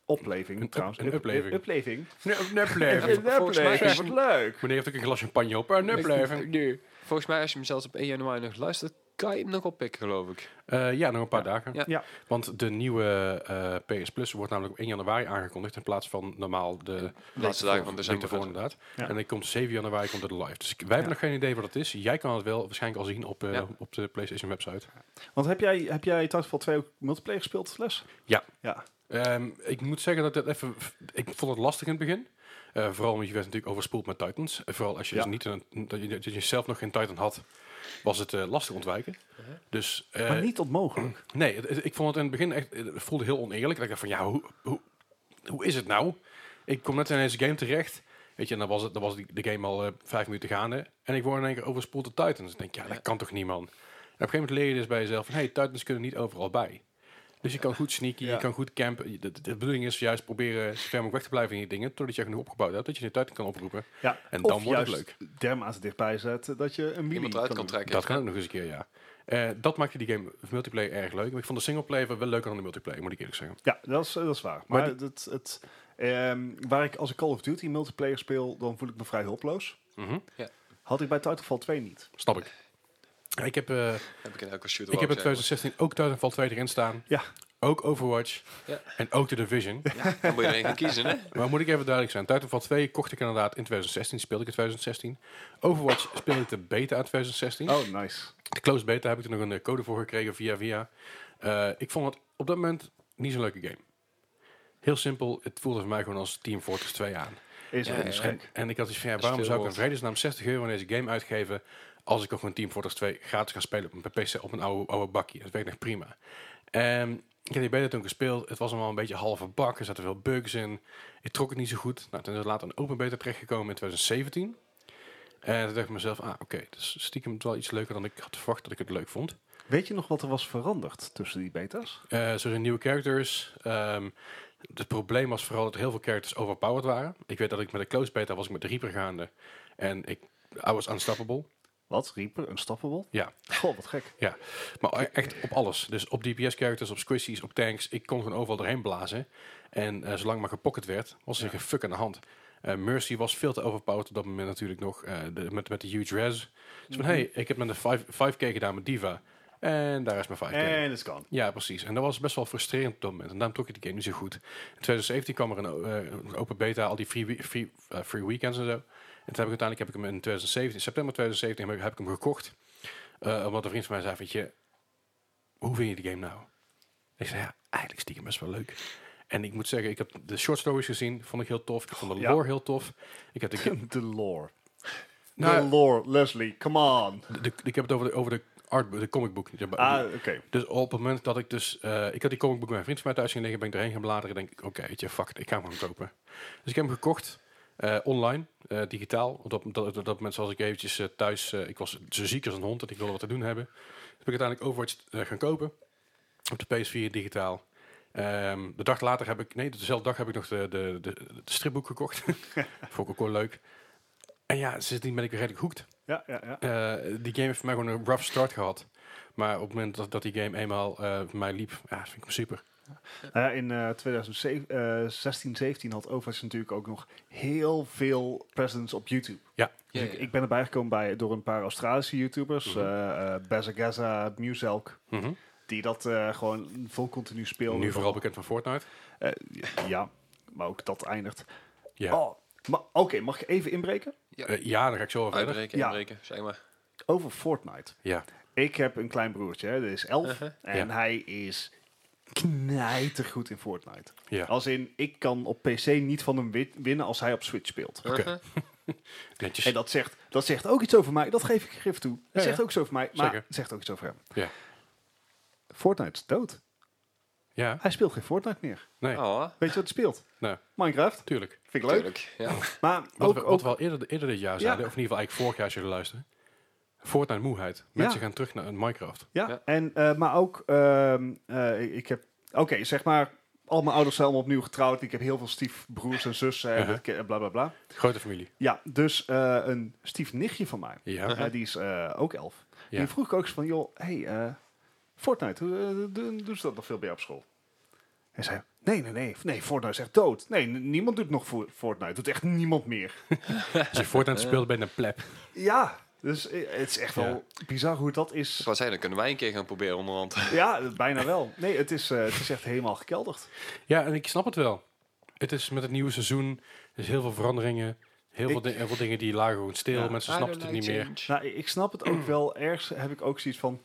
opleving Een up- trouwens. een Up- upleving. Upleving. Nee, Nepleving. Een volgens mij upleving, is- Wat leuk. Meneer heeft ook een glas champagne op. Eh, Een Nepleving. Nu. Volgens mij, als je hem zelfs op 1 januari nog luistert, kan je hem nog oppikken, geloof ik. Eh, ja, nog een paar dagen. Ja. Ja. Want de nieuwe eh, PS Plus wordt namelijk op 1 januari aangekondigd. In plaats van normaal de De laatste dagen van december. voor inderdaad. Ja. En dan komt 7 januari komt het live. Dus ik- wij hebben nog geen idee wat het is. Jij kan het wel waarschijnlijk al zien op, eh, Ja. op de PlayStation website. Want heb jij, heb jij Titanfall 2 ook multiplayer gespeeld, Les? Ja. Ja. Ehm, ik moet zeggen dat het even. Ik vond het lastig in het begin. Eh, vooral omdat je werd natuurlijk overspoeld met Titans. En vooral als je, Ja. dus niet een, dat, je, dat je zelf nog geen Titan had, was het eh, lastig ontwijken. Dus eh, Maar niet onmogelijk. nee, het- het- ik vond het in het begin echt. Het voelde heel oneerlijk. Dat ik dacht van ja, hoe, hoe, hoe is het nou? Ik kom net in deze game terecht. Weet je, en dan was, het, dan was die, de game al eh, vijf minuten gaande. En ik word in één keer overspoeld door Titans. Ik denk, ja, dat kan toch niet, man? En op een gegeven moment leer je dus bij jezelf van... hey, Titans kunnen niet overal bij. Dus je kan goed sneaken, Ja. je kan goed campen. Je- De, de bedoeling is juist proberen zo ver mogelijk weg te blijven in je dingen... totdat je genoeg opgebouwd hebt, dat je de Titan kan oproepen. Ja. En Of dan wordt het juist dermate dichtbij zetten dat je een mini Iemand eruit kan doen. trekken. Dat kan ook nog eens een keer, ja. Eh, dat maakte die game multiplayer erg leuk. Maar ik vond de singleplayer wel leuker dan de multiplayer, moet ik eerlijk zeggen. Ja, dat is, eh, dat is waar. Maar, Maar het, het, ehm, waar ik, als ik Call of Duty multiplayer speel, dan voel ik me vrij hulpeloos. Mhm, Had ik bij Titanfall 2 niet. Snap ik. Ik heb, eh, Heb ik in elke shooter ik heb wel in 2016 ook Titanfall 2 erin staan. Ja. Ook Overwatch. Ja. En ook The Division. gezegd. Ja, dan moet je er één gaan kiezen, hè? Maar moet ik even duidelijk zijn. Titanfall 2 kocht ik inderdaad in 2016. Speelde ik in 2016. Overwatch speelde ik de beta uit 2016. Oh, nice. De closed beta heb ik er nog een eh, code voor gekregen via via. Eh, ik vond het op dat moment niet zo'n leuke game. Heel simpel. Het voelde voor mij gewoon als Team Fortress 2 aan. Is Ja, ook een ja, En, schrik. en ik had iets van, ja, Dat is waarom veel zou ik in woord. vredesnaam 60 euro in deze game uitgeven... als ik ook gewoon Team Fortress 2 gratis kan spelen op mijn PC op een oude, oude bakje. Dat werkt echt prima. Ehm ik heb die beta toen gespeeld. Het was allemaal een beetje halve bak. Er zaten veel bugs in. Ik trok het niet zo goed. Nou, toen is het later een open beta terechtgekomen in 2017. En toen dacht ik mezelf, ah, oké, dus stiekem wel iets leuker dan ik had verwacht dat ik het leuk vond. Weet je nog wat er was veranderd tussen die beta's? Eh, zo zijn nieuwe characters. Ehm, het probleem was vooral dat heel veel characters overpowered waren. Ik weet dat ik met de close beta was ik met de Reaper gaande. En ik, I was unstoppable. Wat? Reaper? Unstoppable? Ja. Goh, wat gek. Maar e- echt op alles. Dus op DPS-characters, op squishies, op tanks. Ik kon gewoon overal doorheen blazen. En eh, zolang maar gepocket werd, was er geen fuck aan de hand. Eh, Mercy was veel te overpowered op dat moment natuurlijk nog. eh, de- met, met de huge res. Dus van, hey, ik heb met een 5k gedaan met Diva. En daar is mijn 5k. En it's gone. Ja, precies. En dat was best wel frustrerend op dat moment. En daarom trok ik die game niet zo goed. In 2017 kwam er een o- eh, een open beta, al die free, we- free, eh, free weekends en zo. En toen heb ik uiteindelijk heb ik hem in 2017, september 2017 heb ik- heb ik hem gekocht. Eh, omdat een vriend van mij zei, weet je, hoe vind je die game nou? Ik zei, ja, eigenlijk stiekem best wel leuk. En ik moet zeggen, ik heb de short stories gezien, vond ik heel tof. Ik vond de Ja. lore heel tof. Ik heb de, ga- De lore. Nou- de lore, Leslie, come on. de- de- ik heb het over de, over de art, de comic book. Ah, oké. Dus op het moment dat ik dus... eh, ik had die comic book bij mijn vriend van mij thuis ging liggen. Ben ik erheen gaan bladeren. Denk ik, oké, weet je, fuck it, Ik ga hem gewoon kopen. Dus ik heb hem gekocht. eh, online, eh, digitaal. Op dat, dat, dat moment was ik eventjes eh, thuis... eh, ik was zo ziek als een hond en ik wilde wat te doen hebben. Dus heb ik uiteindelijk Overwatch eh, gaan kopen. Op de PS4 digitaal. Ehm, de dag later heb ik... Nee, dezelfde dag heb ik nog de, de, de, de stripboek gekocht. Vond ik ook wel leuk. En ja, sindsdien ben ik weer redelijk hoekt. Ja, ja, ja. Eh, die game heeft voor mij gewoon een rough start gehad. Maar op het moment dat, dat die game eenmaal eh, voor mij liep, ja, vind ik hem super. Nou ja, in eh 2016, 17 had Overwatch natuurlijk ook nog heel veel presence op YouTube. Dus Ja, Ik, ik ben erbij gekomen bij, door een paar Australische YouTubers. Mhm. eh eh Bezagaza, Muzelk. Die dat eh, gewoon vol continu speelden. Nu vooral bekend van Fortnite. Eh, ja, maar ook dat eindigt. Ja, Oh, maar oké, mag ik even inbreken? Eh, ja dan ga ik zo wel verder. Uitbreken, Ja. inbreken, zeg maar. Over Fortnite. Ja. Ik heb een klein broertje, hè, die is 11. Uh-huh. En Ja. hij is knijtergoed in Fortnite. Ja. Als in, ik kan op PC niet van hem win- winnen als hij op Switch speelt. Oké. Uh-huh. Netjes. En dat zegt, dat zegt ook iets over mij. Dat geef ik grif toe. Dat Ja, zegt ja. ook iets over mij, maar Zeker. het zegt ook iets over hem. Ja. Fortnite is dood. Ja, Hij speelt geen Fortnite meer. nee, Oh, Weet je wat hij speelt? Nee. Minecraft. tuurlijk. Vind ik leuk. tuurlijk. Ja. Maar Wat, ook, we, wat ook we al eerder, eerder dit jaar Ja. zeiden, of in ieder geval eigenlijk vorig jaar als jullie luisteren. Fortnite moeheid. Mensen Ja. gaan terug naar Minecraft. Ja, Ja. En, eh, maar ook, ehm, eh, ik- ik heb, oké, zeg maar, al mijn ouders zijn allemaal opnieuw getrouwd. Ik heb heel veel stiefbroers en zussen en Uh-huh. dat ke- bla bla bla. Grote familie. Ja, dus eh, een stiefnichtje van mij, Ja. Uh-huh. eh, die is eh, ook elf. Ja. Die vroeg ik ook eens van, joh, hey, eh, Fortnite, hoe, eh, doen, doen ze dat nog veel bij jou op school? En zei, nee, nee, nee, nee, Fortnite is echt dood. Nee, n- niemand doet nog Fo- Fortnite, doet echt niemand meer. Als je Fortnite speelt, ben je een pleb. ja, dus eh, het is echt Ja. wel bizar hoe dat Ik is. wou zeggen, dan kunnen wij een keer gaan proberen onderhand. Ja, bijna wel. Nee, het is, eh, het is echt helemaal gekelderd. Ja, en ik snap het wel. Het is met het nieuwe seizoen, er is heel veel veranderingen. Heel, Ik- veel, di- heel veel dingen die lagen gewoon stil. Ja. Mensen I snappen don't het niet like meer. change. Nou, ik snap het ook wel. Ergens heb ik ook zoiets van...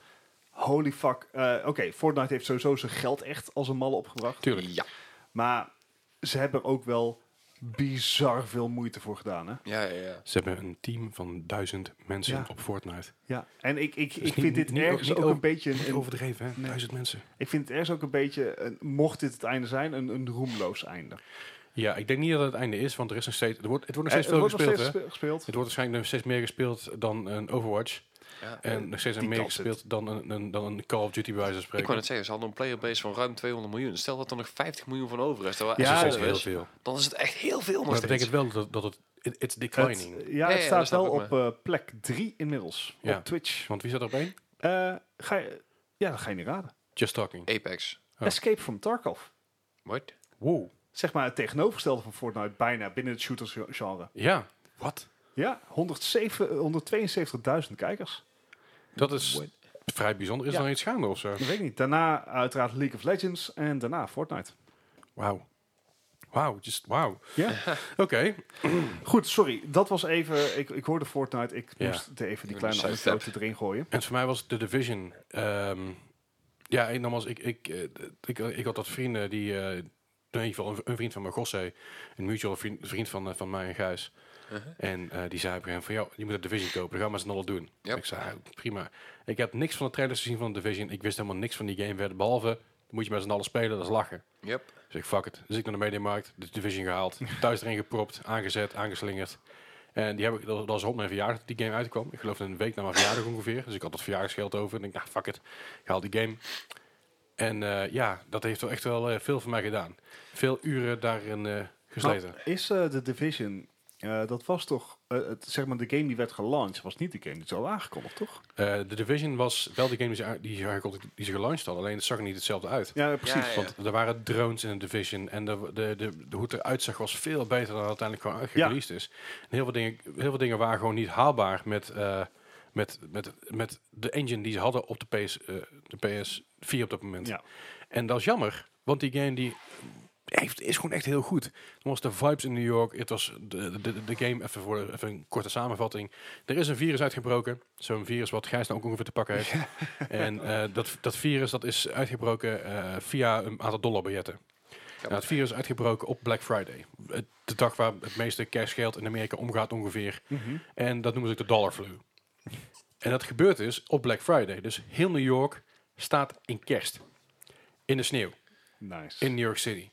Holy fuck. eh, Oké, Fortnite heeft sowieso zijn geld echt als een malle opgebracht. Tuurlijk. Ja. Maar ze hebben er ook wel bizar veel moeite voor gedaan, hè? Ja, ja, ja. Ze hebben een team van duizend mensen Ja. op Fortnite. Ja. En ik, ik, ik Dus niet- vind dit niet- ergens niet ook over- een beetje... Niet Een, een- overdreven, hè? Nee. Duizend mensen. ik vind het ergens ook een beetje, een- mocht dit het einde zijn, een, een roemloos einde. Ja, ik denk niet dat het het einde is, want er is nog steeds, er wordt, het wordt nog Eh, steeds er veel wordt nog gespeeld. hè? steeds gespe- gespeeld. Het wordt waarschijnlijk nog steeds meer gespeeld dan een Overwatch. Ja. En nog steeds die meer kans zit. gespeeld dan een, een, dan een Call of Duty bij wijze van Ik spreken. wou net zeggen, ze hadden een playerbase van ruim 200 miljoen. Stel dat er nog 50 miljoen van over is. terwijl Ja, dat SSL is dat nog er steeds Dus heel is, veel. dan is het echt heel veel nog Maar dat steeds. betekent wel dat, dat het... it- It's Het- declining. ja, ja, het dat staat snap wel ik, op eh, plek 3 inmiddels Ja. op Twitch. Want wie zat er op één? Eh, ga je, ja, dat ga je niet raden. Just Talking. Apex. Oh. Escape from Tarkov. What? Wow. zeg maar het tegenovergestelde van Fortnite bijna binnen het shootersgenre. Ja. Wat? Ja, 107 eh, 172.000 kijkers. Dat is What? vrij bijzonder. Is Ja. er nou iets gaande of zo? Dat weet ik niet. Daarna uiteraard League of Legends en daarna Fortnite. Wauw. Wauw. Just wauw. Ja. Oké. Goed, sorry. Dat was even... Ik, ik hoorde Fortnite. Ik Ja. moest er even die Een kleine side anekdote erin gooien. En voor mij was het The Division. ehm, ja, en nogmaals, ik, ik, eh, ik, ik had dat vrienden die... eh, in ieder geval een- een vriend van mijn Gosse, een mutual vriend, vriend van, eh, van mij en Gijs. Uh-huh. En eh, die zei op een gegeven moment van, jou, je moet de Division kopen, dan gaan we z'n allen doen. Ja. Ik zei, "Ah, prima. Ik heb niks van de trailers gezien van de Division, ik wist helemaal niks van die game verder, behalve, dan moet je met z'n allen spelen, dat is lachen. Yep. Dus ik, fuck it. Dus ik naar de mediamarkt, de Division gehaald, thuis erin gepropt, aangezet, aangeslingerd. En die heb ik, dat dat was op mijn verjaardag dat die game uitkwam. Ik geloof een week na mijn verjaardag ongeveer. Dus ik had dat verjaardagsgeld over. En ik dacht, fuck it, ik haal die game. En eh, ja, dat heeft wel echt wel eh, veel voor mij gedaan. Veel uren daarin eh gesleten. Maar Is eh The Division... eh, dat was toch... eh, het, zeg maar, de game die werd gelanceerd was niet de game die zo aangekondigd, toch? Eh, De Division was wel de game die ze, aan- die, ze aangekondigd- die ze gelanceerd hadden. Alleen het zag er niet hetzelfde uit. Ja, precies. Ja, ja. Want er waren drones in de Division. En de, de, de, de, hoe het eruit zag was veel beter dan uiteindelijk gewoon uitgereleased is. En heel veel, dingen, heel veel dingen waren gewoon niet haalbaar met, eh, met, met, met de engine die ze hadden op de, PS, eh, de PS4 op dat moment. Ja. En dat is jammer, want die game die heeft, is gewoon echt heel goed. Het was de vibes in New York. Het was de, de, de game, even voor de- even een korte samenvatting. Er is een virus uitgebroken. Zo'n virus wat Gijs nou ook ongeveer te pakken heeft. En eh, dat, dat virus dat is uitgebroken eh, via een aantal dollarbiljetten. Nou, het virus is uitgebroken op Black Friday. Het- De dag waar het meeste cashgeld in Amerika omgaat ongeveer. Mhm. En dat noemen ze ook de dollar flu. En dat gebeurt dus op Black Friday. Dus heel New York staat in kerst. In de sneeuw Nice. in New York City.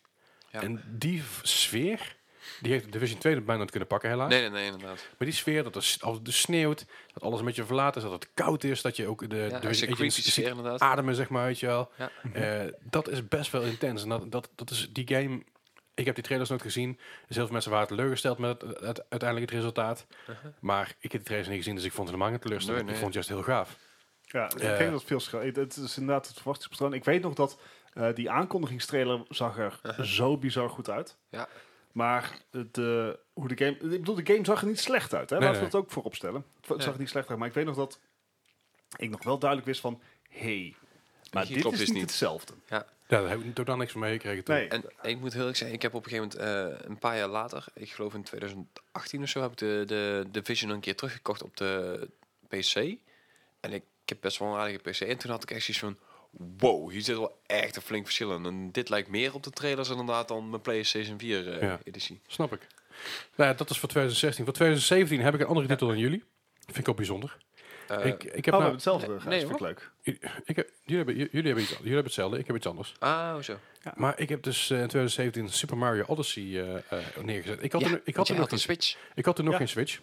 Ja. En die v- sfeer, die heeft Division 2 bijna niet kunnen pakken helaas. Nee, nee, nee, inderdaad. Maar die sfeer, dat er s- als het dus sneeuwt, dat alles een beetje verlaten is, dat het koud is, dat je ook de Ja, dat is Division een creepy agents ziet sfeer inderdaad. ademen, zeg maar, weet je wel. Ja. Eh, dat is best wel intens. En dat, dat, dat is die game... Ik heb die trailers nooit gezien. Dus heel veel mensen waren teleurgesteld met het, het- uiteindelijk het resultaat. Maar ik heb die trailers niet gezien, dus ik vond het helemaal niet teleurstellend. Uh-huh. Nee, nee. Ik vond het juist heel gaaf. Ja, ik Eh. denk dat het veel schil. eh, Het is inderdaad het verwachtingspatroon. Ik weet nog dat eh, die aankondigingstrailer zag er zo bizar goed uit. Ja. Maar de, hoe de game... Ik bedoel, de game zag er niet slecht uit. Hè? Nee, Laten we nee. dat ook voorop stellen. Het Nee. zag er niet slecht uit. Maar ik weet nog dat ik nog wel duidelijk wist van... hey, maar Hier dit klopt is dus niet niet. hetzelfde. Ja, daar heb ik totaal niks van meegekregen toen. Nee. En ik moet heel erg zeggen, ik heb op een gegeven moment, eh, een paar jaar later, ik geloof in 2018 of zo, heb ik de, de Division een keer teruggekocht op de PC. En ik, ik heb best wel een aardige PC. En toen had ik echt zoiets van, wow, hier zit wel echt een flink verschil in. En dit lijkt meer op de trailers inderdaad dan mijn PlayStation 4 eh, Ja. editie. Snap ik. Nou ja, dat is voor 2016. Voor 2017 heb ik een andere titel dan jullie. Vind ik ook bijzonder. Eh, ik, ik heb hebben nou- Oh, hetzelfde nee, nee, nee, vind ik leuk. ik heb- jullie, hebben, jullie, hebben iets, jullie hebben hetzelfde, ik heb iets anders. ah, zo. Maar ik heb dus eh, in 2017 Super Mario Odyssey eh, eh, neergezet. Ik had, Ja, er, ik want had, jij er nog, een geen, Switch. ik had er nog Ja. geen Switch.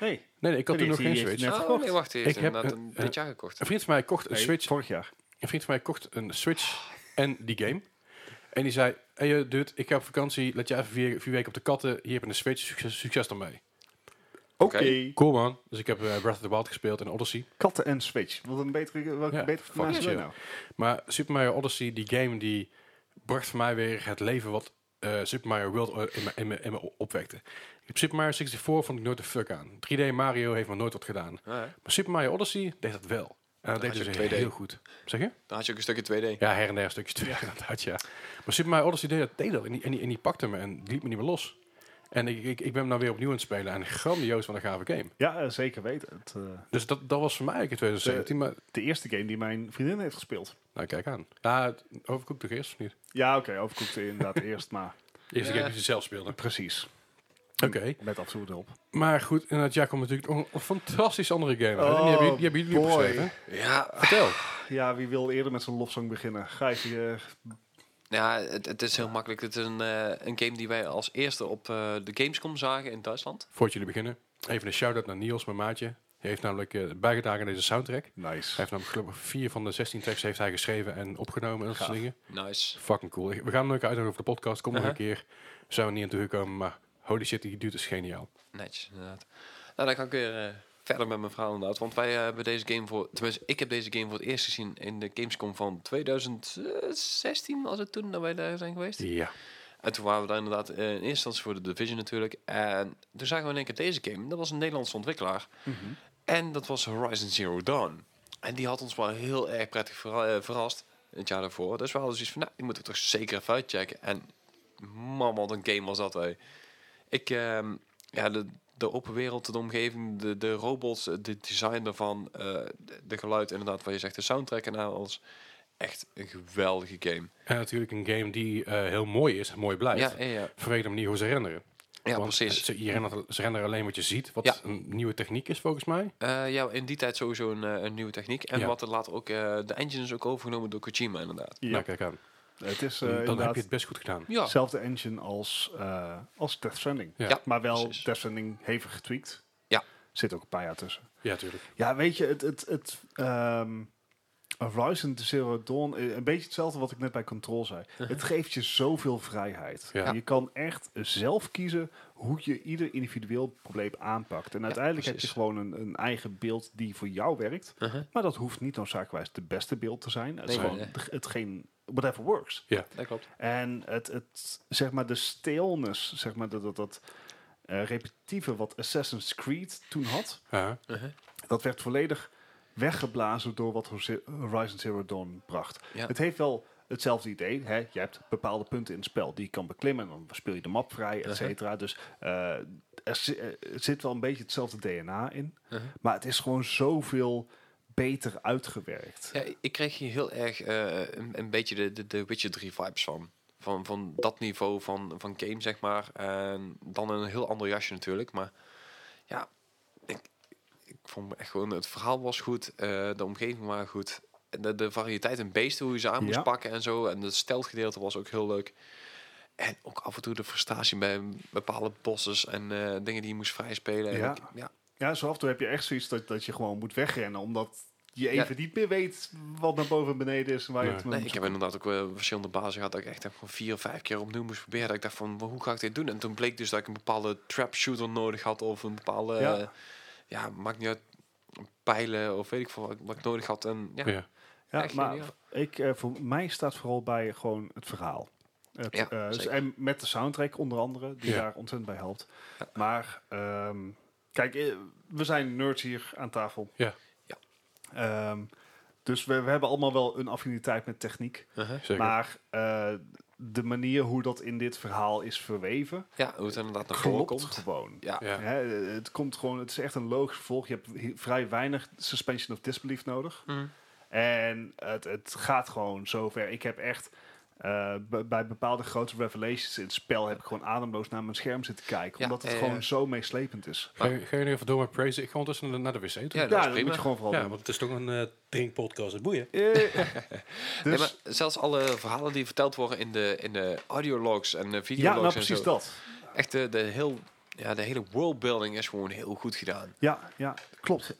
Nee, Nee, nee ik had Nee, er nog die- geen die heeft Switch. net Oh, gekocht. nee, wacht. Die heeft Ik heb inderdaad een- een, dit jaar gekocht. Een vriend van mij kocht een Nee, Switch. vorig jaar. Een vriend van mij kocht een Switch Ah. en die game. En die zei, hey eh, dude, ik ga op vakantie. Laat jij even vier, vier weken op de katten. Hier heb je een Switch. Succes, succes ermee. Oké. Cool man. Dus ik heb eh, Breath of the Wild gespeeld en Odyssey. Katten en Switch. Wat een betere, welke Ja, betere fucking combinatie chill. nou? Maar Super Mario Odyssey, die game, die bracht voor mij weer het leven wat eh, Super Mario World eh, in me- in me- in me opwekte. Ik heb Super Mario 64 vond ik nooit de fuck aan. 3D Mario heeft me nooit wat gedaan. Ah, ja. Maar Super Mario Odyssey deed dat wel. En dat had deed ze je heel 2D. heel goed. Zeg je? Daar had je ook een stukje 2D. Ja, her en der stukjes twee inderdaad, ja. Maar Super Mario Odyssey deed dat, deed dat. En, die, en, die, en die pakte me en die liet me niet meer los. En ik, ik, ik ben hem nou weer opnieuw aan het spelen. En grandioos van een gave game. Ja, eh, zeker weten. Het, eh, Dus dat, dat was voor mij eigenlijk in 2017. Maar, de eerste game die mijn vriendin heeft gespeeld. nou, kijk aan. Ja, Overcooked toch eerst of niet? Ja, oké, overkoekt inderdaad eerst, maar De eerste Ja. game die ze zelf speelde. precies. Oké. Met af en toe erop. Maar goed, en dat jaar komt natuurlijk nog een fantastisch andere game uit. En die, Oh, hebben, die hebben jullie boy. opgeschreven. Ja, Vertel. Ja, wie wil eerder met zijn lofzang beginnen? Gijs, je, eh, ja het, het is heel makkelijk. Het is een, eh, een game die wij als eerste op eh, de Gamescom zagen in Duitsland. Voordat jullie beginnen, even een shout-out naar Niels, mijn maatje. Hij heeft namelijk eh, bijgedragen aan deze soundtrack. Hij nice. heeft namelijk geloof ik, vier van de 16 tracks heeft hij geschreven en opgenomen en dat soort Gaaf. dingen. Nice. Fucking cool. Ik- We gaan hem ook uitnodigen voor de podcast. Kom nog Uh-huh. een keer. Zijn we niet aan toegekomen, maar holy shit, die dude is geniaal. Netjes, inderdaad. Nou, dan ga ik weer eh, verder met mijn verhaal inderdaad. Want wij eh, hebben deze game voor... Tenminste, ik heb deze game voor het eerst gezien in de Gamescom van 2016, was het toen dat wij daar zijn geweest. Ja. En toen waren we daar inderdaad eh, in eerste instantie voor de Division natuurlijk. En toen zagen we in één keer deze game. Dat was een Nederlandse ontwikkelaar. En dat was Horizon Zero Dawn. En die had ons wel heel erg prettig verra- eh, verrast het jaar daarvoor. Dus we hadden zoiets van, nou, die moeten we toch zeker even uitchecken. En man, wat een game was dat, hé. Ik, ehm, ja, de, de open wereld, de omgeving, de, de robots, eh, de design daarvan, eh, de, de geluid inderdaad, wat je zegt, de soundtrack en alles. Echt een geweldige game. En natuurlijk een game die eh, heel mooi is en mooi blijft. Ja, ja, ja. Vanwege de manier hoe ze renderen. ja Want eh, precies. Ze, je rendert- ze renderen alleen wat je ziet, wat Ja. een nieuwe techniek is volgens mij. Eh, ja, in die tijd sowieso een, eh, een nieuwe techniek. En Ja. wat er later ook... eh, de engine is ook overgenomen door Kojima, inderdaad. Ja, Nou, kijk aan. het is eh, Dan heb inderdaad je het best goed gedaan. Ja, dezelfde engine als, eh, als Death Stranding. Ja. Ja. Maar wel Precies. Death Stranding hevig getweakt. Ja. Zit ook een paar jaar tussen. Ja, tuurlijk. Ja, weet je, het, het, het ehm, Horizon Zero Dawn, eh, een beetje hetzelfde wat ik net bij Control zei. Het geeft je zoveel vrijheid. Ja. Je kan echt zelf kiezen hoe je ieder individueel probleem aanpakt. En uiteindelijk heb je precies. gewoon een, een eigen beeld die voor jou werkt. Uh-huh. Maar dat hoeft niet noodzakelijkerwijs het beste beeld te zijn. Het is Nee, gewoon nee. het- hetgeen, whatever works. dat klopt. En het, het, zeg maar, de stilness, zeg maar, dat, dat, dat eh, repetitieve wat Assassin's Creed toen had Ja. Uh-huh. dat werd volledig weggeblazen door wat Hoze- Horizon Zero Dawn bracht. Ja. Het heeft wel hetzelfde idee. Hè? Je hebt bepaalde punten in het spel die je kan beklimmen. En dan speel je de map vrij, et cetera. Dus eh, er, zi- eh, er zit wel een beetje hetzelfde DNA in. Uh-huh. Maar het is gewoon zoveel beter uitgewerkt. Ja, ik kreeg hier heel erg eh, een, een beetje de, de, de Witcher 3 vibes van. Van, van dat niveau van, van game, zeg maar. En dan een heel ander jasje natuurlijk. Maar ja, ik, ik vond echt gewoon... Het verhaal was goed, eh, de omgeving waren goed. En De, de variëteit en beesten, hoe je ze aan moest Ja. pakken en zo. En het steltgedeelte was ook heel leuk. En ook af en toe de frustratie bij bepaalde bosses en eh, dingen die je moest vrijspelen. En Ja. ik- ja, Ja, zo af en toe heb je echt zoiets dat, dat je gewoon moet wegrennen. Omdat je Ja. even niet meer weet wat naar boven en beneden is. en Waar je Nee. het Nee, moet ik heb inderdaad ook eh, verschillende bazen gehad dat ik echt gewoon vier of vijf keer opnieuw moest proberen. Dat ik dacht van, hoe ga ik dit doen? En toen bleek dus dat ik een bepaalde trap shooter nodig had of een bepaalde, eh, Ja. ja, maakt niet uit, pijlen of weet ik veel wat, ik- wat ik nodig had. En ja, Ja. Ja, Echt maar geniaal. ik, eh, voor mij staat vooral bij gewoon het verhaal. Het, Ja, eh, dus- zeker. en met de soundtrack onder andere, die Ja. daar ontzettend bij helpt. Ja. Maar ehm, kijk, eh, we zijn nerds hier aan tafel. Ja. Ja. Ehm, dus we, we hebben allemaal wel een affiniteit met techniek. Zeker. Maar eh, de manier hoe dat in dit verhaal is verweven, ja hoe het inderdaad naar voren klopt komt. gewoon. Ja, ja. Hè, eh, het komt gewoon, het is echt een logisch vervolg. Je hebt hi- vrij weinig suspension of disbelief nodig. Mhm. En het, het gaat gewoon zover. Ik heb echt Eh, b- bij bepaalde grote revelations in het spel heb ik gewoon ademloos naar mijn scherm zitten kijken. Ja, omdat het eh, gewoon zo meeslepend is. Ga je, ga je nu even door met praise? Ik ga ondertussen naar- naar de wc toe. Ja, Ja, dat ja, is dat prima. moet je gewoon vooral doen. want het is toch een eh, drinkpodcast. Het boeien. Eh, dus, Nee, maar zelfs alle verhalen die verteld worden in de, in de audiologs en de ja, videologs nou en zo. precies dat. Echt de, de, heel, ja, de hele worldbuilding is gewoon heel goed gedaan. Ja, ja, klopt.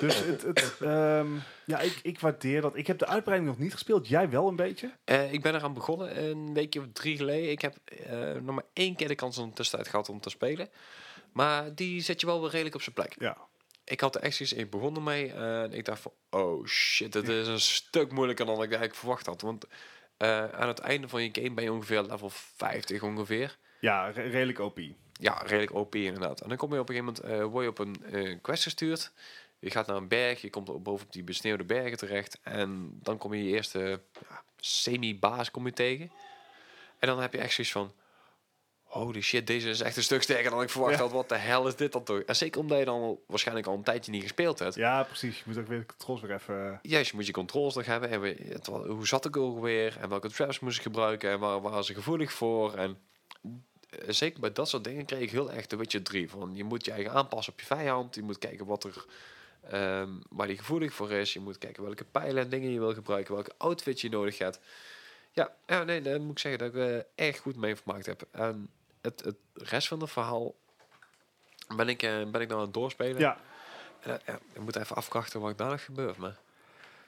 Dus het, het, ehm, ja, ik, ik waardeer dat. Ik heb de uitbreiding nog niet gespeeld. Jij wel een beetje? Eh, ik ben eraan begonnen een weekje of drie geleden. Ik heb eh, nog maar één keer de kans om tussentijd gehad om te spelen. Maar die zet je wel weer redelijk op zijn plek. Ja. Ik had er echt zoiets ik begon ermee eh, en ik dacht van, oh shit, dit is een stuk moeilijker dan ik eigenlijk verwacht had. Want eh, aan het einde van je game ben je ongeveer level 50 ongeveer. Ja, re- redelijk OP. Ja, redelijk OP inderdaad. En dan kom je op een gegeven moment, eh, word je op een eh, quest gestuurd. Je gaat naar een berg, je komt op- bovenop die besneeuwde bergen terecht. En dan kom je je eerste ja, semi-baas kom je tegen. En dan heb je echt zoiets van... Holy shit, deze is echt een stuk sterker dan ik verwacht Ja. had. Wat de hel is dit dan toch? En zeker omdat je dan al- waarschijnlijk al een tijdje niet gespeeld hebt. Ja, precies. Je moet ook weer de controls weer even... eh, Juist, je moet je controls nog hebben. En we- het wa- hoe zat ik ook alweer? En welke traps moest ik gebruiken? En waar waren ze gevoelig voor? En eh, zeker bij dat soort dingen kreeg ik heel erg de Witcher 3. Van, je moet je eigen aanpassen op je vijand. Je moet kijken wat er, ehm, waar die gevoelig voor is. Je moet kijken welke pijlen en dingen je wil gebruiken. Welke outfit je nodig hebt. Ja, ja nee, daar moet ik zeggen dat ik er erg goed mee vermaakt heb. En het, het rest van het verhaal ben ik, eh, ben ik nou aan het doorspelen. Ja, En, eh, ja, ik moet even afwachten wat er daarna gebeurt. Maar...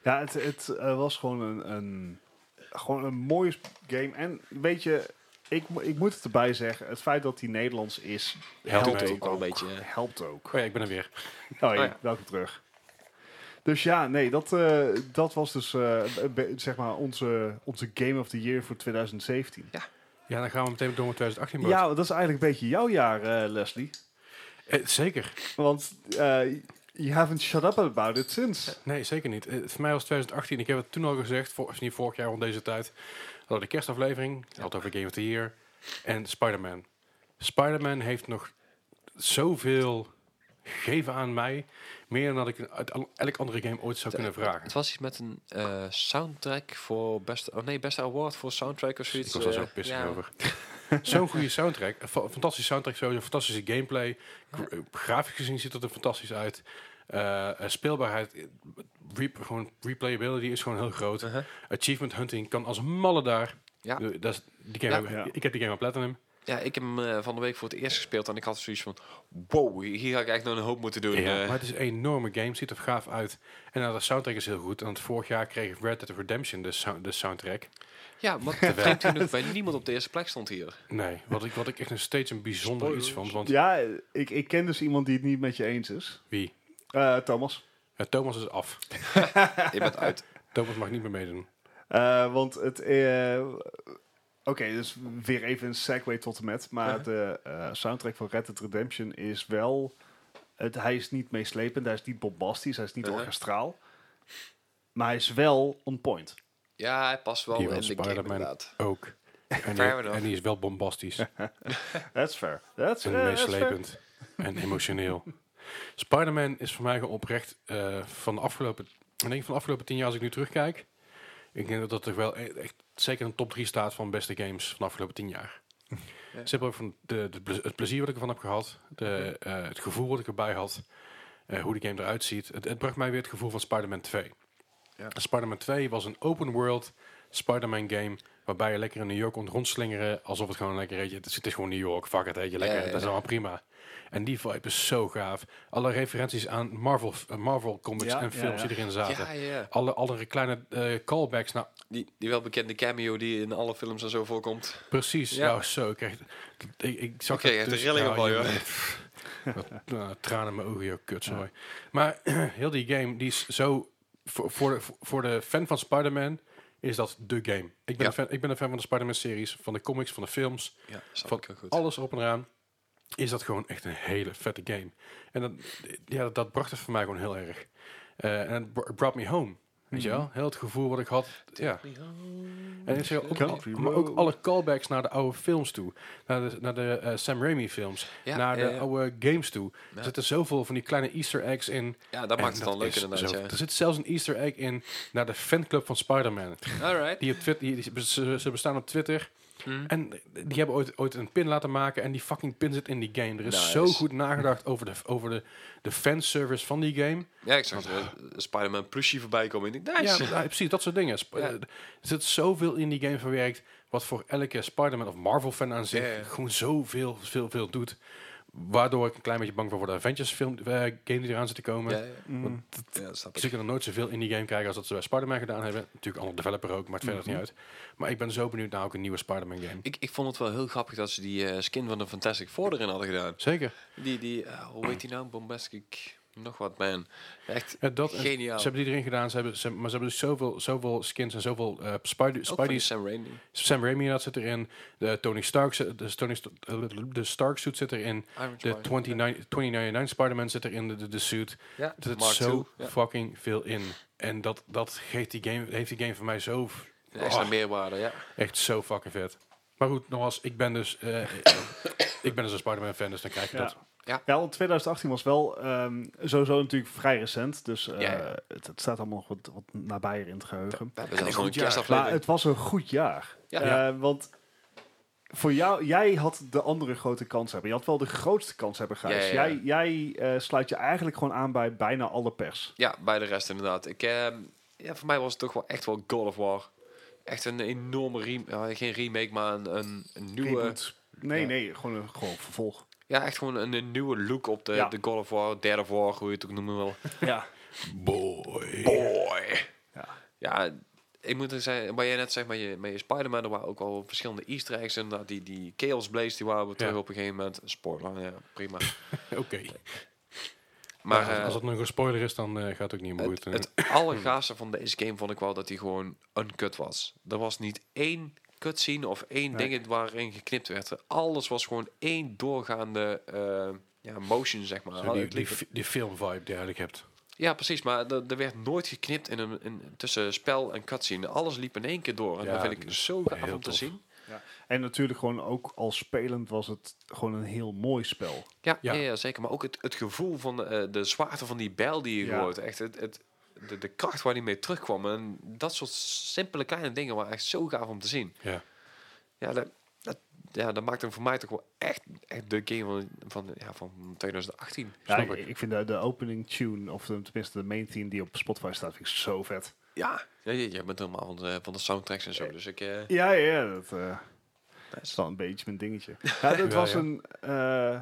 ja het, het eh, was gewoon een, een, gewoon een mooie sp- game. En weet je, ik, mo- ik moet het erbij zeggen. Het feit dat hij Nederlands is, Helpt helpt, mee. ook. Ook wel een beetje, hè. Helpt ook. Oh ja, ik ben er weer. Oh, ja. Oh ja. welkom terug. Dus ja, nee, dat, eh, dat was dus eh, be- zeg maar onze, onze Game of the Year voor 2017. Ja, dan gaan we meteen door met 2018. Bart. Ja, want dat is eigenlijk een beetje jouw jaar, eh, Leslie. Eh, zeker. Want eh you haven't shut up about it since. Nee, zeker niet. Eh, voor mij was 2018. Ik heb het toen al gezegd, voor, of niet vorig jaar rond deze tijd. Hadden we de kerstaflevering. Had het over Game of the Year. En Spider-Man. Spider-Man heeft nog zoveel gegeven aan mij. Meer dan dat ik uit al- elk andere game ooit zou kunnen vragen. Het was iets met een eh, soundtrack voor beste... Oh nee, beste award voor soundtrack of Ik zoiets. was daar zo eh, pissig ja. over. Zo'n goede soundtrack. Een fa- Fantastische soundtrack sowieso. Fantastische gameplay. Gra- eh, Grafisch gezien ziet het er fantastisch uit. Eh, eh, speelbaarheid. eh, Re gewoon replayability is gewoon heel groot. Uh-huh. Achievement hunting kan als een malle daar. Ja. Eh, Dat is, die game Ja. heb ik- Ja. Ik heb die game op Platinum. Ja, ik heb hem eh, van de week voor het eerst gespeeld en ik had zoiets van... Wow, hier ga ik echt nog een hoop moeten doen. Ja, eh. maar het is een enorme game. Ziet er gaaf uit. En nou, de soundtrack is heel goed. En het vorig jaar kreeg Red Dead Redemption de, sou- de soundtrack. ja, maar vreemd genoeg bij niemand op de eerste plek stond hier. Nee, wat ik, wat ik echt nog steeds een bijzonder Spoilers. iets vond. Want Ja, ik, ik ken dus iemand die het niet met je eens is. wie? Eh, Thomas. Eh, Thomas is af. Je bent uit. Thomas mag niet meer meedoen. Eh, want het... eh, Oké, dus weer even een segue tot en met. Maar Uh-huh. de eh, soundtrack van Red Dead Redemption is wel... Het, hij is niet meeslepend, hij is niet bombastisch, hij is niet Uh-huh. orchestraal. Maar hij is wel on point. Ja, hij past wel Hier in wel de game Spider-Man. inderdaad. Ook. En die, Fair enough. en die is wel bombastisch. en That's fair. That's, eh, that's fair. meeslepend. En emotioneel. Spider-Man is voor mij gewoon oprecht eh, van de afgelopen... Ik denk van de afgelopen tien jaar als ik nu terugkijk... Ik denk dat dat toch wel e- echt zeker een top 3 staat van beste games van de afgelopen tien jaar. Ja. Simpel ook van de, de ple- het plezier wat ik ervan heb gehad. De, eh, het gevoel wat ik erbij had. eh, hoe de game eruit ziet. Het, het bracht mij weer het gevoel van Spider-Man 2. Ja. Spider-Man 2 was een open world Spider-Man game. Waarbij je lekker in New York kon rondslingeren. Alsof het gewoon lekker weet je, Het is, het is gewoon New York. Fuck het, weet je, lekker. Ja, ja, Dat is ja. allemaal prima. En die vibe is zo gaaf. Alle referenties aan Marvel, eh, Marvel comics Ja, en ja, films ja. die erin Ja, zaten. ja. ja. Alle, alle kleine eh, callbacks naar Die, die welbekende cameo die in alle films en zo voorkomt. Precies, ja, Ja. zo. Ik, kreeg- ik, ik zag Ik kreeg dat echt een dus- rilling van, je- joh. pff, wat- nou, tranen in mijn ogen, joh, kut, sorry. Maar heel die game, die is zo... Voor, voor, de, voor de fan van Spider-Man is dat de game. Ik ben, Ja. een, fan, ik ben een fan van de Spider-Man-series, van de comics, van de films. Ja, snap Van ik heel goed. alles erop en eraan is dat gewoon echt een hele vette game. En dat, ja, dat, dat bracht het voor mij gewoon heel erg. Eh, En het br- brought me home. Weet je Mhm. wel? Heel het gevoel wat ik had. Ja. En ik zeg ook, Country al- maar ook road. alle callbacks naar de oude films toe. Naar de, naar de eh, Sam Raimi films. Ja, naar ja, de ja. oude games toe. Ja. Er zitten zoveel van die kleine easter eggs in. Ja, dat En maakt het dan leuk is inderdaad. zo- Ja. Er zit zelfs een easter egg in naar de fanclub van Spider-Man. Alright. Die op Twitter, die, die- ze, ze bestaan op Twitter. Mhm. En die hebben ooit, ooit een pin laten maken. En die fucking pin zit in die game. Er is Nice. zo goed nagedacht over de, over de, de fanservice van die game. Ja, ik zag eh, Spider-Man plushie voorbij komen. Ik denk, Ja, nice. ja, precies, dat soort dingen. Sp- eh, Ja. Er zit zoveel in die game verwerkt, wat voor elke Spider-Man of Marvel-fan aan zich Ja, ja. gewoon zoveel, veel, veel doet. Waardoor ik een klein beetje bang voor word voor de Avengers-film, eh, game die eraan zit te komen. Ja, Ze ja. Mm. Ja, dat snap ik. Dus ik kan nog nooit zoveel in die game krijgen als dat ze bij Spider-Man gedaan hebben. Natuurlijk, andere developer ook, maar het verder niet uit. Maar ik ben zo benieuwd naar ook een nieuwe Spider-Man-game. Mhm. Ik, ik vond het wel heel grappig dat ze die eh, skin van de Fantastic Four erin hadden gedaan. Zeker. Die, die eh, hoe heet die nou? Bombastic, nog wat, man. Echt Ja, dat, en geniaal. Ze hebben die erin gedaan, ze hebben, ze, maar ze hebben dus zoveel, zoveel skins en zoveel eh Spider- Ook van die Spidey's Sam Raimi. Sam Raimi dat zit erin. De Tony Stark, zit- de, Tony St- de Stark suit zit erin. Iron De Spider. 2099 2099 Spider-Man zit erin, de, de, de suit. Ja, Er zit Mark zo II, ja. fucking veel in. En dat, dat geeft die game, heeft die game voor mij zo... Een Extra Oh, meerwaarde, ja. echt zo fucking vet. Maar goed, nogmaals, ik ben dus... eh, ik ben dus een Spider-Man fan, dus dan krijg je Ja. dat. Ja. Ja, want 2018 was wel ehm, sowieso natuurlijk vrij recent. Dus eh, Ja, ja. Het, het staat allemaal nog wat, wat nabijer in het geheugen. We hebben zelfs nog goed een jaar. Maar kerstaflevering. het was een goed jaar. Ja. Eh, Ja. want voor jou, jij had de andere grote kans hebben. Je had wel de grootste kans hebben, Gijs. Ja, ja, ja. Jij, jij eh, sluit je eigenlijk gewoon aan bij bijna alle pers. Ja, bij de rest inderdaad. Ik, eh, ja, voor mij was het toch wel echt wel God of War. Echt een enorme rem ja, geen remake, maar een, een, een nieuwe... Reboot. Nee, ja. nee, gewoon een gewoon vervolg. Ja, echt gewoon een, een nieuwe look op de, Ja. de God of War, derde of War, hoe je het ook noemen wil. Ja. Boy. Boy! Ja. Ja, ik moet er zeggen, waar jij net zegt met je, met je Spider-Man, er waren ook al verschillende easter eggs inderdaad. Die, die Chaos Blaze, die waren we terug Ja. op een gegeven moment. Spoiler, ja, prima. Oké. Nou, Maar Als- eh, als dat nog een spoiler is, dan eh, gaat het ook niet meer goed. het, het allergaafste van deze game vond ik wel dat hij gewoon uncut was. Er was niet één cutscene of één Nee. ding waarin geknipt werd. Alles was gewoon één doorgaande eh, ja, motion, zeg maar. Zo die, Het die, liep- fi- die film-vibe die je eigenlijk hebt. Ja, precies. Maar er er werd nooit geknipt in een, in, tussen spel en cutscene. Alles liep in één keer door. Ja, En dat dat vind ik is zo gaaf om heel te tof. zien. En natuurlijk gewoon ook al spelend was het gewoon een heel mooi spel. Ja, Ja. ja. ja, zeker. Maar ook het, het gevoel van eh, de zwaarte van die bijl die je Ja. hoort. Echt het, het, de, de kracht waar die mee terugkwam. En dat soort simpele kleine dingen waren echt zo gaaf om te zien. Ja. Ja, dat, dat, ja, dat maakt hem voor mij toch wel echt, echt de game van, van, ja, van 2018. Ja, Snap ik, ik vind de, de opening tune, of de- tenminste de main theme die op Spotify staat, vind ik zo vet. Ja, ja je, je bent helemaal van de, van de soundtracks en zo. Dus ik... eh, Ja, ja, ja, dat eh, is wel een beetje mijn dingetje. Ja, dat Ja, was ja. een... eh,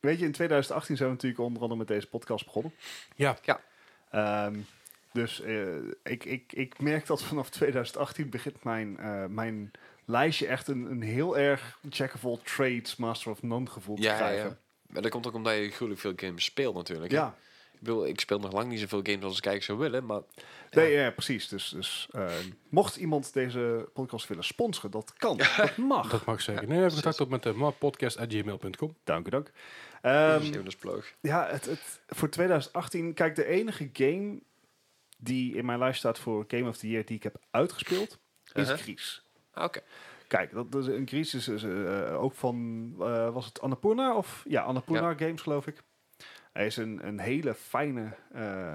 weet je, in 2018 zijn we natuurlijk onder andere met deze podcast begonnen. Ja. Ehm, dus eh, ik, ik, ik merk dat vanaf 2018 begint mijn, eh, mijn lijstje echt een, een heel erg jack of all trades, master of none gevoel te ja, ja, krijgen. ja. Maar dat komt ook omdat je gruwelijk veel games speelt natuurlijk. hè. ja. Ik bedoel, ik speel nog lang niet zoveel games als ik eigenlijk zou willen, maar Nee, ja, precies. Dus, dus eh, mocht iemand deze podcast willen sponsoren, dat kan. Dat mag. Dat mag zeker. Nee, we hebben contact op met eh, de podcast.gmail.com. Dank u, dank. dat Ehm, is even een sploog. ja, het, het, voor 2018, kijk, de enige game die in mijn lijst staat voor Game of the Year die ik heb uitgespeeld, is Uh-huh. Gries. Ah, Oké. Kijk, dat, dat is een Gries is is, eh, ook van, eh, was het Annapurna? Of, ja, Annapurna Games, geloof ik. Hij is een, een hele fijne eh,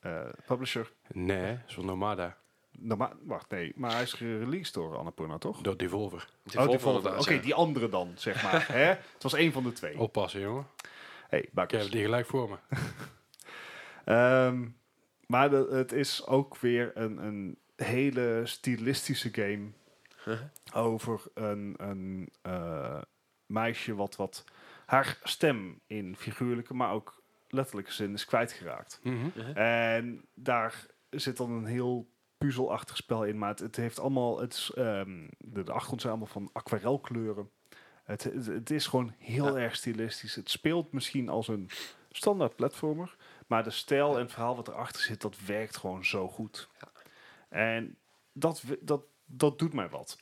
eh, publisher. Nee, dat is van Nomada. Norma- wacht, nee, maar hij is gereleased door Annapurna, toch? Door Devolver. Die Oh, volgende die volgende. Oké, inderdaad, ja. Oh. die andere dan, zeg maar. hè? Het was één van de twee. Oppassen, jongen. Hey, Ik heb bakkers. die gelijk voor me. Ehm, maar de- het is ook weer een, een hele stilistische game over een, een eh, meisje wat, wat haar stem in figuurlijke, maar ook letterlijke zin is kwijtgeraakt. Mhm. En daar zit dan een heel puzzelachtig spel in, maar het, het heeft allemaal, het is, ehm, de, de achtergrond zijn allemaal van aquarelkleuren. Het, het, het is gewoon heel erg stilistisch. Het speelt misschien als een standaard platformer, maar de stijl en het verhaal wat erachter zit, dat werkt gewoon zo goed. Ja. En dat, w- dat, dat doet mij wat.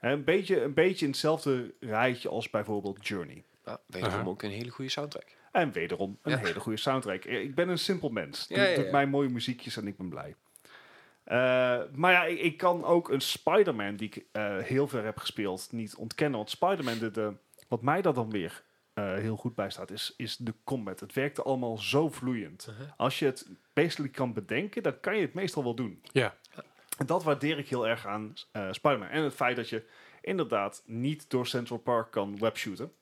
En Een beetje, een beetje in hetzelfde rijtje als bijvoorbeeld Journey. Ja, wederom Aha. ook een hele goede soundtrack. En wederom een Ja. hele goede soundtrack. Eh, Ik ben een simpel mens. Ja, Doe- ja, Doet ja. mij mooie muziekjes en ik ben blij. Eh, maar ja, ik, ik kan ook een Spider-Man die ik eh, heel ver heb gespeeld niet ontkennen. Want Spider-Man, dit, eh, wat mij daar dan weer eh, heel goed bij staat, is, is de combat. Het werkte allemaal zo vloeiend. Uh-huh. Als je het basically kan bedenken, dan kan je het meestal wel doen. Ja. En dat waardeer ik heel erg aan eh Spider-Man. En het feit dat je inderdaad niet door Central Park kan webshooten.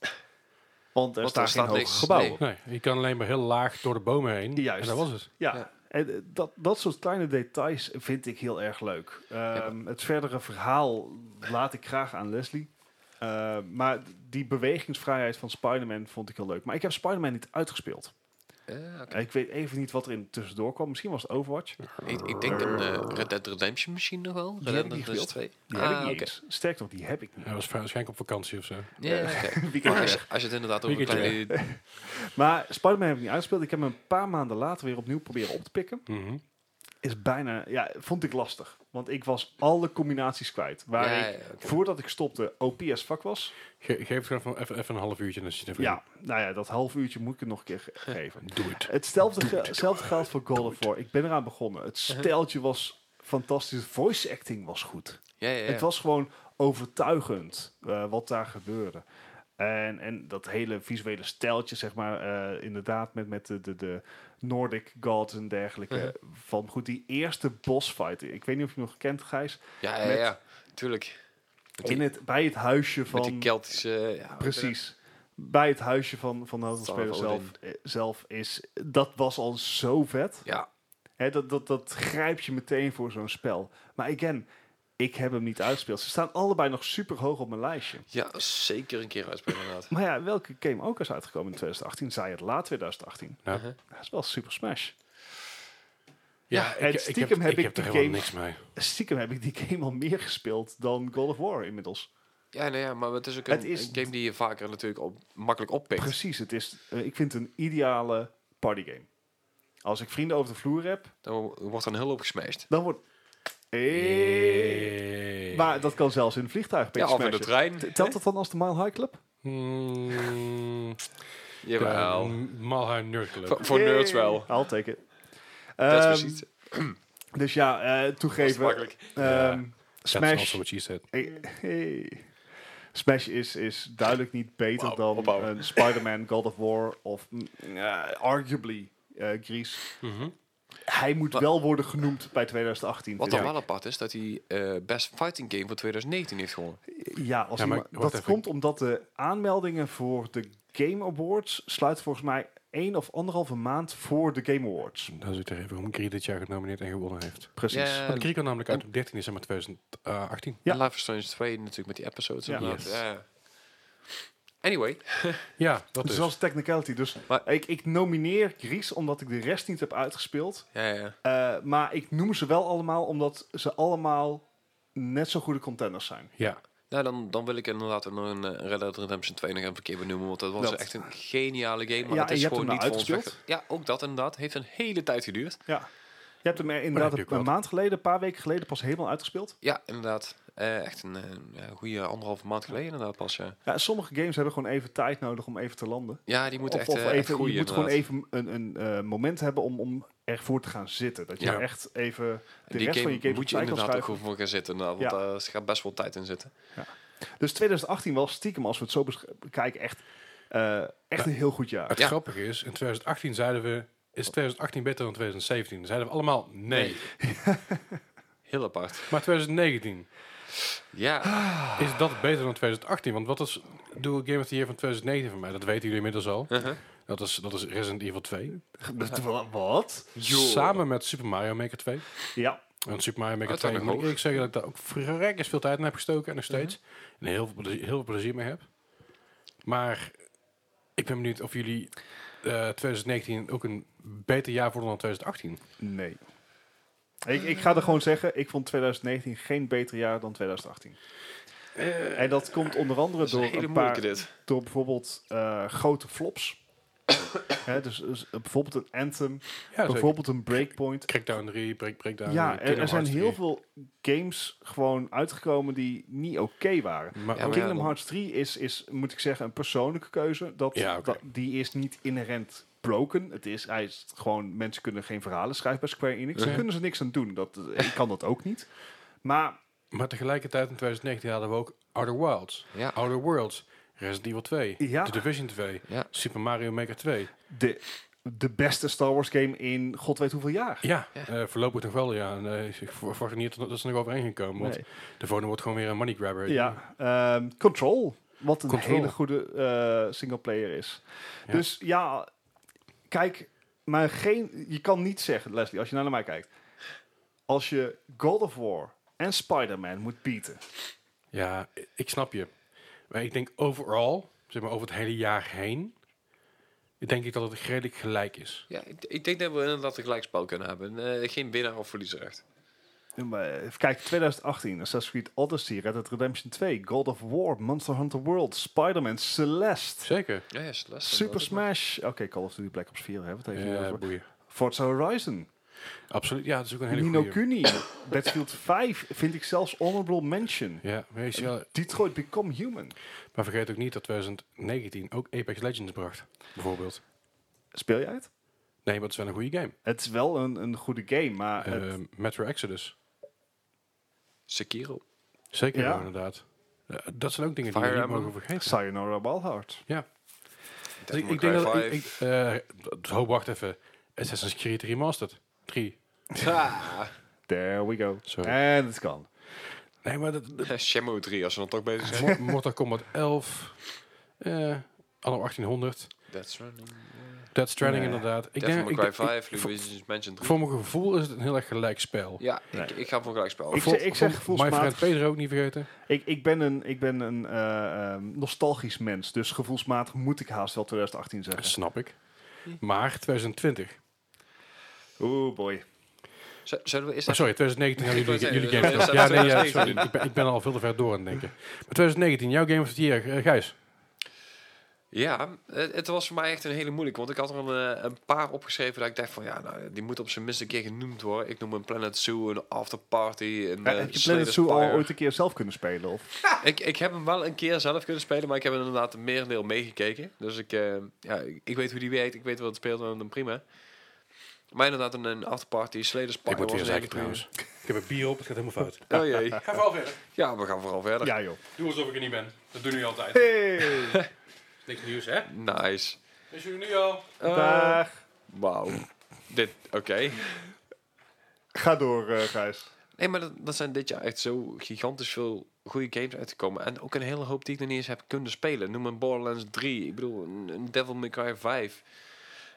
Want er Want staat er geen staat hoog niks. gebouw. Nee. op. Nee, je kan alleen maar heel laag door de bomen heen. Juist. En dat was het. Ja, Ja. En, eh, dat, dat soort kleine details vind ik heel erg leuk. Ehm, Het verdere verhaal laat ik graag aan Leslie. Ehm, maar die bewegingsvrijheid van Spider-Man vond ik heel leuk. Maar ik heb Spider-Man niet uitgespeeld. Eh, oké. Ik weet even niet wat er in tussendoor kwam. Misschien was het Overwatch. ik, ik denk een eh, Red Dead Redemption misschien nog wel. heb Red ik Dead niet Redemption gespeeld. 2. Die heb ik ah, niet oké. eens. Sterk nog, die heb ik niet. Hij was waarschijnlijk op vakantie of zo. Ja, oké. Weekend Maar als, weg. je- als je het inderdaad over een Weekendje kleine... Maar Spider-Man heb ik niet uitgespeeld. Ik heb hem een paar maanden later weer opnieuw proberen op te pikken. Mhm. Is bijna, ja, vond ik lastig. Want ik was alle combinaties kwijt. Waar Ja, ik, ja, oké. voordat ik stopte, OPS vak was. Ge- geef het gewoon even, even een half uurtje. Dan zit je er Ja, nou ja, dat half uurtje moet ik het nog een keer ge- geven. voor. Doe het. Hetzelfde, ge- hetzelfde geldt voor God of War. Ik ben eraan begonnen. Het Uh-huh. steltje was fantastisch. De voice acting was goed. Ja, ja, ja. Het was gewoon overtuigend eh, wat daar gebeurde. En, en dat hele visuele steltje, zeg maar, eh, inderdaad, met, met de, de, de Nordic gods en dergelijke. Uh-huh. Van goed, die eerste bossfight. Ik weet niet of je hem nog kent, Gijs. ja, ja, met- ja. Tuurlijk. Met die, In het, bij het huisje met die van. Keltische... ja, Nou, wat- Precies. Bij het huisje van, van de hoofdrolspeler Son of zelf, eh, zelf is. Dat was al zo vet. Ja, Hè, dat, dat, dat grijp je meteen voor zo'n spel. Maar again, ik heb hem niet uitgespeeld. Ze staan allebei nog super hoog op mijn lijstje. ja, zeker een keer uitspelen inderdaad. Maar ja, welke game ook is uitgekomen in 2018, zei het laat 2018. Ja. Uh-huh. Dat is wel Super Smash. Ja, en stiekem heb ik er die helemaal game- niks mee. Stiekem heb ik die game al meer gespeeld dan God of War inmiddels. Ja, nou ja, maar het is ook Het een, is- een game die je vaker natuurlijk op, makkelijk oppikt. Precies, het is, eh, ik vind het een ideale partygame. Als ik vrienden over de vloer heb, Dan wordt er een hulp gesmashed. dan wordt... Eh. Maar dat kan zelfs in een vliegtuig. Ja, Ja, of in de trein. Telt dat dan als de Mile High Club? Mm, de Jawel. Malha Nerd Club. Voor, voor Yay. nerds wel. I'll take it. Dat is Ehm, precies. Dus ja, eh, Dat is toegeven. makkelijk. Ja. ehm, That's Smash, also what she said. eh, hey. Smash is, is duidelijk niet beter Wauw, dan opbouwen. een Spider-Man, God of War of mm, eh, arguably eh Grease. Mhm. Hij moet Wat- wel worden genoemd bij 2018. Wat vind dan ik. wel apart is, dat hij eh, Best Fighting Game van 2019 heeft gewonnen. Ja, als Ja, maar iemand- wacht dat even. komt omdat de aanmeldingen voor de Game Awards sluiten volgens mij één of anderhalve maand voor de Game Awards. Dan zit er even waarom Kri dit jaar genomineerd en gewonnen heeft. Ehm. Precies. Ja, Want Kri kwam namelijk uit op 13 december 2018. Ja. En Life is Strange 2 natuurlijk met die episodes. Ja. inderdaad. Yes. Ja. Anyway, Ja, dat dus is. dat is technicality. Dus Maar- ik, ik nomineer Gries omdat ik de rest niet heb uitgespeeld. ja, ja. Eh, maar ik noem ze wel allemaal omdat ze allemaal net zo goede contenders zijn. Ja, Nou, dan, dan wil ik inderdaad nog een eh, Red Dead Redemption 2 nog even een keer benoemen. Want dat was Dat- echt een geniale game. Maar Ja, het en is je hebt gewoon hem niet nou voor ons uitgespeeld? weg. Ja, ook dat inderdaad. Heeft een hele tijd geduurd. Ja. Je hebt hem er inderdaad heb je ook een, wel. maand geleden, een paar weken geleden pas helemaal uitgespeeld. Ja, inderdaad. Eh, echt een eh, ja, goede anderhalve maand geleden inderdaad pas. eh. Ja, Ja, sommige games hebben gewoon even tijd nodig om even te landen. ja die moeten of, echt, of eh, echt even, groeien. je moet gewoon inderdaad. even een, een eh, moment hebben om, om ervoor te gaan zitten. Dat je Ja. echt even de En die rest game, van je game moet je opzij kan inderdaad ook schuiven. goed voor gaan zitten. inderdaad, want Ja. daar gaat best wel tijd in zitten. Dus 2018 was stiekem, als we het zo besch- bekijken, echt, eh, echt een heel goed jaar. het Ja. grappige is, in 2018 zeiden we, is 2018 beter dan 2017? Dan zeiden we allemaal nee. Heel apart. Maar 2019, Ja, is dat beter dan 2018? Want wat is Dual Game of the Year van 2019 voor mij? Dat weten jullie inmiddels al. uh-huh. Dat is, dat is Resident Evil 2. Wa- Wat? Samen met Super Mario Maker 2. Ja, Want Super Mario Maker Oh, dat 2, nog moet ik hoog. eerlijk zeggen dat ik daar ook verrekkers veel tijd in heb gestoken en nog steeds. En heel veel, plezier, heel veel plezier mee heb. Maar ik ben benieuwd of jullie eh, 2019 ook een beter jaar vonden dan 2018. nee. Ik, ik ga er gewoon zeggen, ik vond 2019 geen beter jaar dan 2018. en dat komt onder andere dat is een door hele een paar moeilijke dit. door bijvoorbeeld eh, grote flops. Hè, dus, dus, eh, bijvoorbeeld een Anthem, Ja, zeker. bijvoorbeeld een Breakpoint. Crackdown 3, break, Breakdown Ja, er, Kingdom er zijn Hearts heel 3. veel games gewoon uitgekomen die niet oké waren. Maar, Ja, maar- Kingdom dan- Hearts 3 is, is, moet ik zeggen, een persoonlijke keuze. Dat, Ja, oké. dat- die is niet inherent broken. Het is, hij is gewoon, mensen kunnen geen verhalen schrijven bij Square Enix. Daar Ja. kunnen ze niks aan doen. Dat, eh, ik kan dat ook niet. Maar Maar tegelijkertijd in 2019 hadden we ook Outer Wilds, Ja. Outer Worlds, Resident Evil 2, Ja. The Division 2, Ja. Super Mario Maker 2. de, de beste Star Wars game in god weet hoeveel jaar. Ja, Ja. eh, voorlopig nog wel, ja. En, eh, ik ver- verwacht niet dat dat ze er nog overheen gaan komen, want Nee. de volgende wordt gewoon weer een money grabber. Ja, ehm, Control. Wat een Control. hele goede eh singleplayer is. Ja. Dus ja, kijk, maar geen, je kan niet zeggen, Leslie, als je nou naar mij kijkt. Als je God of War en Spider-Man moet bieden. Ja, i- ik snap je. Maar ik denk overal, zeg maar over het hele jaar heen, denk ik dat het redelijk gelijk is. Ja, ik, ik denk dat we inderdaad een gelijkspel kunnen hebben. Eh, geen winnaar of verliezer echt. Kijk, 2018, Assassin's Creed Odyssey, Red Dead Redemption 2, God of War, Monster Hunter World, Spider-Man, Celeste, Zeker. Ja, ja, Celeste. Super inderdaad. Smash. Oké, Call of Duty Black Ops 4 hebben we het even Ja, over. Eh, boeien. Forza Horizon, Absoluut. Ja, dat is ook een hele Nino goede. Kuni, Battlefield 5 vind ik zelfs honorable mention. Ja, maar, je ziet wel- Detroit Become Human. maar vergeet ook niet dat 2019 ook Apex Legends bracht, bijvoorbeeld. Speel jij het? Nee, maar het is wel een goede game. Het is wel een, een goede game, maar het- Eh, Metro Exodus. Sekiro. Zeker Ja. wel, inderdaad. Eh, dat zijn ook dingen die Fire we niet Emblem. mogen vergeten. Sayonara Balhard. Ja. Dus ik, Devil ik denk May dat... Cry Ik, ik, eh, ho, wacht even. Assassin's Creed Remastered. 3. Ah, There we go. Zo. And it's gone. Nee, maar dat, dat- Shenmue 3, als we dan toch bezig zijn. Mo- Mortal Kombat 11. eh anno 1800. That's running. Dead Stranding Nee. inderdaad. Ik Devil May ik Cry ik- 5, voor- Luigi's Mansion 3. Voor mijn gevoel is het een heel erg gelijk spel. Ja, Nee. ik, ik ga voor een gelijkspel. Ik Voor- zeg- My gevoelsmatig- Friend Pedro ook niet vergeten. Ik, ik ben een, ik ben een eh, ehm, nostalgisch mens, dus gevoelsmatig moet ik haast wel 2018 Dat zeggen. snap ik. Maar 2020. Oeh boy. Eh, Z- Zullen we eerst Oh, sorry, 2019 hadden Ik wou jullie, jullie zeggen, games. we Ja, zijn nee, ja, 2019. sorry. Ik ben, ik ben al veel te ver door aan het denken. Maar 2019, jouw Game of the Year, eh, Gijs. Ja, het, het was voor mij echt een hele moeilijke. Want ik had er een, eh, een paar opgeschreven dat ik dacht van... Ja, nou, die moet op zijn minst een keer genoemd worden. Ik noem een Planet Zoo, een After Party, een Eh, eh, heb je Slay Planet the Zoo al Spire. ooit een keer zelf kunnen spelen? Of? Ik, ik heb hem wel een keer zelf kunnen spelen, maar ik heb inderdaad een merendeel meegekeken. Dus ik, eh, ja, ik, ik weet hoe die werkt, ik weet wat het speelt en dan prima. Maar inderdaad, een, een afterparty, Sleders Ik moet weer zeggen trouwens. Ik heb een bier op, het gaat helemaal fout. Oh jee. Ga vooral verder. Ja, we gaan vooral verder. Ja joh. Doe alsof ik er niet ben. Dat doen jullie altijd. Eh. Hey! Niks nieuws, hè? Nice. Dus jullie nu al. Eh, Dag. Wauw. Dit, oké. Ga door eh Gijs. Nee, maar dat, dat zijn dit jaar echt zo gigantisch veel goede games uitgekomen. En ook een hele hoop die ik nog niet eens heb kunnen spelen. Noem een Borderlands 3. Ik bedoel, een, een Devil May Cry 5.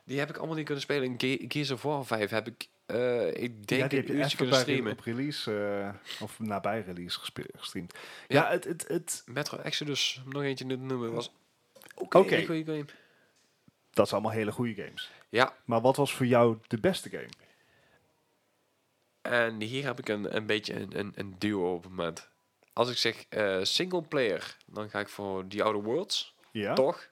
Die heb ik allemaal niet kunnen spelen. Een Ge- Gears of War 5 heb ik, eh, ik denk, ja, die een uurtje echt kunnen bij re- streamen. op release, eh, of nabij release gespe- gestreamd. Ja, Ja. het, het, het, Metro Exodus, om nog eentje te noemen, was ook Oké. een hele goede game. dat zijn allemaal hele goede games. Ja, Maar wat was voor jou de beste game? en hier heb ik een, een beetje een, een, een duo op het moment. Als ik zeg eh single player, dan ga ik voor The Outer Worlds, Ja? toch?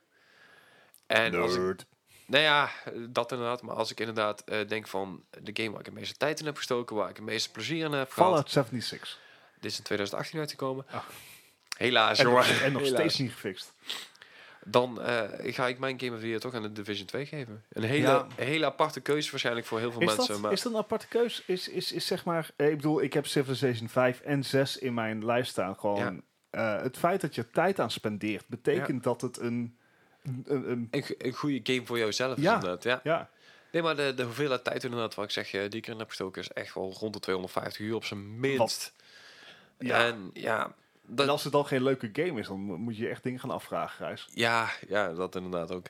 En als ik Nerd. Nou ja, dat inderdaad. Maar als ik inderdaad eh, denk van de game waar ik het meeste tijd in heb gestoken, waar ik het meeste plezier in heb gehad. Fallout 76. Dit is in 2018 uitgekomen. Ach. Helaas, Ah. En, jongen. en nog Helaas. steeds niet gefixt. Dan eh, ga ik mijn Game of the Year toch aan de Division 2 geven. Een hele, Ja. een hele aparte keuze waarschijnlijk voor heel veel Is mensen. dat, maar is dat een aparte keus? Is, is, is zeg maar, eh, ik bedoel, ik heb Civilization 5 en 6 in mijn lijst staan. Gewoon, eh, het feit dat je er tijd aan spendeert, betekent dat het een, een, een- een- een, go- een goede game voor jouzelf Ja. is inderdaad. Ja. ja, Nee, maar de, de hoeveelheid tijd inderdaad, wat ik zeg, eh, die ik erin heb gestoken, is echt wel rond de 250 uur op zijn minst. Eh, ja. En, En ja, dat, als het dan geen leuke game is, dan mo- moet je echt dingen gaan afvragen, Gijs. Ja, ja, dat inderdaad ook.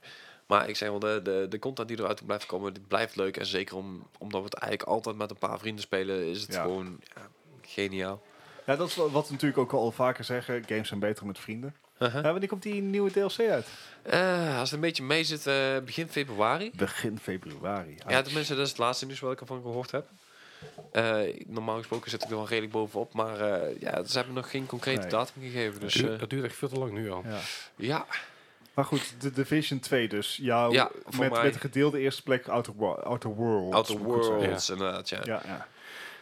Maar ik zeg wel, de, de, de content die eruit blijft komen, die blijft leuk. En zeker om, omdat we het eigenlijk altijd met een paar vrienden spelen, is het Ja. gewoon ja, geniaal. Ja, dat is wel- wat we natuurlijk ook al vaker zeggen. Games zijn beter met vrienden. Uh-huh. Ja, wanneer komt die nieuwe DLC uit? Eh, als het een beetje mee zit, eh, begin februari. Begin februari. Ja, tenminste, dat is het laatste nieuws wat ik ervan gehoord heb. Eh, normaal gesproken zit ik er wel redelijk bovenop, maar eh, ja, ze hebben nog geen concrete Nee. datum gegeven. Dus eh, dat duurt echt veel te lang nu al. Ja. ja, Maar goed, de Division 2 dus. Jouw, Ja, voor met, mij. met gedeelde eerste plek Outer, Wo- Outer Worlds. Outer moet ik goed zeggen. Worlds inderdaad, ja. Ja, ja.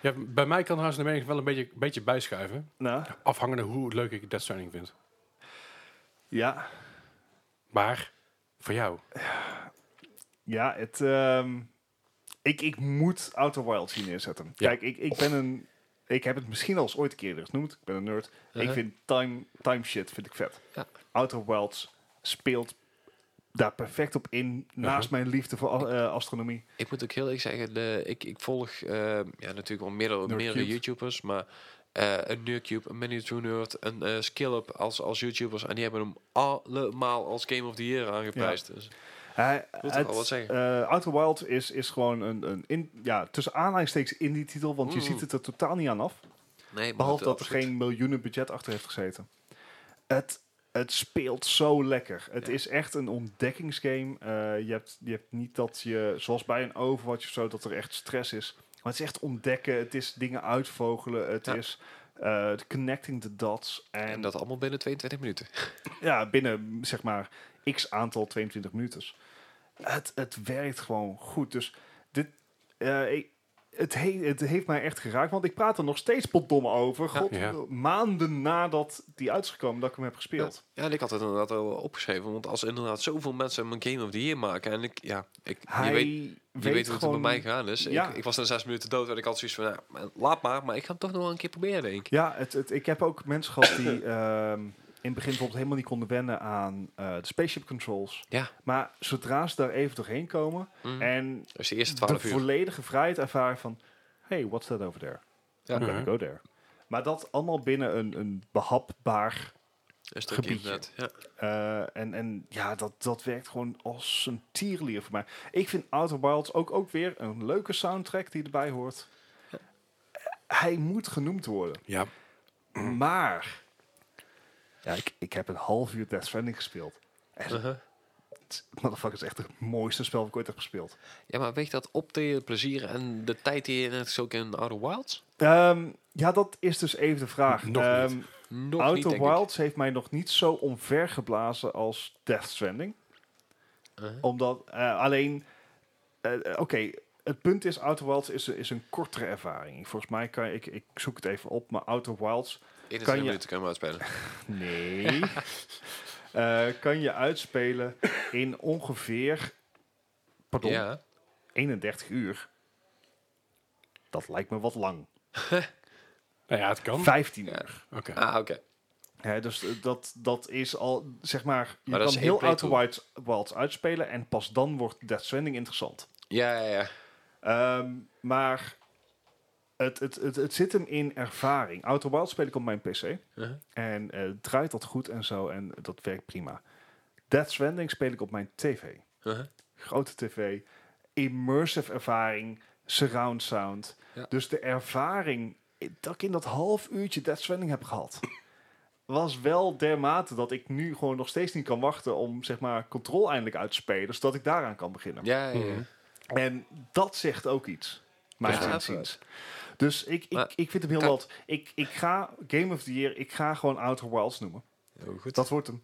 Ja, bij mij kan trouwens de mening wel een beetje, beetje bijschuiven. Nou, Afhangende hoe leuk ik Death Stranding vind. ja. Maar voor jou. Ja, het, ehm, ik, ik moet Outer Wilds hier neerzetten. Ja. Kijk, ik, ik ben een... Ik heb het misschien al eens ooit een keer eerder genoemd. Ik ben een nerd. Ik Uh-huh. vind time, time shit vind ik vet. Ja. Outer Wilds speelt daar perfect op in. Naast Uh-huh. mijn liefde voor a- eh, astronomie. Ik moet ook heel eerlijk zeggen, de, ik, ik volg eh, ja, natuurlijk wel meerdere, Nerdcube. meerdere YouTubers, maar eh, een Nerdcube, een Miniature Nerd, een eh Skillup als, als YouTubers. En die hebben hem allemaal als Game of the Year aangeprijsd. Dus Hij- wil toch het, al wat zeggen? eh, Outer Wild is, is gewoon een, een in, ja, tussen aanhalingstekens in die titel, want je Mm. ziet het er totaal niet aan af. nee, maar Behalve dat er absoluut. geen miljoenen budget achter heeft gezeten. Het, het speelt zo lekker. Het Ja. is echt een ontdekkingsgame. Eh, je, hebt, je hebt niet dat je, zoals bij een Overwatch of zo, dat er echt stress is. Maar het is echt ontdekken. Het is dingen uitvogelen. Het Ja. is eh, connecting the dots. En, En dat allemaal binnen 22 minuten. ja, binnen zeg maar x aantal 22 minuten. Het, het werkt gewoon goed. Dus dit, eh, ik- het, he- het heeft mij echt geraakt. Want ik praat er nog steeds potdom over. God, Ja. Maanden nadat die uit is gekomen dat ik hem heb gespeeld. Ja, en ik had het inderdaad al opgeschreven. Want als inderdaad zoveel mensen een Game of the Year maken... en ik, ja, ik, Hij je weet, weet, je weet hoe het er bij gewoon- mij gegaan is. Ja. Ik, ik was na zes minuten dood en ik had zoiets van... nou, laat maar, maar ik ga hem toch nog wel een keer proberen, denk ik. Ja, het, het, ik heb ook mensen gehad die ehm, in het begin bijvoorbeeld helemaal niet konden wennen aan eh, de spaceship controls. Ja. Maar zodra ze daar even doorheen komen Mm. en Dus de eerste de 12 uur. volledige vrijheid ervaren van... Hey, what's that over there? Ja, Mhm. Gotta go there. Maar dat allemaal binnen een, een behapbaar... een stukje gebiedje. inderdaad. Ja. eh, en, en ja, dat, dat werkt gewoon als een tierlier voor mij. Ik vind Outer Wilds ook, ook weer een leuke soundtrack die erbij hoort. Hij moet genoemd worden. Ja, Mhm. Maar... Ja, ik, ik heb een half uur Death Stranding gespeeld. Uh-huh. Het motherfucker is echt het mooiste spel dat ik ooit heb gespeeld. Ja, maar weegt dat op tegen het plezier en de tijd die je net zo in Outer Wilds? Ehm, ja, dat is dus even de vraag. Nog Ehm, Nog Outer niet, denk ik. Wilds heeft mij nog niet zo omvergeblazen als Death Stranding. Uh-huh. Omdat eh, alleen. eh, eh, Oké, het punt is: Outer Wilds is, is een kortere ervaring. Volgens mij kan ik. Ik zoek het even op, maar Outer Wilds. 21 Kan je- minuten kan je hem uitspelen. Nee. Eh, kan je uitspelen in ongeveer. Pardon, Ja. 31 uur. Dat lijkt me wat lang. nou ja, het kan. 15 Ja. uur. Oké. Ah, oké. Hè, dus eh, dat, dat is al, zeg maar, je Maar dat kan is één heel Outer playthrough. Wilds, Wilds uitspelen en pas dan wordt Death Stranding interessant. Ja, ja, ja. Ehm, maar het, het, het, het zit hem in ervaring. Outer Wilds speel ik op mijn PC Uh-huh. en eh, draait dat goed en zo en dat werkt prima. Death Stranding speel ik op mijn tv. Uh-huh. Grote tv, immersive ervaring, surround sound. Ja. Dus de ervaring dat ik in dat half uurtje Death Stranding heb gehad... was wel dermate dat ik nu gewoon nog steeds niet kan wachten... om zeg maar controle eindelijk uit te spelen... zodat ik daaraan kan beginnen. Ja, ja, ja. Mhm. En dat zegt ook iets, mijn Ja, inziens. Dus ik, ik, Maar- ik vind hem heel Kan- wat. Ik, ik ga Game of the Year, ik ga gewoon Outer Wilds noemen. Heel goed. Dat wordt hem.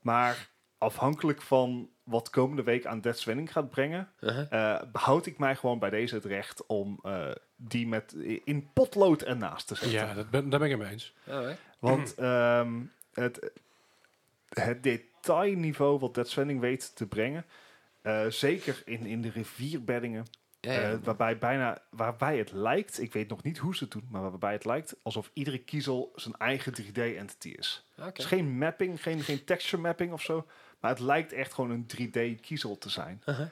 Maar afhankelijk van wat komende week aan Death Stranding gaat brengen... Uh-huh. eh, behoud ik mij gewoon bij deze het recht om eh, die met, in potlood ernaast te zetten. Ja, dat ben, daar ben ik het mee eens. Alright. Want ehm, het, het detailniveau wat Death Stranding weet te brengen... eh, zeker in, in de rivierbeddingen, Ja, ja. eh, waarbij, bijna, waarbij het lijkt, ik weet nog niet hoe ze het doen, maar waarbij het lijkt alsof iedere kiezel zijn eigen 3D-entity is. Ah, Oké. Het is geen mapping, geen, geen texture mapping of zo. Maar het lijkt echt gewoon een 3D-kiezel te zijn. Uh-huh.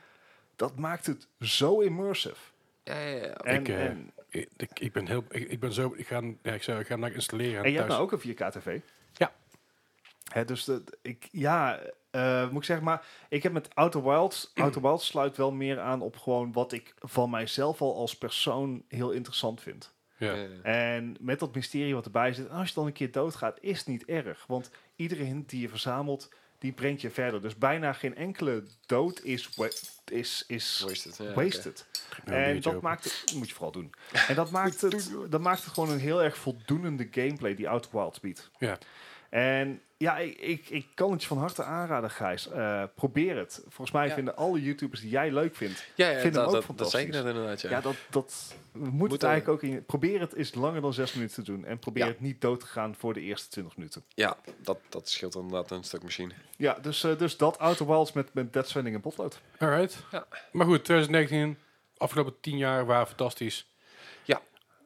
Dat maakt het zo immersive. Ja, ja, ja. En, Ik, eh, en, Ik, ik, ik ben heel, ik, ik ben zo, ik ga, hem- ja, ik zou, ik ga hem nou installeren. en je hebt thuis. nou ook een 4K-tv. Ja. Hè, dus dat, ik, ja, eh, moet ik zeggen, maar ik heb met Outer Wilds... Outer Wilds sluit wel meer aan op gewoon wat ik van mijzelf al als persoon heel interessant vind. ja. Ja, ja. En met dat mysterie wat erbij zit, als je dan een keer doodgaat, is het niet erg. Want iedere hint die je verzamelt, die brengt je verder. Dus bijna geen enkele dood is, wa- is, is Wasted. Ja, oké. wasted. Ik ben een En biertje dat open. maakt het, moet je vooral doen. En dat maakt het, dat maakt het gewoon een heel erg voldoende gameplay die Outer Wilds biedt. Ja. En ja, ik, ik, ik kan het je van harte aanraden, Gijs. Eh, probeer het. Volgens mij Ja. vinden alle YouTubers die jij leuk vindt. Ja, ja Vind hem dat, ook dat, dat fantastisch. zei ik net inderdaad. Ja. Ja, dat, dat we moeten moet het eh, eigenlijk ook in. Probeer het is langer dan zes minuten te doen. En probeer Ja. het niet dood te gaan voor de eerste 20 minuten. Ja, dat, dat scheelt inderdaad een stuk machine. Ja, dus, eh, dus dat Outer Wilds met, met Dead Stranding en Potlood. Alright. Ja. Maar goed, 2019, afgelopen 10 jaar waren fantastisch.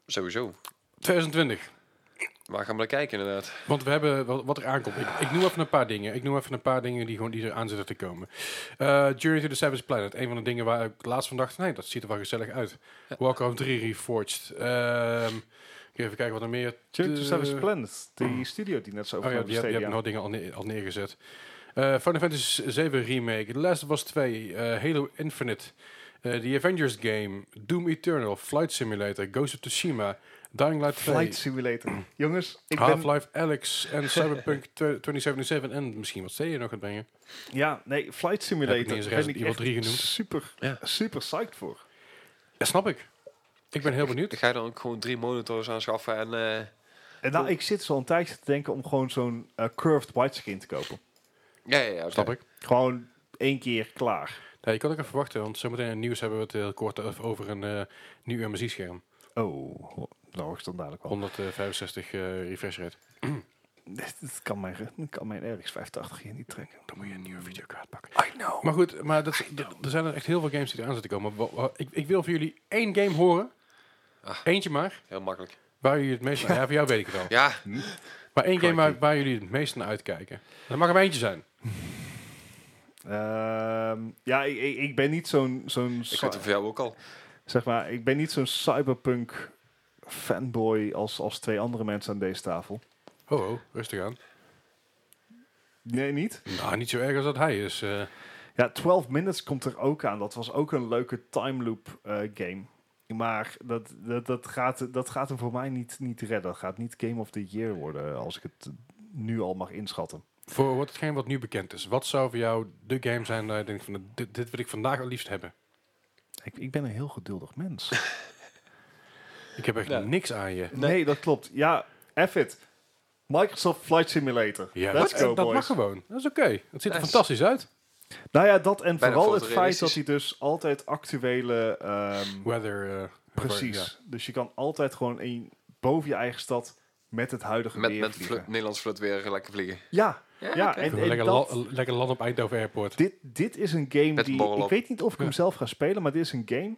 Sowieso. 2020, Waar gaan we naar kijken inderdaad? want we hebben wat, wat er aankomt. Ik, ik noem even een paar dingen. Ik noem even een paar dingen die, gewoon, die er aan zitten te komen. Eh, Journey to the Savage Planet, een van de dingen waar ik laatst van dacht, nee, dat ziet er wel gezellig uit. Ja. Warcraft 3 Reforged. Ehm, even kijken wat er meer... Journey to Eh, Savage Planet, die studio die net zo Oh ja, over die, heb- die hebben nog dingen al, neer- al neergezet. Eh Final Fantasy 7 Remake, The Last of Us 2, eh, Halo Infinite, eh, The Avengers Game, Doom Eternal, Flight Simulator, Ghost of Tsushima, Dying Light 2, Flight Simulator. Jongens, ik ben... Half-Life Alex en Cyberpunk 2077 en misschien wat Stadia nog gaat brengen. Ja, nee, Flight Heb ik niet Simulator eens ben Resident ik Evil echt 3 genoemd. super, Ja. super psyched voor. Dat snap ik. Ik ben heel benieuwd. Ga je dan ook gewoon drie monitors aanschaffen en... eh, En nou, ik zit zo al een tijdje te denken om gewoon zo'n eh, curved widescreen te kopen. Ja, ja, ja. oké. Snap ik. Gewoon één keer klaar. Nee, je kan ook even wachten, want zometeen in het nieuws hebben we het heel kort over een eh, nieuw MSI-scherm. Oh, nou is dan dadelijk wel. 165 eh, refresh rate. Dat kan mijn, dat kan mijn RX 580 hier niet trekken. Hmm. Dan moet je een nieuwe videokaart pakken. I know. Maar goed, maar dat, d- er zijn er echt heel veel games die eraan zitten komen. Wa- wa- Ik, ik wil van jullie één game horen. Ah. Eentje maar. Heel makkelijk. Waar jullie het meest naar... Ja, voor jou weet ik het al. Ja, Maar één game waar, Crikey. waar jullie het meest naar uitkijken. Dat mag er maar eentje zijn. Ehm, ja, ik, ik- ik ben niet zo'n zo'n ik weet het voor jou ook al. zeg maar, ik ben niet zo'n cyberpunk fanboy als, als twee andere mensen aan deze tafel. Ho, ho, rustig aan. Nee, niet. Nou, niet zo erg als dat hij is. eh. Ja, 12 Minutes komt er ook aan. Dat was ook een leuke time loop eh, game. Maar dat, dat, dat, gaat, dat gaat hem voor mij niet, niet redden. Dat gaat niet Game of the Year worden, als ik het nu al mag inschatten. voor wat hetgeen wat nu bekend is. Wat zou voor jou de game zijn dat je denkt van... Dit, dit wil ik vandaag het liefst hebben. Ik, ik ben een heel geduldig mens. Ik heb echt Ja. niks aan je. nee. dat klopt. Ja, F it. Microsoft Flight Simulator. Ja, Let's dat, go, dat mag boys. gewoon. Dat is oké. Het ziet er Nice. fantastisch uit. Nou ja, dat en Bijna vooral het feit dat fotorealistisch. hij dus altijd actuele... ehm, Weather... eh, Precies. ja. Dus je kan altijd gewoon in, boven je eigen stad met het huidige Met, weer met vliegen. vlut, Nederlands vlut weer lekker vliegen. Ja, ja, Ik wil en, en lekker, dat- la- lekker land op Eindhoven Airport. dit, dit is een game Met die... borrel Ik op. weet niet of ik hem Ja. zelf ga spelen, maar dit is een game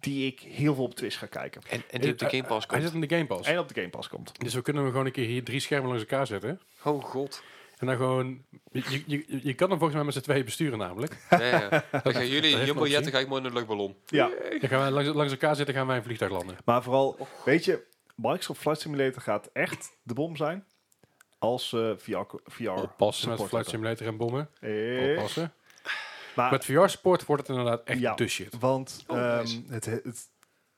die ik heel veel op Twitch ga kijken. En, en die op de Game Pass Hij komt. zit in de Game Pass. En op de Game Pass komt. Dus we kunnen hem gewoon een keer hier drie schermen langs elkaar zetten. Oh god. En dan gewoon... Je, je, je- je kan hem volgens mij met z'n tweeën besturen namelijk. Ja, ja. Dan gaan jullie heeft in me jumbo jetten, opzien. ga ik mooi in een luchtballon. Ja, Dan gaan wij langs, langs elkaar zitten gaan wij een vliegtuig landen. maar vooral, weet je, Microsoft Flight Simulator gaat echt de bom zijn als eh, ze VR, VR Oppassen met support Flight hebben. Simulator en bommen. Eh, Oppassen. maar, Met VR-sport wordt het inderdaad echt Ah. Ja. de shit. Want Oh, ehm, nice. het, het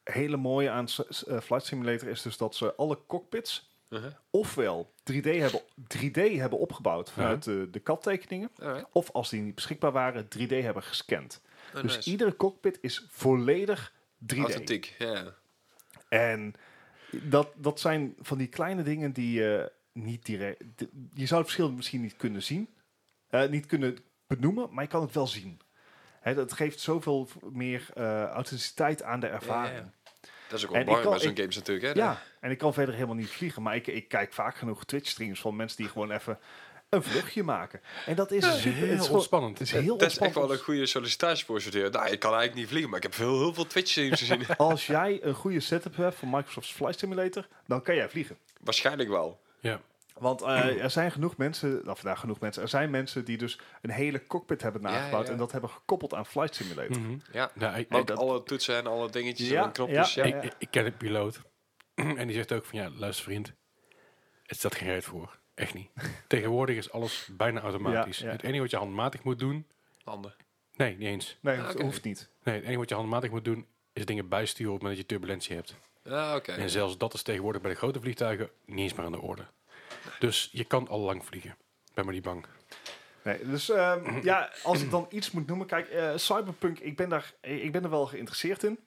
hele mooie aan s- s- eh, Flight Simulator is dus dat ze alle cockpits Uh-huh. ofwel 3D hebben, 3D hebben opgebouwd vanuit de, de kattekeningen, Alright. of als die niet beschikbaar waren, 3D hebben gescand. Oh, dus nice. iedere cockpit is volledig 3D. Authentiek, ja. En dat, dat zijn van die kleine dingen die je niet direct. d- Je zou het verschil misschien niet kunnen zien, eh, niet kunnen benoemen, maar je kan het wel zien. Hè, dat geeft zoveel v- meer eh, authenticiteit aan de ervaring. ja. Dat is ook En wel belangrijk ik kan- bij zo'n ik- games natuurlijk. Hè? Ja, en ik kan verder helemaal niet vliegen. Maar ik, ik kijk vaak genoeg Twitch-streams van mensen die gewoon even een vluchtje maken. En dat is super. het, is Heel gewoon- ontspannend. het is heel Dat is echt wel ontspannend. een goede sollicitatieprocedure. Nou, ik kan eigenlijk niet vliegen, maar ik heb heel, heel veel Twitch streams gezien. Als jij een goede setup hebt van Microsoft's Flight Simulator, dan kan jij vliegen. Waarschijnlijk wel. Ja. Want Hmm. eh, er zijn genoeg mensen, of nou, genoeg mensen, er zijn mensen die dus een hele cockpit hebben Ja, nagebouwd ja. Hmm. en dat hebben gekoppeld aan Flight Simulator. Mhm. Ja. Nou, ik, Maar ik, ook dat- alle toetsen en alle dingetjes Ja, en knopjes. ja, Ja, ik- ik- ik ken een piloot. en die zegt ook van, ja, luister vriend. Het staat geen reet voor. Echt niet. Tegenwoordig is alles bijna automatisch. ja. Het enige wat je handmatig moet doen... Handen. Nee, niet eens. Nee, Ah, dat oké. hoeft niet. Nee, het enige wat je handmatig moet doen... is dingen bijsturen op het moment dat je turbulentie hebt. Ja, oké. En zelfs dat is tegenwoordig bij de grote vliegtuigen niet eens meer aan de orde. Dus je kan al lang vliegen. Ben maar niet bang. Nee, dus Hmm. ehm, ja, als ik dan iets moet noemen, kijk, eh, Cyberpunk, ik ben, daar, ik ben er wel geïnteresseerd in.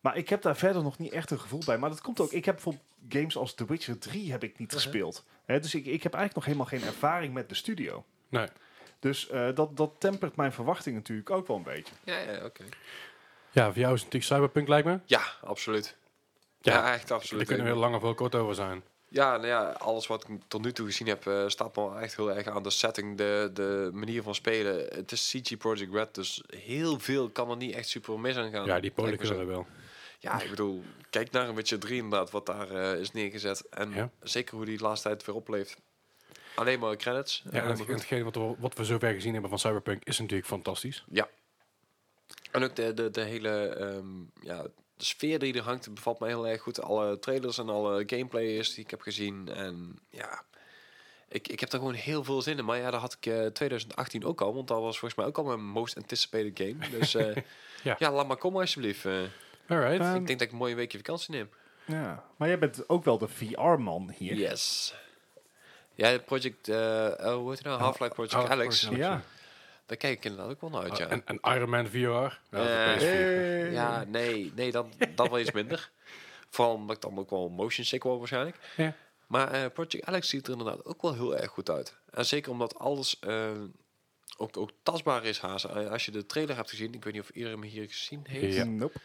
Maar Uh-huh. ik heb daar verder nog niet echt een gevoel bij. Maar dat komt ook. Ik heb bijvoorbeeld games als The Witcher 3 heb ik niet gespeeld. Hè, dus ik, ik heb eigenlijk nog helemaal geen ervaring met de studio. Nee. Dus eh, dat, dat tempert mijn verwachting natuurlijk ook wel een beetje. Ja, ja, oké. Ja, voor jou is het natuurlijk Cyberpunk, lijkt me. Ja, absoluut. Ja, Ja, echt Daar absoluut. kunnen we heel lang of heel kort over zijn. Ja, nou ja, alles wat ik tot nu toe gezien heb, eh, staat me wel echt heel erg aan de setting, de, de manier van spelen. Het is CG Project Red, dus heel veel kan er niet echt super mis aan gaan. Ja, die Polen Lijkt me zo. kunnen we wel. Ja, ik bedoel, kijk naar een Witcher 3 inderdaad, wat daar eh, is neergezet. En Ja. zeker hoe die de laatste tijd weer opleeft. Alleen maar credits. Ja, en Alleen het- maar goed. hetgeen wat we, wat we zover gezien hebben van Cyberpunk is natuurlijk fantastisch. En ook de, de, de hele ehm, ja, de sfeer die er hangt, bevat me heel erg goed. Alle trailers en alle gameplayers die ik heb gezien. En ja, ik, ik heb er gewoon heel veel zin in. Maar ja, dat had ik eh 2018 ook al, want dat was volgens mij ook al mijn most anticipated game. Dus eh, Ja. ja. laat maar komen alsjeblieft. Eh, Alright. Ehm, ik denk dat ik een mooie weekje vakantie neem. Ja. Maar jij bent ook wel de VR-man hier. Yes. Ja, het project, eh, oh, hoe heet het nou? Half-Life Project Half-Life Alex. Project Ja. Daar kijk ik inderdaad ook wel naar uit, ja. Ah, oh, en, en Iron Man VR. Ja, dat is Eh, een PS4. Hey. Ja, Eh. nee, nee dan, dan wel iets minder. Vooral omdat ik dan ook wel motion sick word waarschijnlijk. Ja. Maar eh, Project Alex ziet er inderdaad ook wel heel erg goed uit. En zeker omdat alles eh, ook, ook tastbaar is, Hazen. Eh, Als je de trailer hebt gezien, ik weet niet of iedereen hem hier gezien heeft. Ja. Nope.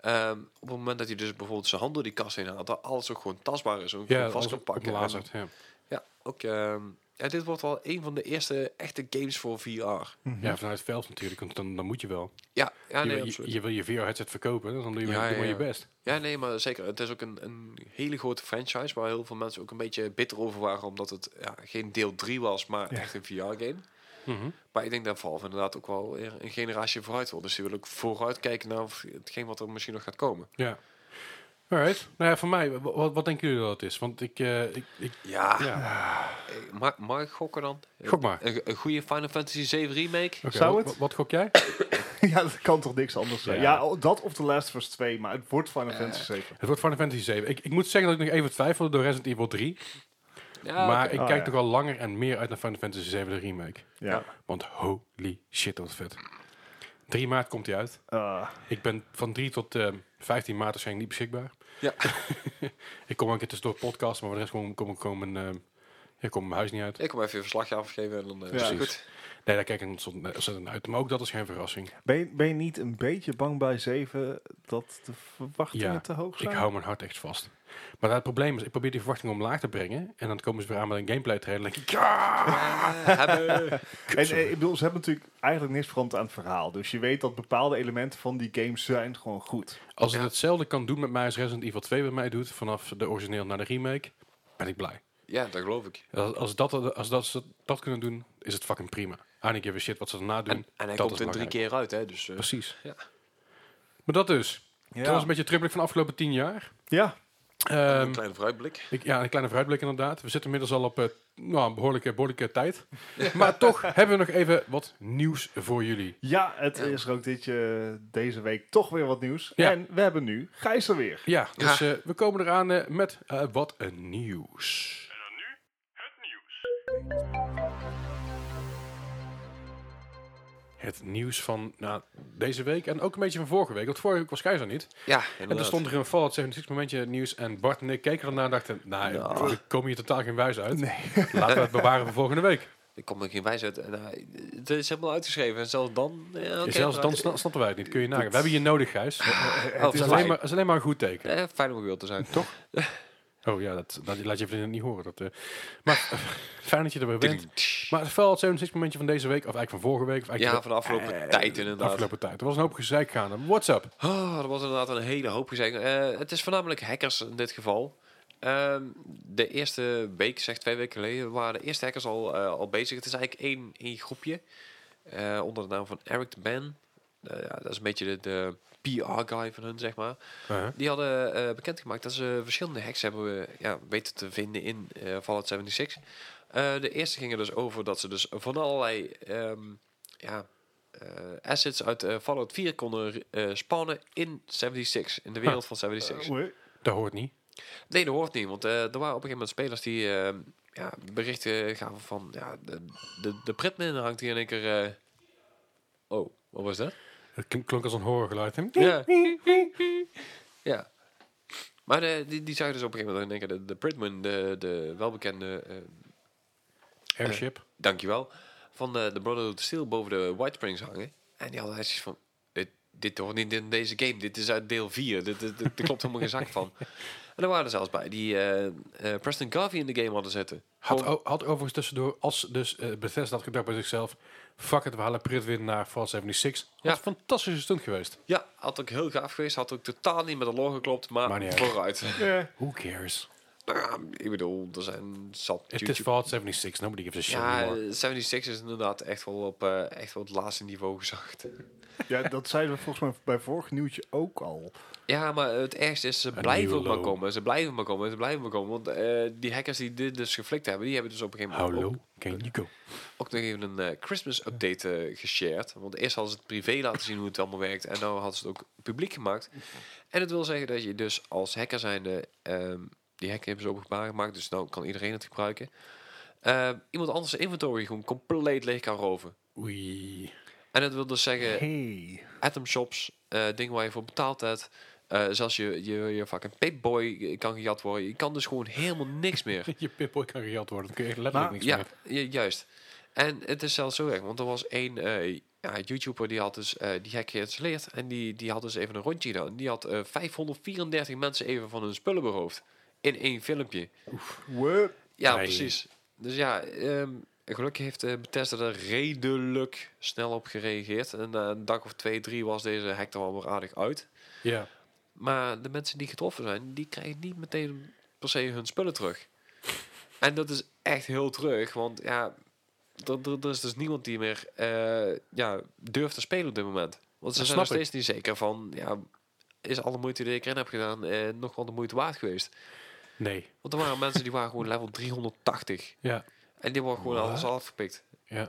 Ehm, op het moment dat hij dus bijvoorbeeld zijn hand door die kast heen haalt, dat alles ook gewoon tastbaar is. Ook Ja, gewoon vast vast kan pakken. Blazerd, ja. Ja, ook, ehm, ja, dit wordt wel een van de eerste echte games voor VR. ja, vanuit het veld natuurlijk, want dan, dan moet je wel. Ja, ja Je- Ah, nee, je, absoluut. je, wil je VR-headset verkopen, dus dan doe je, Ja, doe maar ja, je ja. best. Ja, nee, maar zeker. Het is ook een, een hele grote franchise waar heel veel mensen ook een beetje bitter over waren. Omdat het ja, geen deel 3 was, maar Ja. echt een VR-game. Mhm. Maar ik denk dat Valve inderdaad ook wel weer een generatie vooruit wil. Dus die wil ook vooruitkijken naar of- hetgeen wat er misschien nog gaat komen. Ja. Alright. Nou ja, voor mij, wa- wa- wat, denken jullie dat het is? Want ik, eh, ik, ik Ja, Ah, ja. eh, mag, mag ik gokken dan? Gok maar. Een, een goede Final Fantasy 7 remake? Oké, Zou wa- het? wa- Wat gok jij? ja, dat kan toch niks anders zijn? Ja. Eh. Ja, oh, dat of The Last of Us 2, maar het wordt Final Fantasy 7. Het wordt Final Fantasy 7. Ik, ik moet zeggen dat ik nog even twijfelde door Resident Evil 3. Ja, maar oké. ik Ah, kijk ja. toch al langer en meer uit naar Final Fantasy 7 de remake. Ja. Want holy shit, wat vet. 3 maart komt hij uit. Eh, Ik ben van 3 tot eh, 15 maart waarschijnlijk niet beschikbaar. Ja. ik kom ook een keer tussendoor podcast, maar voor de rest kom, kom, kom, mijn, eh, ja, kom mijn huis niet uit. Ik kom even een verslagje afgeven en dan eh, Ja. is het Precies. goed. Nee, daar kijk ik ontzettend ontzettend naar uit. Maar ook dat is geen verrassing. ben, je, ben je niet een beetje bang bij 7 dat de verwachtingen Ja, te hoog Ik zijn? hou mijn hart echt vast. Maar het probleem is, ik probeer die verwachting omlaag te brengen. En dan komen ze weer aan met een gameplay trailer. En denk ik, ja! Eh, hebben. En eh, ik bedoel, ze hebben natuurlijk eigenlijk niks veranderd aan het verhaal. Dus je weet dat bepaalde elementen van die games zijn gewoon goed. Als het Ja. hetzelfde kan doen met mij als Resident Evil 2 bij mij doet, vanaf de origineel naar de remake, ben ik blij. Ja, dat geloof ik. Als, als, dat, als, dat, als ze dat kunnen doen, is het fucking prima. I don't give a shit wat ze daarna doen. En, en hij dat komt is er drie belangrijk. keer uit, hè. Dus, eh, Precies. Ja. Maar dat dus. Dat was Ja, een beetje het terugblik van de afgelopen tien jaar. ja. Ehm, een kleine vooruitblik. ik, ja, een kleine vooruitblik inderdaad. We zitten inmiddels al op eh, nou, een behoorlijke, behoorlijke tijd. Maar toch hebben we nog even wat nieuws voor jullie. ja het Ja. is er ook dit, eh, deze week toch weer wat nieuws. Ja. En we hebben nu Gijs er weer. Ja, dus eh, we komen eraan eh, met eh, wat een nieuws. Het nieuws van nou, deze week en ook een beetje van vorige week. Want vorige week was Keizer niet. Ja, En er inderdaad. stond er een Fallout 76 momentje nieuws. En Bart en ik keken ernaar en dachten... Nou, Ja. er komen hier totaal geen wijs uit. Laten we het bewaren voor volgende week. Ik kom er geen wijs uit. En, hij- het is helemaal uitgeschreven. En zelfs dan... Ja, oké, Zelfs dan vooruit. sna- snappen wij het niet. Kun je nagaan. We hebben je nodig, Gijs. Oh, Het is, alleen fijn. maar, het is alleen maar een goed teken. Eh, fijn om weer te zijn. Toch? Oh ja, dat, dat laat je vrienden niet horen. Dat, eh, maar fijn dat je er weer bent. Maar het Fallout 76 momentje van deze week... Of eigenlijk van vorige week. Of Ja, eigenlijk van de afgelopen tijd de inderdaad. afgelopen tijd. Er was een hoop gezeik gaande. Maar What's up? Oh, er was inderdaad een hele hoop gezegd. Eh, het is voornamelijk hackers in dit geval. Ehm, de eerste week, zeg twee weken geleden, waren de eerste hackers al, eh, al bezig. Het is eigenlijk één, één groepje. eh, onder de naam van Eric de Ben. Eh, ja, dat is een beetje de, de PR-guy van hun, zeg maar. Uh-huh. Die hadden bekend bekendgemaakt dat ze verschillende hacks hebben eh, ja, weten te vinden in eh, Fallout 76. Eh, de eerste ging er dus over dat ze dus van allerlei ehm, ja, eh, assets uit eh, Fallout 4 konden eh, spawnen in 76, in de wereld van 76. Oei. Dat hoort niet. Nee, dat hoort niet, want eh, er waren op een gegeven moment spelers die ehm, ja, berichten gaven van ja, de, de, de pretmin hangt hier in één keer... eh, Oh, wat was dat? Het klonk, klonk als een horrorgeluid. hè? Ja. ja. Maar eh, die, die zagen dus op een gegeven moment in één keer de, de Britman, de, de welbekende, eh, Airship. dankjewel, van eh, de, de Brotherhood of Steel boven de White Springs hangen. En die hadden echt zoiets van, dit, dit hoort niet in deze game, dit is uit deel 4, dit, dit, dit, er klopt helemaal geen zak van. En er waren er zelfs bij die eh, eh, Preston Garvey in de game hadden zitten. had, Gewoon- o- had overigens tussendoor, als dus eh Bethesda had gedacht bij zichzelf, fuck het, we halen Prit weer naar Fallout 76. Dat Ja. was een fantastische stunt geweest. ja, had ook heel gaaf geweest, had ook totaal niet met de lore geklopt, maar, Maar niet uit. vooruit. Eh, Who cares? nou ja, ik bedoel, er zijn zat Het is YouTube- Fallout 76, nobody gives a shit Ja, anymore. eh, 76 is inderdaad echt wel op, eh, echt wel het laatste niveau gezakt. ja, dat zeiden we volgens mij bij vorig nieuwtje ook al. Ja, maar het ergste is, ze Een blijven nieuwe maar low. komen. Ze blijven maar komen, ze blijven maar komen. Want eh, die hackers die dit dus geflikt hebben, die hebben dus op een gegeven moment Hallo, ook, ken je go? ook nog even een eh, Christmas-update eh, geshared. Want eerst hadden ze het privé laten zien hoe het allemaal werkt. En nu hadden ze het ook publiek gemaakt. En dat wil zeggen dat je dus als hacker zijnde... ehm, die hack hebben ze openbaar gemaakt, dus nou kan iedereen het gebruiken. Eh, iemand anders zijn inventory gewoon compleet leeg kan roven. Oei. En dat wil dus zeggen... Hey. Atom Shops, eh dingen waar je voor betaald hebt. Eh, zelfs je, je, je fucking Pipboy kan gejat worden. Je kan dus gewoon helemaal niks meer. Je Pip-Boy kan gejat worden, dan kun je echt letterlijk Maar- niks ja, meer. ju- juist. En het is zelfs zo erg, want er was één eh, ja, YouTuber die had dus eh, die hack geïnstalleerd. En die, die had dus even een rondje gedaan. Die had eh, 534 mensen even van hun spullen beroofd. In één filmpje. Wup. Ja, Nee. precies. Dus ja, ehm, gelukkig heeft eh, Bethesda er redelijk snel op gereageerd. En na een dag of twee, drie was deze hack er wel weer aardig uit. Ja. Maar de mensen die getroffen zijn, die krijgen niet meteen per se hun spullen terug. En dat is echt heel terug, want ja, er, er, er is dus niemand die meer eh, ja, durft te spelen op dit moment. Want ze Dat zijn nog snap ik. steeds niet zeker van, ja, is alle moeite die ik erin heb gedaan eh, nog wel de moeite waard geweest? Nee. Want er waren mensen die waren gewoon level 380 Ja. en die worden gewoon alles Wat? afgepikt. Ja.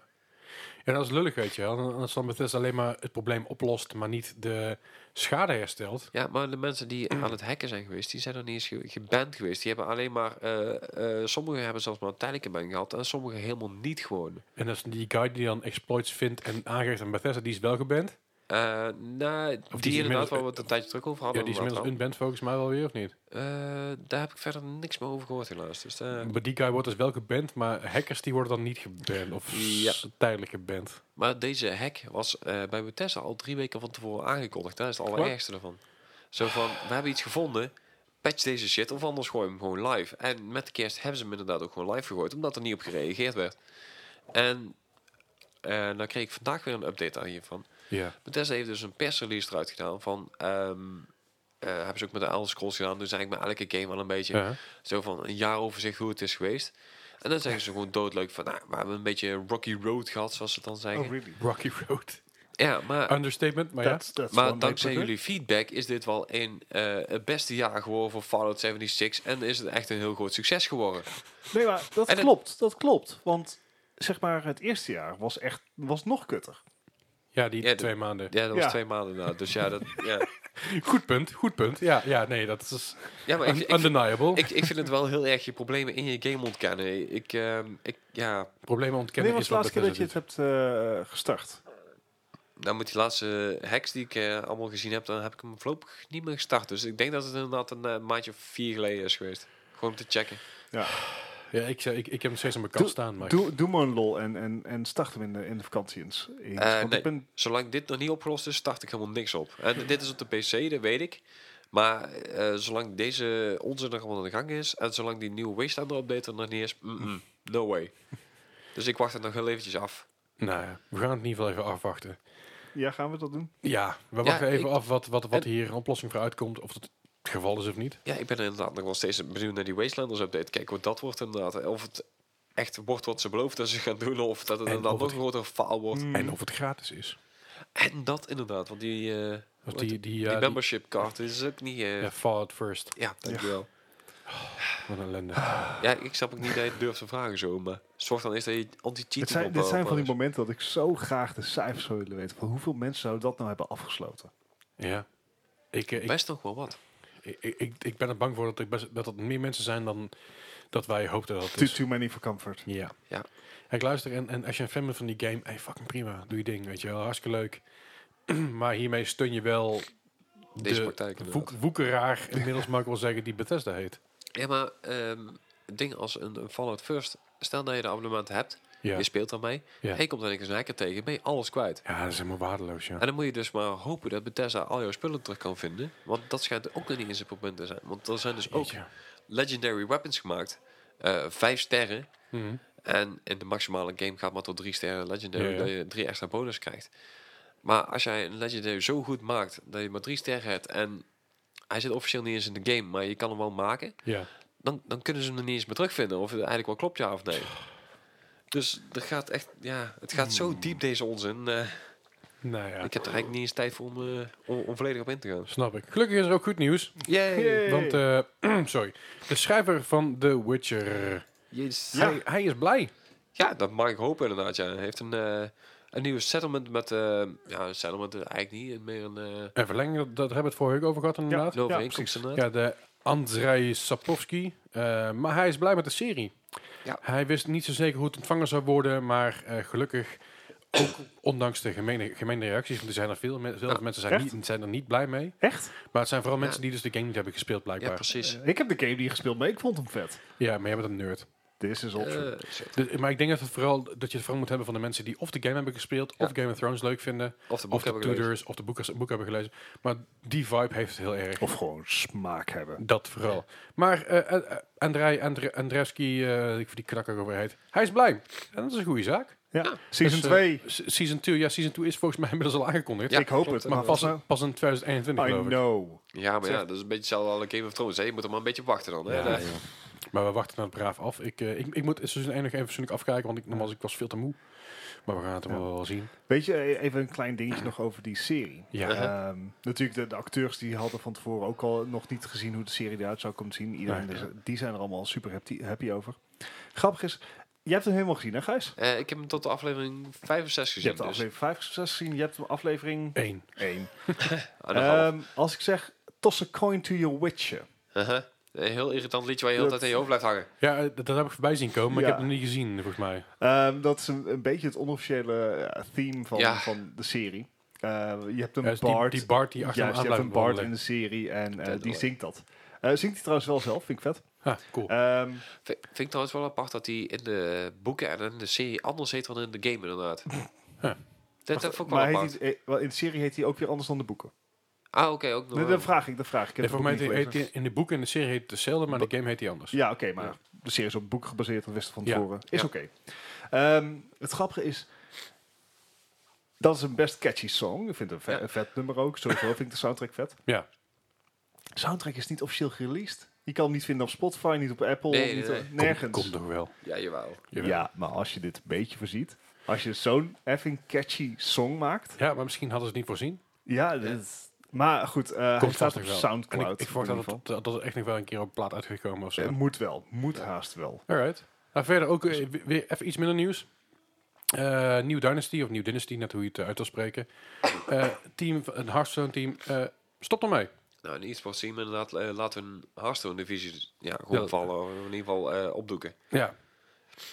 Ja, dat is lullig, weet je wel. En Als dan Bethesda alleen maar het probleem oplost, maar niet de schade herstelt. Ja, maar de mensen die Mm. aan het hacken zijn geweest, die zijn er niet eens ge- geband geweest. Die hebben alleen maar, eh, eh, sommigen hebben zelfs maar een tijdelijke ban gehad en sommigen helemaal niet gewoon. En dat is die guy die dan exploits vindt en aangeeft aan Bethesda, die is wel geband. Eh, nou, die, is inderdaad inmiddels- waar we het een tijdje terug over Ja, hadden. die is inderdaad inmiddels unband volgens mij wel weer, of niet? wel. Eh, daar heb ik verder niks meer over gehoord helaas. Dus, eh, Maar die guy wordt dus wel geband, maar hackers die worden dan niet geband. Of Ja. s- tijdelijk geband. maar deze hack was eh, bij Bethesda al drie weken van tevoren aangekondigd. Dat is het allerergste ervan. Zo van, we hebben iets gevonden, patch deze shit of anders gooi hem gewoon live. En met de kerst hebben ze hem inderdaad ook gewoon live gegooid, omdat er niet op gereageerd werd. En eh dan kreeg ik vandaag weer een update aan hiervan. Ja. Bethesda heeft dus een persrelease eruit gedaan van... ehm, eh, hebben ze ook met de Elder Scrolls gedaan. Dus eigenlijk met elke game wel een beetje. Ja. Zo van een jaar overzicht hoe het is geweest. En dan zeggen ze gewoon doodleuk van... Nou, we hebben een beetje Rocky Road gehad, zoals ze het dan zeggen. Oh, really? Rocky Road. ja, maar, Understatement, maar ja. That's- that's one maar way dankzij to put it. jullie feedback is dit wel een, eh, het beste jaar geworden voor Fallout 76. En is het echt een heel groot succes geworden. Nee, maar dat En het- klopt. Dat klopt. Want zeg maar, het eerste jaar was echt was nog kutter. Ja, die Ja, de- twee maanden. Ja, dat was Ja. twee maanden na. Dus ja, dat... Ja, Goed punt, goed punt. Ja, ja nee, dat is ja maar ik, un- ik, undeniable. ik, ik vind het wel heel erg je problemen in je game ontkennen. Ik, ehm, ik ja... Problemen Wanneer ontkennen was is de wat laatste keer dat je Bethesda het hebt eh, gestart? Nou, met die laatste hacks die ik eh, allemaal gezien heb, dan heb ik hem voorlopig niet meer gestart. Dus ik denk dat het inderdaad een eh, maandje of vier geleden is geweest. Gewoon om te checken. doet. Ja, ik, zei- ik, ik heb hem steeds aan mijn kant Doe- staan. Maar Doe, doe maar een lol en, en, en start hem in de, in de vakantie eens. eens. Eh, Want nee. ik ben, Zolang dit nog niet opgelost is, start ik helemaal niks op. En dit is op de PC, dat weet ik. Maar eh, zolang deze onzin nog allemaal aan de gang is, en zolang die nieuwe Wastelander update er nog niet is, mm, mm, no way. Dus ik wacht het nog heel eventjes af. Nou ja, we gaan het in ieder geval even afwachten. ja, gaan we dat doen? Ja, we wachten even ik- af wat, wat, wat en- hier een oplossing voor uitkomt. Of dat het geval is of niet. Ja, ik ben inderdaad nog wel steeds benieuwd naar die Wastelanders update. Kijken wat dat wordt inderdaad. eh, Of het echt wordt wat ze beloofd dat ze gaan doen, of dat het En inderdaad of nog het- een grotere faal wordt. Hmm. En of het gratis is. En dat inderdaad, want die, eh, Dus wat- die, die, die, ja, die- membership card is ook niet... eh, ja, Fallout First. ja, dankjewel. Wat een ellende. Ja. ik snap ook niet dat je het durft te vragen zo, maar zorg dan eens dat je eh, anti-cheat Dit zijn, dit zijn van die momenten dat ik zo graag de cijfers zou willen weten. Van hoeveel mensen zouden dat nou hebben afgesloten? Ja. Ik, eh, ik, Best nog wel wat. ik, ik, ik ben er bang voor dat, ik best, dat het meer mensen zijn dan dat wij hoopten dat het Too, is. too many for comfort. Ja. Ja. Ik luister en, en als je een fan bent van die game, hey, fucking prima, doe je ding, weet je wel, hartstikke leuk. maar hiermee stun je wel Deze de praktijk inderdaad. woek- woekeraar inmiddels mag ik wel zeggen die Bethesda heet. Ja, maar ehm, het ding als een, een Fallout First, stel dat je de abonnement hebt, Ja, je speelt daarmee, Ja. en je komt dan een keer een hacker tegen, ben je alles kwijt. ja dat is helemaal waardeloos, ja. En dan moet je dus maar hopen dat Bethesda al jouw spullen terug kan vinden, want dat schijnt ook nog niet in zijn probleem te zijn. Want er zijn dus ook Jeetje. legendary weapons gemaakt, eh, vijf sterren, Mhm. en in de maximale game gaat maar tot drie sterren legendary, Ja, ja. dat je drie extra bonus krijgt. Maar als jij een legendary zo goed maakt, dat je maar drie sterren hebt, en hij zit officieel niet eens in de game, maar je kan hem wel maken, Ja. dan, dan kunnen ze hem er niet eens meer terugvinden. Of het eigenlijk wel klopt, ja of nee. Dus er gaat echt, ja, het gaat zo diep deze onzin. eh, Nou Hmm. ja, Ik heb er eigenlijk niet eens tijd voor om, eh, om, om volledig op in te gaan. snap ik. Gelukkig is er ook goed nieuws. Yay! Yay. Want, eh, sorry, de schrijver van The Witcher, Jezus. Ja. hij, hij is blij. Ja, dat mag ik hopen inderdaad, ja. Hij heeft een, eh, een nieuwe settlement met... eh, ja, een settlement is eigenlijk niet. Meer een eh En verlenging, dat, dat hebben we het vorige week over gehad inderdaad. een overeenkomst precies. inderdaad. Ja, de Andrei Sapkowski. Eh, maar hij is blij met de serie. Ja. Hij wist niet zo zeker hoe het ontvangen zou worden, maar eh, gelukkig, ook ondanks de gemene, gemene reacties, want er zijn er veel, me- veel Ja, mensen zijn, echt? niet, zijn er niet blij mee. Echt? Maar het zijn vooral Ja. mensen die dus de game niet hebben gespeeld Ja, blijkbaar. Ja, precies. Ik heb de game niet gespeeld, maar ik vond hem vet. maar jij bent een nerd. This is option. Eh, shit. Dus- maar ik denk dat, het vooral, dat je het vooral moet hebben van de mensen die of de game hebben gespeeld, of Game of Thrones leuk vinden, of de boek of de hebben gelezen. Tudors, of de boek, boek hebben gelezen. Maar die vibe heeft het heel erg. of gewoon smaak hebben. Dat vooral. Maar eh eh, eh, Andrei Andre, Andreevski, eh, ik vind die knakker over heet, hij is blij. En dat is een goede zaak. Ja. Season Dus, eh, 2. S- Season 2, ja, Season 2 is volgens mij inmiddels al aangekondigd. ja, ik hoop klopt, het, maar pas, pas nou. pas in 2021 I geloof ik. know. Ja, maar ja, dat is een beetje hetzelfde als Game of Thrones. Hè. Je moet er maar een beetje op wachten dan. Hè. Ja, Eh, Maar we wachten het braaf af. Ik, eh, ik, ik moet seizoen 1 nog even persoonlijk afkijken, want ik, nogmaals, ik was veel te moe. Maar we gaan het Ja. wel wel zien. Weet je, eh, even een klein dingetje nog over die serie. Ja. Eh, Ehm, natuurlijk, de, de acteurs die hadden van tevoren ook al nog niet gezien hoe de serie eruit zou komen te zien. Iedereen, Nee. is- die zijn er allemaal super happy, happy over. Grappig is, jij hebt hem helemaal gezien hè Gijs? eh, ik heb hem tot de aflevering 5 of 6 Je gezien. hebt de dus. aflevering 5 of 6 gezien, je hebt de aflevering Eén. 1. Anderhalf. als ik zeg, toss a coin to your witcher. Uh-huh. Een heel irritant liedje waar je heel de hele tijd in je hoofd blijft hangen. Ja, eh, dat, dat heb ik voorbij zien komen, maar Ja. ik heb hem niet gezien, volgens mij. Ehm, dat is een, een beetje het onofficiële eh, theme van, Ja. van de serie. Eh, je hebt een Ja, dus die, bard. die Bart die achter Juist, hem je aan hebt blijft een bard in wandelen. de serie en eh, Dead die Alive. zingt dat. Eh, zingt hij trouwens wel zelf, vind ik vet. Ah, cool. Ehm, Vind, vind ik trouwens wel apart dat hij in de boeken en in de serie anders heet dan in de game inderdaad. Ja. Dat, dat vond ik wel maar apart. heet hij, eh, wel, in de serie heet hij ook weer anders dan de boeken. Ah, oké, ook nog. Nee, wel. dat vraag ik, dat vraag ik. ik. Nee, heb de volgens mij boeken heet niet gelezen. die- in de boeken en de serie heet het hetzelfde, maar in de game heet hij anders. Ja, oké, maar de serie is op boek gebaseerd, dat wisten we van Ja. tevoren. Is Ja. oké. Ehm, het grappige is, dat is een best catchy song. Ik vind het een vet, Ja. een vet nummer ook. Sowieso vind ik de soundtrack vet. Ja. Soundtrack is niet officieel gereleased. Je kan hem niet vinden op Spotify, niet op Apple, Nee, nee, niet, nee. eh, Kom- nergens. Komt toch wel. Ja, jawel. Jawel. Ja, maar als je dit een beetje voorziet. Als je zo'n effing catchy song maakt. Ja, maar misschien hadden ze het niet voorzien. Ja, dit is- maar goed, eh hij Komt staat vast op nog wel. En Soundcloud. ik, ik in verwacht ieder dat, het- dat er echt nog wel een keer op plaat uitgekomen of zo. geval. Eh, moet wel, moet haast wel. Alright. Nou, verder ook eh, we- weer even iets minder nieuws. Eh New Dynasty, of New Dynasty, net hoe je het eh, uit wil spreken. Eh, team, van- een Hearthstone team, eh stop ermee. Nou, in e-sports zien we inderdaad, eh, laten we een Hearthstone-divisie ja, gewoon Ja. vallen. Of in ieder geval eh, opdoeken. Ja.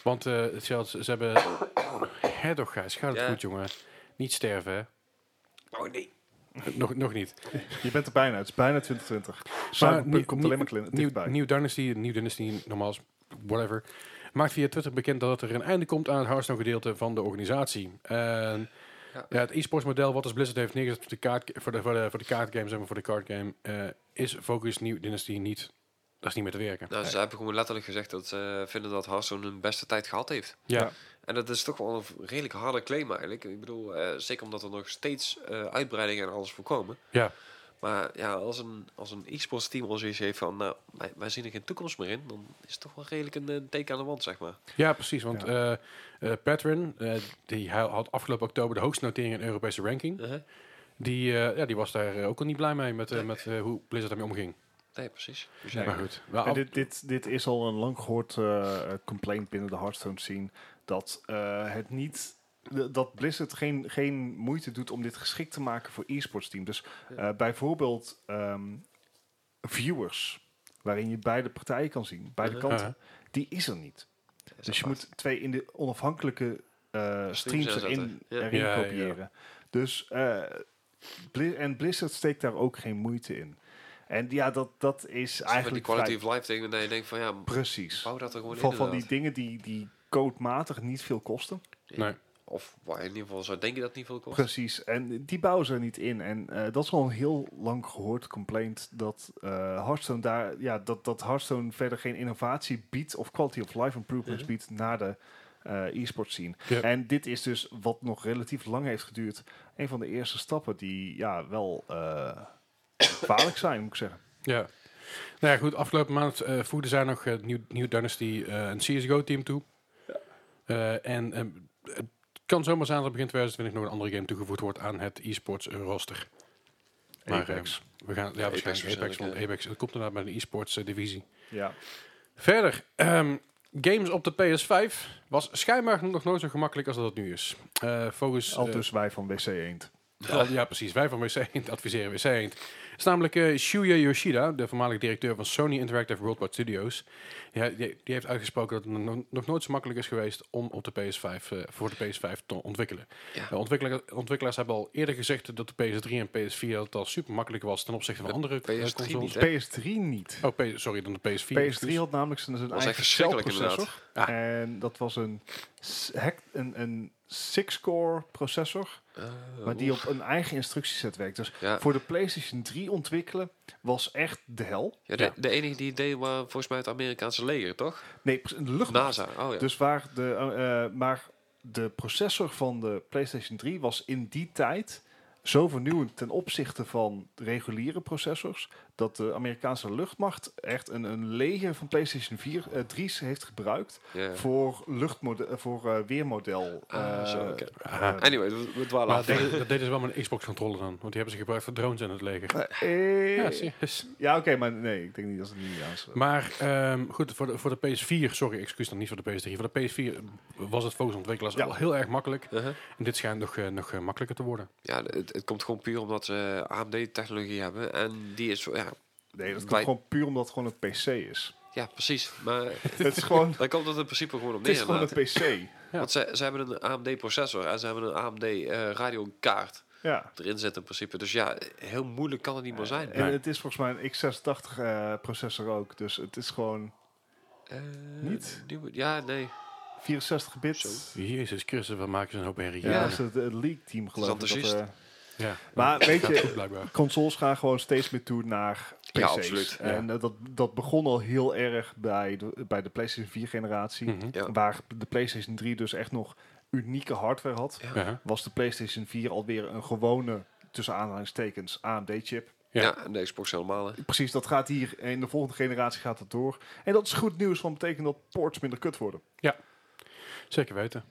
Want eh, zelfs ze hebben... Hè toch, Gijs, gaat het Ja. goed, jongen? Niet sterven, hè? Oh nee. Nog, nog niet. Je bent er bijna, het is bijna 2020. Cyberpunk nieuw- komt alleen maar nieuw- klin- Nieuw, dichtbij. nieuw Dynasty, Nieuw Dynasty, normaal is whatever, maakt via Twitter bekend dat er een einde komt aan het Hearthstone-gedeelte van de organisatie. En Ja. ja. het e-sports model wat dus Blizzard heeft neergezet voor de, kaart, voor de, voor de, voor de kaartgame, zeg maar, voor de cardgame, eh, is Focus Nieuw Dynasty niet, dat is niet meer te werken. Nou, ze hebben gewoon letterlijk gezegd dat ze eh, vinden dat Hearthstone hun beste tijd gehad heeft. ja. ja. En dat is toch wel een redelijk harde claim eigenlijk. Ik bedoel, eh, zeker omdat er nog steeds eh, uitbreidingen en alles voorkomen. Ja. Maar ja, als een, als een e-sports team al zoiets heeft van, nou, wij, wij zien er geen toekomst meer in, dan is het toch wel redelijk een, eh, teken aan de wand, zeg maar. Ja, precies. Want eh eh, Patron, eh, die ha- had afgelopen oktober de hoogste notering in de Europese ranking. Uh-huh. Die, eh, ja, die was daar eh, ook al niet blij mee met, eh, met eh, hoe Blizzard daarmee omging. Nee, precies. Dus Nee. ja, Maar goed. Wel En af- dit, dit, dit is al een lang gehoord eh, eh, complaint binnen de Hearthstone scene. Dat eh, het niet. de- Dat Blizzard geen, geen moeite doet om dit geschikt te maken voor e-sports team. Dus eh, bijvoorbeeld ehm, viewers, waarin je beide partijen kan zien, beide Mhm. kanten, Ja. die is er niet. is Dus je apart. moet twee in de onafhankelijke eh, streams aanzetten. erin, Ja. erin Ja, ja, ja. kopiëren. Dus eh, Bli- en Blizzard steekt daar ook geen moeite in. En ja, dat, dat is Eigenlijk eigenlijk die quality vrij- of life dingen dat je denkt van ja, m- precies. bouw dat er gewoon Van, in. van die inderdaad. dingen die, die codematig niet veel kosten. Nee. Of waar je in ieder geval zou denken dat het niet veel kost. Precies, en die bouwen ze er niet in. En eh, dat is al een heel lang gehoord complaint dat eh Hearthstone daar, ja, dat, dat Hearthstone verder geen innovatie biedt of quality of life improvements Mhm. biedt naar de eh e-sport scene. Ja. En dit is dus wat nog relatief lang heeft geduurd, een van de eerste stappen die ja, wel eh gevaarlijk zijn, moet ik zeggen. Ja. Nou ja, goed. Afgelopen maand eh voegden zij nog eh, New, New Dynasty eh een CSGO-team toe. Eh, en ehm, het kan zomaar zijn dat er begin 2020 nog een andere game toegevoegd wordt aan het e-sports roster. Maar, Apex. eh, we gaan, ja, Apex waarschijnlijk Apex, waarschijnlijk, want ja. Apex het komt inderdaad bij de e-sports eh, divisie. Ja. Verder, ehm, games op de PS5 was schijnbaar nog nooit zo gemakkelijk als dat het nu is. Eh volgens... Al eh, dus wij van WC Eend. ja. ja, precies. Wij van WC Eend adviseren WC Eend. Het is namelijk eh, Shuya Yoshida, de voormalig directeur van Sony Interactive Worldwide Studios. Ja, die, die heeft uitgesproken dat het nog- nog nooit zo makkelijk is geweest om op de PS5, eh, voor de PS5 te ontwikkelen. Ja. Eh, ontwikkelaar- ontwikkelaars hebben al eerder gezegd dat de PS3 en PS4 dat het al super makkelijk was ten opzichte van De andere eh, PS3 consoles. niet, hè? PS3 niet. Oh, P- dus. sorry, dan de PS4. PS3 excuus. had namelijk zijn, zijn was echt eigen verschrikkelijk celprocessor. inderdaad. En dat was een, s- hec- een, een six-core processor, Eh, maar die oeh. op een eigen instructieset werkt. Dus ja. voor de PlayStation 3 ontwikkelen was echt de hel. Ja, de, Ja. de enige die het deed was volgens mij het Amerikaanse leger, toch? Nee, pres- de luchtmacht. NASA. Oh ja. Dus waar de, eh, eh, maar de processor van de PlayStation 3 was in die tijd zo vernieuwend ten opzichte van de reguliere processors, dat de Amerikaanse luchtmacht echt een, een leger van PlayStation 4, eh 3's heeft gebruikt Ja. voor, luchtmode- eh, voor eh, weermodel. Ah, eh, zo, oké. Ah. eh, Anyway, we, we dwalen Maar af. dat deden- dat deden ze wel met een Xbox-controller dan, want die hebben ze gebruikt voor drones in het leger. eh, Ah, Ja, serieus. ja, oké, maar nee, ik denk niet dat ze het niet aan zullen. Maar ehm, goed, voor de, voor de PS4, sorry, excuus dan niet voor de PS3. Voor de PS4 was het volgens ontwikkelaars Ja. al heel erg makkelijk. Uh-huh. En dit schijnt nog, eh, nog eh, makkelijker te worden. Ja, het, het komt gewoon puur omdat ze AMD-technologie hebben. En die is... zo- Ja, Nee, dat komt Wij- gewoon puur omdat het gewoon een PC is. ja precies. Maar het is gewoon, daar komt het in principe gewoon op het neer. is gewoon een inderdaad. PC. Ja. Want ze, ze hebben een AMD-processor en ze hebben een AMD-radiokaart Ja. eh, erin zitten in principe. Dus ja, heel moeilijk kan het niet meer zijn. En het is volgens mij een x86 eh, processor ook. Dus het is gewoon Eh, niet? nieuwe- ja, nee. 64 bits. Zo. Jezus Christus, wat maken ze een hoop herrie. Ja, Ja, dat is het, het League team geloof ik. Het is Dat, enthousiast. eh, ja. maar weet Gaat goed, je, blijkbaar. consoles gaan gewoon steeds meer toe naar PC's. Ja, absoluut. Ja. En eh, dat, dat begon al heel erg bij de, bij de PlayStation 4 generatie. Mhm. Ja. Waar de PlayStation 3 dus echt nog unieke hardware had. Ja. Ja. Was de PlayStation 4 alweer een gewone, tussen aanhalingstekens, AMD-chip. Ja. Ja. en de Xbox helemaal. hè. Precies, dat gaat hier. In de volgende generatie gaat dat door. En dat is goed nieuws, want betekent dat ports minder kut worden. Zeker weten.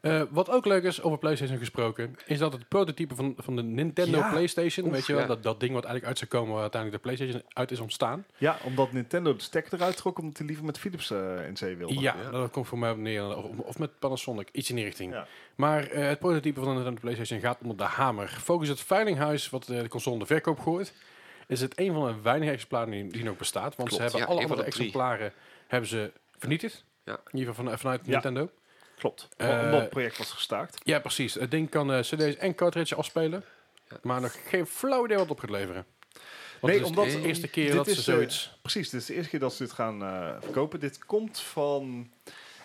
Eh, wat ook leuk is, over PlayStation gesproken, is dat het prototype van, van de Nintendo Ja. PlayStation, Oef, weet je wel, ja. dat, dat ding wat eigenlijk uit zou komen waar uiteindelijk de PlayStation uit is ontstaan. Ja, omdat Nintendo de stekker eruit trok, omdat hij liever met Philips eh, in zee wilde. Ja, Ja. dat komt voor mij op neer. Of, of met Panasonic, iets in die richting. Ja. Maar eh, het prototype van de Nintendo PlayStation gaat onder de hamer. Volgens het veilinghuis wat eh, de console in de verkoop gooit, is het een van de weinige exemplaren die, die nog bestaat. Want Klopt, ze hebben ja, alle een van andere de drie. exemplaren hebben ze vernietigd. Ja. In ieder geval van, eh, vanuit Ja. Nintendo. Klopt. Eh, Om- omdat het project was gestaakt. Ja, precies. Het ding kan eh, cd's en cartridges afspelen. Ja. Maar nog geen flauw idee wat op gaat leveren. Want Nee, het is omdat- de eerste keer dit dat is, ze eh, zoiets... Precies, dit is de eerste keer dat ze dit gaan eh, verkopen. Dit komt van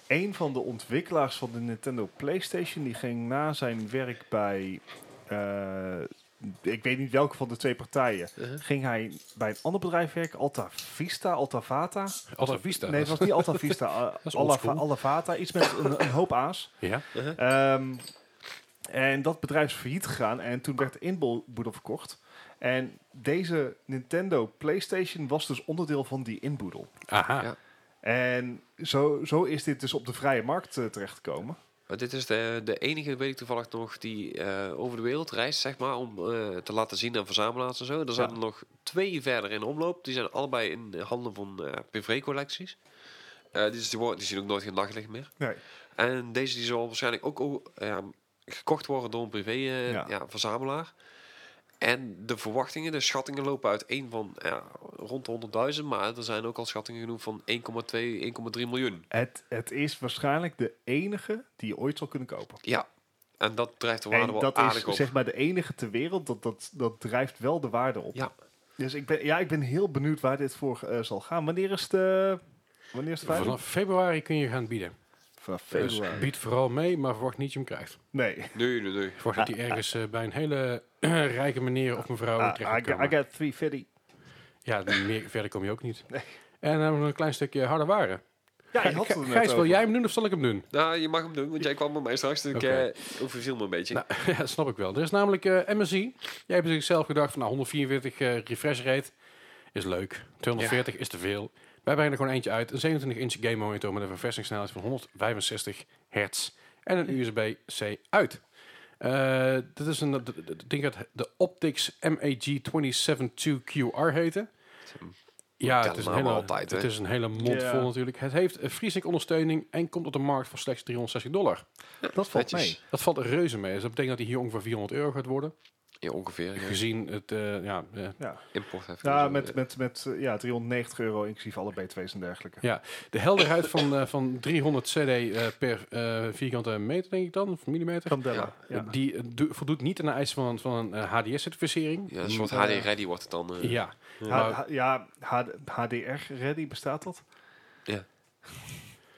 een van de ontwikkelaars van de Nintendo PlayStation. Die ging na zijn werk bij, eh, ik weet niet welke van de twee partijen, Uh-huh. ging hij bij een ander bedrijf werken, Alta Vista, Alta Vata. Alta Vista. Nee, het was niet Alta Vista, is Alta oldschool. Alta Vata, iets met een, een hoop a's. Ja, Uh-huh. Ehm, en dat bedrijf is failliet gegaan en toen werd de inboedel verkocht. En deze Nintendo PlayStation was dus onderdeel van die inboedel. aha. Ja. En zo, zo is dit dus op de vrije markt eh, terechtgekomen. Maar dit is de, de enige, weet ik toevallig nog, die eh, over de wereld reist, zeg maar, om eh, te laten zien aan verzamelaars en zo. Er zijn Ja. er nog twee verder in omloop. Die zijn allebei in de handen van eh privécollecties. Eh, die, is- die, worden- die zien ook nooit geen daglicht meer. Nee. En deze die zal waarschijnlijk ook o- ja, gekocht worden door een privé eh, Ja. ja. verzamelaar. En de verwachtingen, de schattingen lopen uit één van ja, rond de 100.000, maar er zijn ook al schattingen genoemd van 1,2, 1,3 miljoen. Het, het is waarschijnlijk de enige die je ooit zal kunnen kopen. Ja, En dat drijft de waarde En wel dat aardig is op. zeg maar de enige ter wereld, dat, dat, dat drijft wel de waarde op. Ja, Dus ik ben, ja, ik ben heel benieuwd waar dit voor eh, zal gaan. Wanneer is het, eh, wanneer is het veilig? Vanaf februari kun je gaan bieden. Vanaf Dus bied vooral mee, maar verwacht niet dat je hem krijgt. Nee, nee, nee, nee. Verwacht dat hij ergens eh, bij een hele rijke meneer of mevrouw Ah, terecht gaat I, got- I komen. got 350. Ja, meer, verder kom je ook niet. Nee. En dan hebben we nog een klein stukje harde waren. Ja, je Gij- had het er net Gijs, wil over. jij hem doen of zal ik hem doen? Nou, je mag hem doen, want jij kwam bij mij straks. Dus Oké. ik eh, overviel me een beetje. Nou, ja, snap ik wel. Er is namelijk eh MSI. Jij hebt zichzelf gedacht van nou, 144 eh, refresh rate is leuk. 240 is te veel. Wij brengen er gewoon eentje uit. Een 27-inch game monitor met een verversingssnelheid van 165 hertz. En een USB-C uit. Eh, dit is een d- d- d- ding dat de Optics MAG272QR heten. Ja, het is, een namen hele, nou altijd, hè? het is een hele mond Ja. vol natuurlijk. Het heeft eh, FreeSync ondersteuning en komt op de markt voor slechts 360 dollar. Dat valt mee. Netjes. Dat valt reuze mee. Dus dat betekent dat hij hier ongeveer 400 euro gaat worden. Ja, ongeveer. ja. Gezien het, eh, ja, eh, Ja, Importheffing. ja en zo, met, met, met eh, ja, 390 euro inclusief alle btw's en dergelijke. ja, de helderheid van, eh, van 300 cd eh, per eh, vierkante meter, denk ik dan, of millimeter. Candela. Ja. Eh, Die eh, do- voldoet niet aan de eisen van, een- van een HDS-certificering. eh, Ja, een soort HD-ready wordt het dan. eh. Ja, H- maar H- ja, H- HDR ready bestaat dat?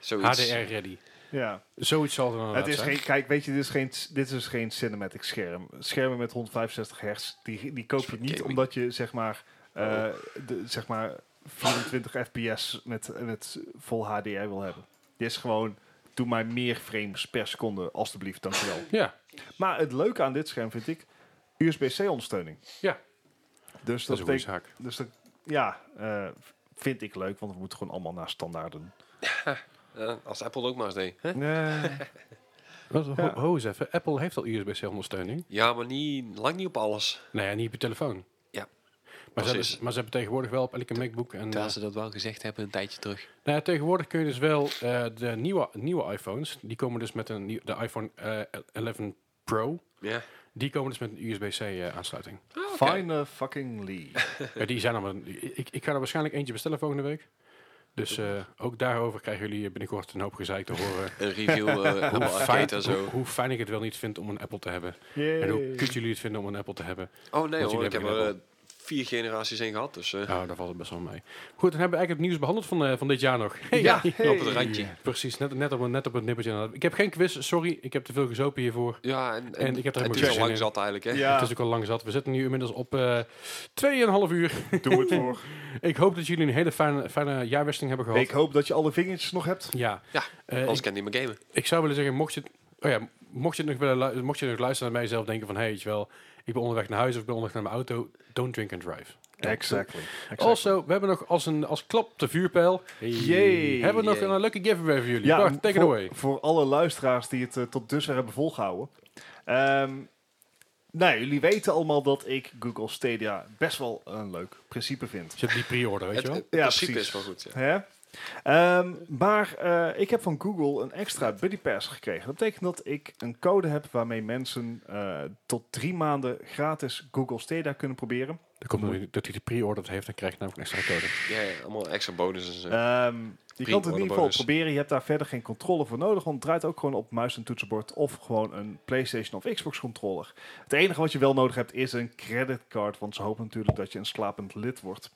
zoiets. HDR-ready. Ja. Zoiets zal er dan Het is zijn. geen, kijk, weet je, dit is geen, dit is geen cinematic scherm. Schermen met 165 hertz, die, die koop je Voor niet gaming. omdat je zeg maar, Oh. eh, de, zeg maar 24 fps met, met vol HDR wil hebben. Dit is gewoon, doe mij meer frames per seconde, alstublieft, dankjewel. Ja, maar het leuke aan dit scherm vind ik USB-C ondersteuning. Ja. Dus dat dat, is een goede betekent, zaak. dus dat, ja, eh, vind ik leuk, want we moeten gewoon allemaal naar standaarden. Ja, als Apple ook maar eens deed. hè? Wat, ho, Ja. ho eens even, Apple heeft al USB-C-ondersteuning. Ja, maar niet, lang niet op alles. Nee, ja, niet op je telefoon. Ja. Maar ze, hebben, Precies. maar ze hebben tegenwoordig wel op elke MacBook. En, eh, ze dat wel gezegd hebben een tijdje terug. Nou ja, tegenwoordig kun je dus wel eh, de nieuwe, nieuwe iPhones, die komen dus met een, nieuw- de iPhone eh, 11 Pro, Ja. die komen dus met een USB-C eh, aansluiting. Ah, Fine fucking Lee. Eh, die zijn allemaal, ik, ik ga er waarschijnlijk eentje bestellen volgende week. Dus eh, ook daarover krijgen jullie binnenkort een hoop gezeik te horen. Een review eh Hoe Apple fijn, Arcade en hoe, zo. hoe fijn ik het wel niet vind om een Apple te hebben. En hoe kut jullie het vinden om een Apple te hebben. Oh nee jullie hoor, ik hebben heb geen er eh, vier generaties in gehad. Dus eh, Nou, daar valt het best wel mee. Goed, dan hebben we eigenlijk het nieuws behandeld van, eh, van dit jaar nog. ja, op het randje. Precies, net, net, op, een- net op het nippertje. Ik heb geen quiz, sorry. Ik heb te veel gezopen hiervoor. Ja, en, En ik heb er helemaal het geen is al zin in. lang zat eigenlijk. Hè? Ja, Het is ook al lang zat. We zitten nu inmiddels op eh 2,5 uur. doe het voor. Ik hoop dat jullie een hele fijne, fijne jaarwisseling hebben gehad. Ik hoop dat je alle vingertjes nog hebt. ja. Ja, Eh, Anders ik, kan ik niet meer gamen. ik zou willen zeggen, mocht je, het- oh ja, mocht je het nog willen lu- mocht je nog luisteren naar mijzelf, denken van, hé, hey, weet je wel, ik ben onderweg naar huis of ik ben onderweg naar mijn auto. Don't drink and drive. Exactly. Also, we hebben nog als, een, als klap op de vuurpijl, Yay. hebben we nog Yay. een leuke giveaway voor jullie. Ja, Bart, take it voor, away. voor alle luisteraars die het eh, tot dusver hebben volgehouden. Ehm, nou, jullie weten allemaal dat ik Google Stadia best wel een leuk principe vind. Dus je hebt die pre-order, weet Het, je wel? het principe precies. is wel goed. Ja. Hè? Ehm, maar eh, ik heb van Google een extra buddy pass gekregen. Dat betekent dat ik een code heb waarmee mensen eh, tot drie maanden gratis Google Stadia kunnen proberen. Dat komt omdat hij- dat hij de pre-order heeft, dan krijg je namelijk een extra code. Ja, ja, allemaal extra bonus en zo. Ehm, je kan het in ieder geval ordebonus. proberen. Je hebt daar verder geen controle voor nodig. Want het draait ook gewoon op muis en toetsenbord. Of gewoon een PlayStation of Xbox controller. Het enige wat je wel nodig hebt is een creditcard. Want ze hopen natuurlijk dat je een slapend lid wordt.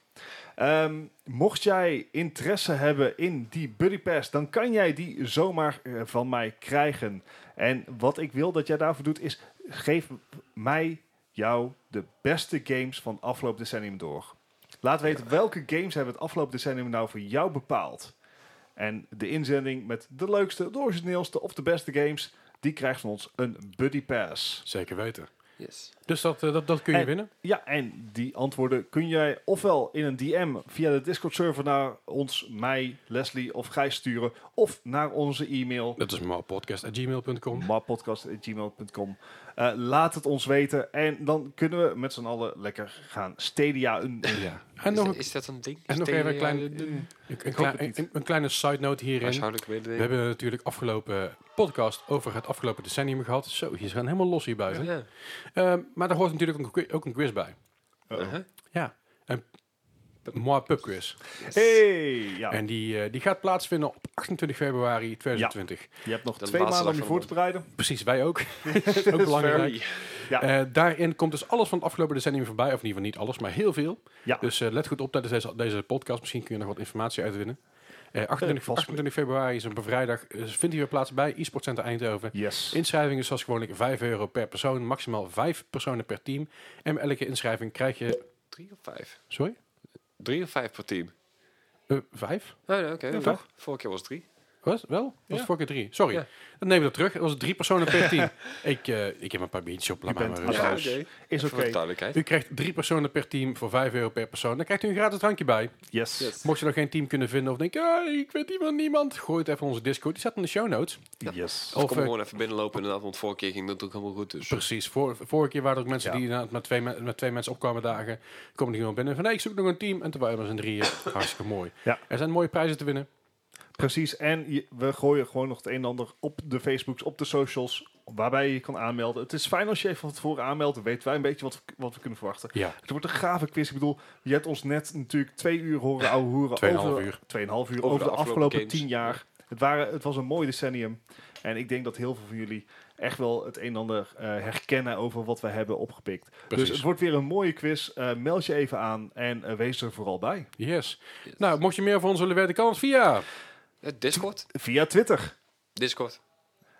Ehm, mocht jij interesse hebben in die Buddy Pass, dan kan jij die zomaar eh, van mij krijgen. En wat ik wil dat jij daarvoor doet, is geef mij jou de beste games van afgelopen decennium door. Laat weten welke games hebben het afgelopen decennium nou voor jou bepaald. En de inzending met de leukste, de origineelste of de beste games, die krijgt van ons een Buddy Pass. Zeker weten. yes. Dus dat, eh, dat, dat kun je En- winnen. Ja, en die antwoorden kun jij ofwel in een DM via de Discord-server naar ons, mij, Leslie of Gijs sturen, of naar onze e-mail Dat is mapodcast.gmail.com. mappodcast.gmail.com. Eh, laat het ons weten en dan kunnen we met z'n allen lekker gaan stadia. Een, Ja. En is, nog, dat, is dat een ding? en nog Stadia, even een, klein, eh, een, een, hoop het klein- niet. een- een kleine side note hierin. Huishoudelijk We mededeling. hebben natuurlijk afgelopen podcast over het afgelopen decennium gehad. Zo, je gaan helemaal los hier buiten. Oh, Ja. Eh, oh. Ehm, maar daar hoort natuurlijk ook een, qui- ook een quiz bij. Uh-oh. Uh-huh. Ja. En Moi Pub Quiz. Hey! Ja. En die, eh, die gaat plaatsvinden op 28 februari 2020. je hebt nog De twee laatste maanden om dag je voor van te de bereiden. Precies, wij ook. ook belangrijk. Ja. Eh, daarin komt dus alles van het afgelopen decennium voorbij. Of in ieder geval niet alles, maar heel veel. Ja. Dus eh, let goed op tijdens deze, deze podcast. Misschien kun je nog wat informatie uitwinnen. Eh, 28, vast. 28 februari is een bevrijdag. Eh, vindt hier weer plaats bij e-sport Center Eindhoven. Yes. Inschrijving is zoals gewoonlijk 5 euro per persoon. Maximaal 5 personen per team. En bij elke inschrijving krijg je... Drie of vijf? Sorry? Drie of vijf per team? Eh, vijf? Nou, nee, oké. Ja, toch? Vorige keer was het drie. Wat? Wel? Dat was Ja. vorige keer drie. Sorry. Ja. Dan nemen we dat terug. Dat was drie personen per team. ik, eh, ik heb een paar biertjes op. Laat Je maar bent maar Ja, rustig. applaus. Is Voor de oké. duidelijkheid. U krijgt drie personen per team voor 5 euro per persoon. Dan krijgt u een gratis drankje bij. Yes. Yes. Mocht je nog geen team kunnen vinden of denken, ah, ik weet iemand, niemand, gooi het even in onze Discord. Die staat in de show notes. Of, Of Yes. Dus kom eh, gewoon even binnenlopen inderdaad, want vorige keer ging dat ook helemaal goed. Dus. Precies. Voor, vorige keer waren er ook mensen Ja. die inderdaad met twee, me- met twee mensen opkwamen dagen. Komen die gewoon binnen van, nee, ik zoek nog een team. En toen waren we met z'n drieën. Hartstikke mooi. Ja. Er zijn mooie prijzen te winnen. Precies. En je- we gooien gewoon nog het een en ander op de Facebooks, op de socials, waarbij je je kan aanmelden. Het is fijn als je even van tevoren aanmeldt. Dan weten wij een beetje wat we, wat we kunnen verwachten. Ja. Het wordt een gave quiz. Ik bedoel, je hebt ons net natuurlijk twee uur horen ouwe hoeren. Tweeënhalf over- uur. Tweeënhalf uur Over over, de de afgelopen afgelopen games. tien jaar. Het, waren, het was een mooi decennium. En ik denk dat heel veel van jullie echt wel het een en ander eh, herkennen over wat we hebben opgepikt. Precies. Dus het wordt weer een mooie quiz. Eh, meld je even aan en eh, wees er vooral bij. Yes. Nou, mocht je meer van ons willen weten, kan het via. Eh, Discord? Via Twitter, Discord.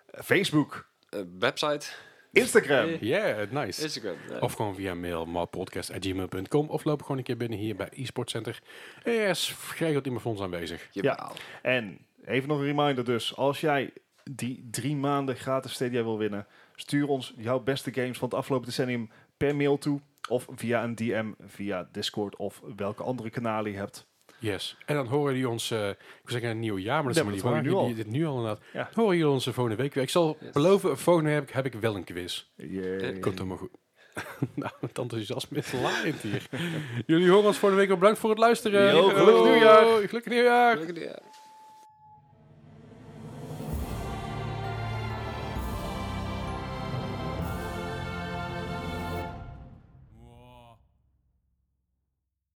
Facebook, Eh, website? Instagram. Eh, Yeah, nice. Instagram. Eh, Of gewoon via mail, mapodcast.gmail.com. Of loop gewoon een keer binnen hier bij eSport Center. Er is geregeld iemand van ons aanwezig. je ja. baal. En even nog een reminder dus. Als jij die drie maanden gratis Stadia wil winnen, stuur ons jouw beste games van het afgelopen decennium per mail toe. Of via een DM, via Discord of welke andere kanalen je hebt. Yes. En dan horen jullie ons, eh, ik wil zeggen een nieuw jaar, maar dat Ja, is maar helemaal niet dat waar. hoor je Jullie- nu Dit nu al inderdaad. Ja. Horen jullie onze volgende week weer. Ik zal Yes. beloven, volgende heb ik, heb ik wel een quiz. Yay. Komt helemaal goed. nou, het enthousiasme is laaiend hier. jullie horen ons volgende week. wel. Bedankt voor het luisteren. Yo, gelukkig Hoi. nieuwjaar. Gelukkig nieuwjaar. Leuk idee.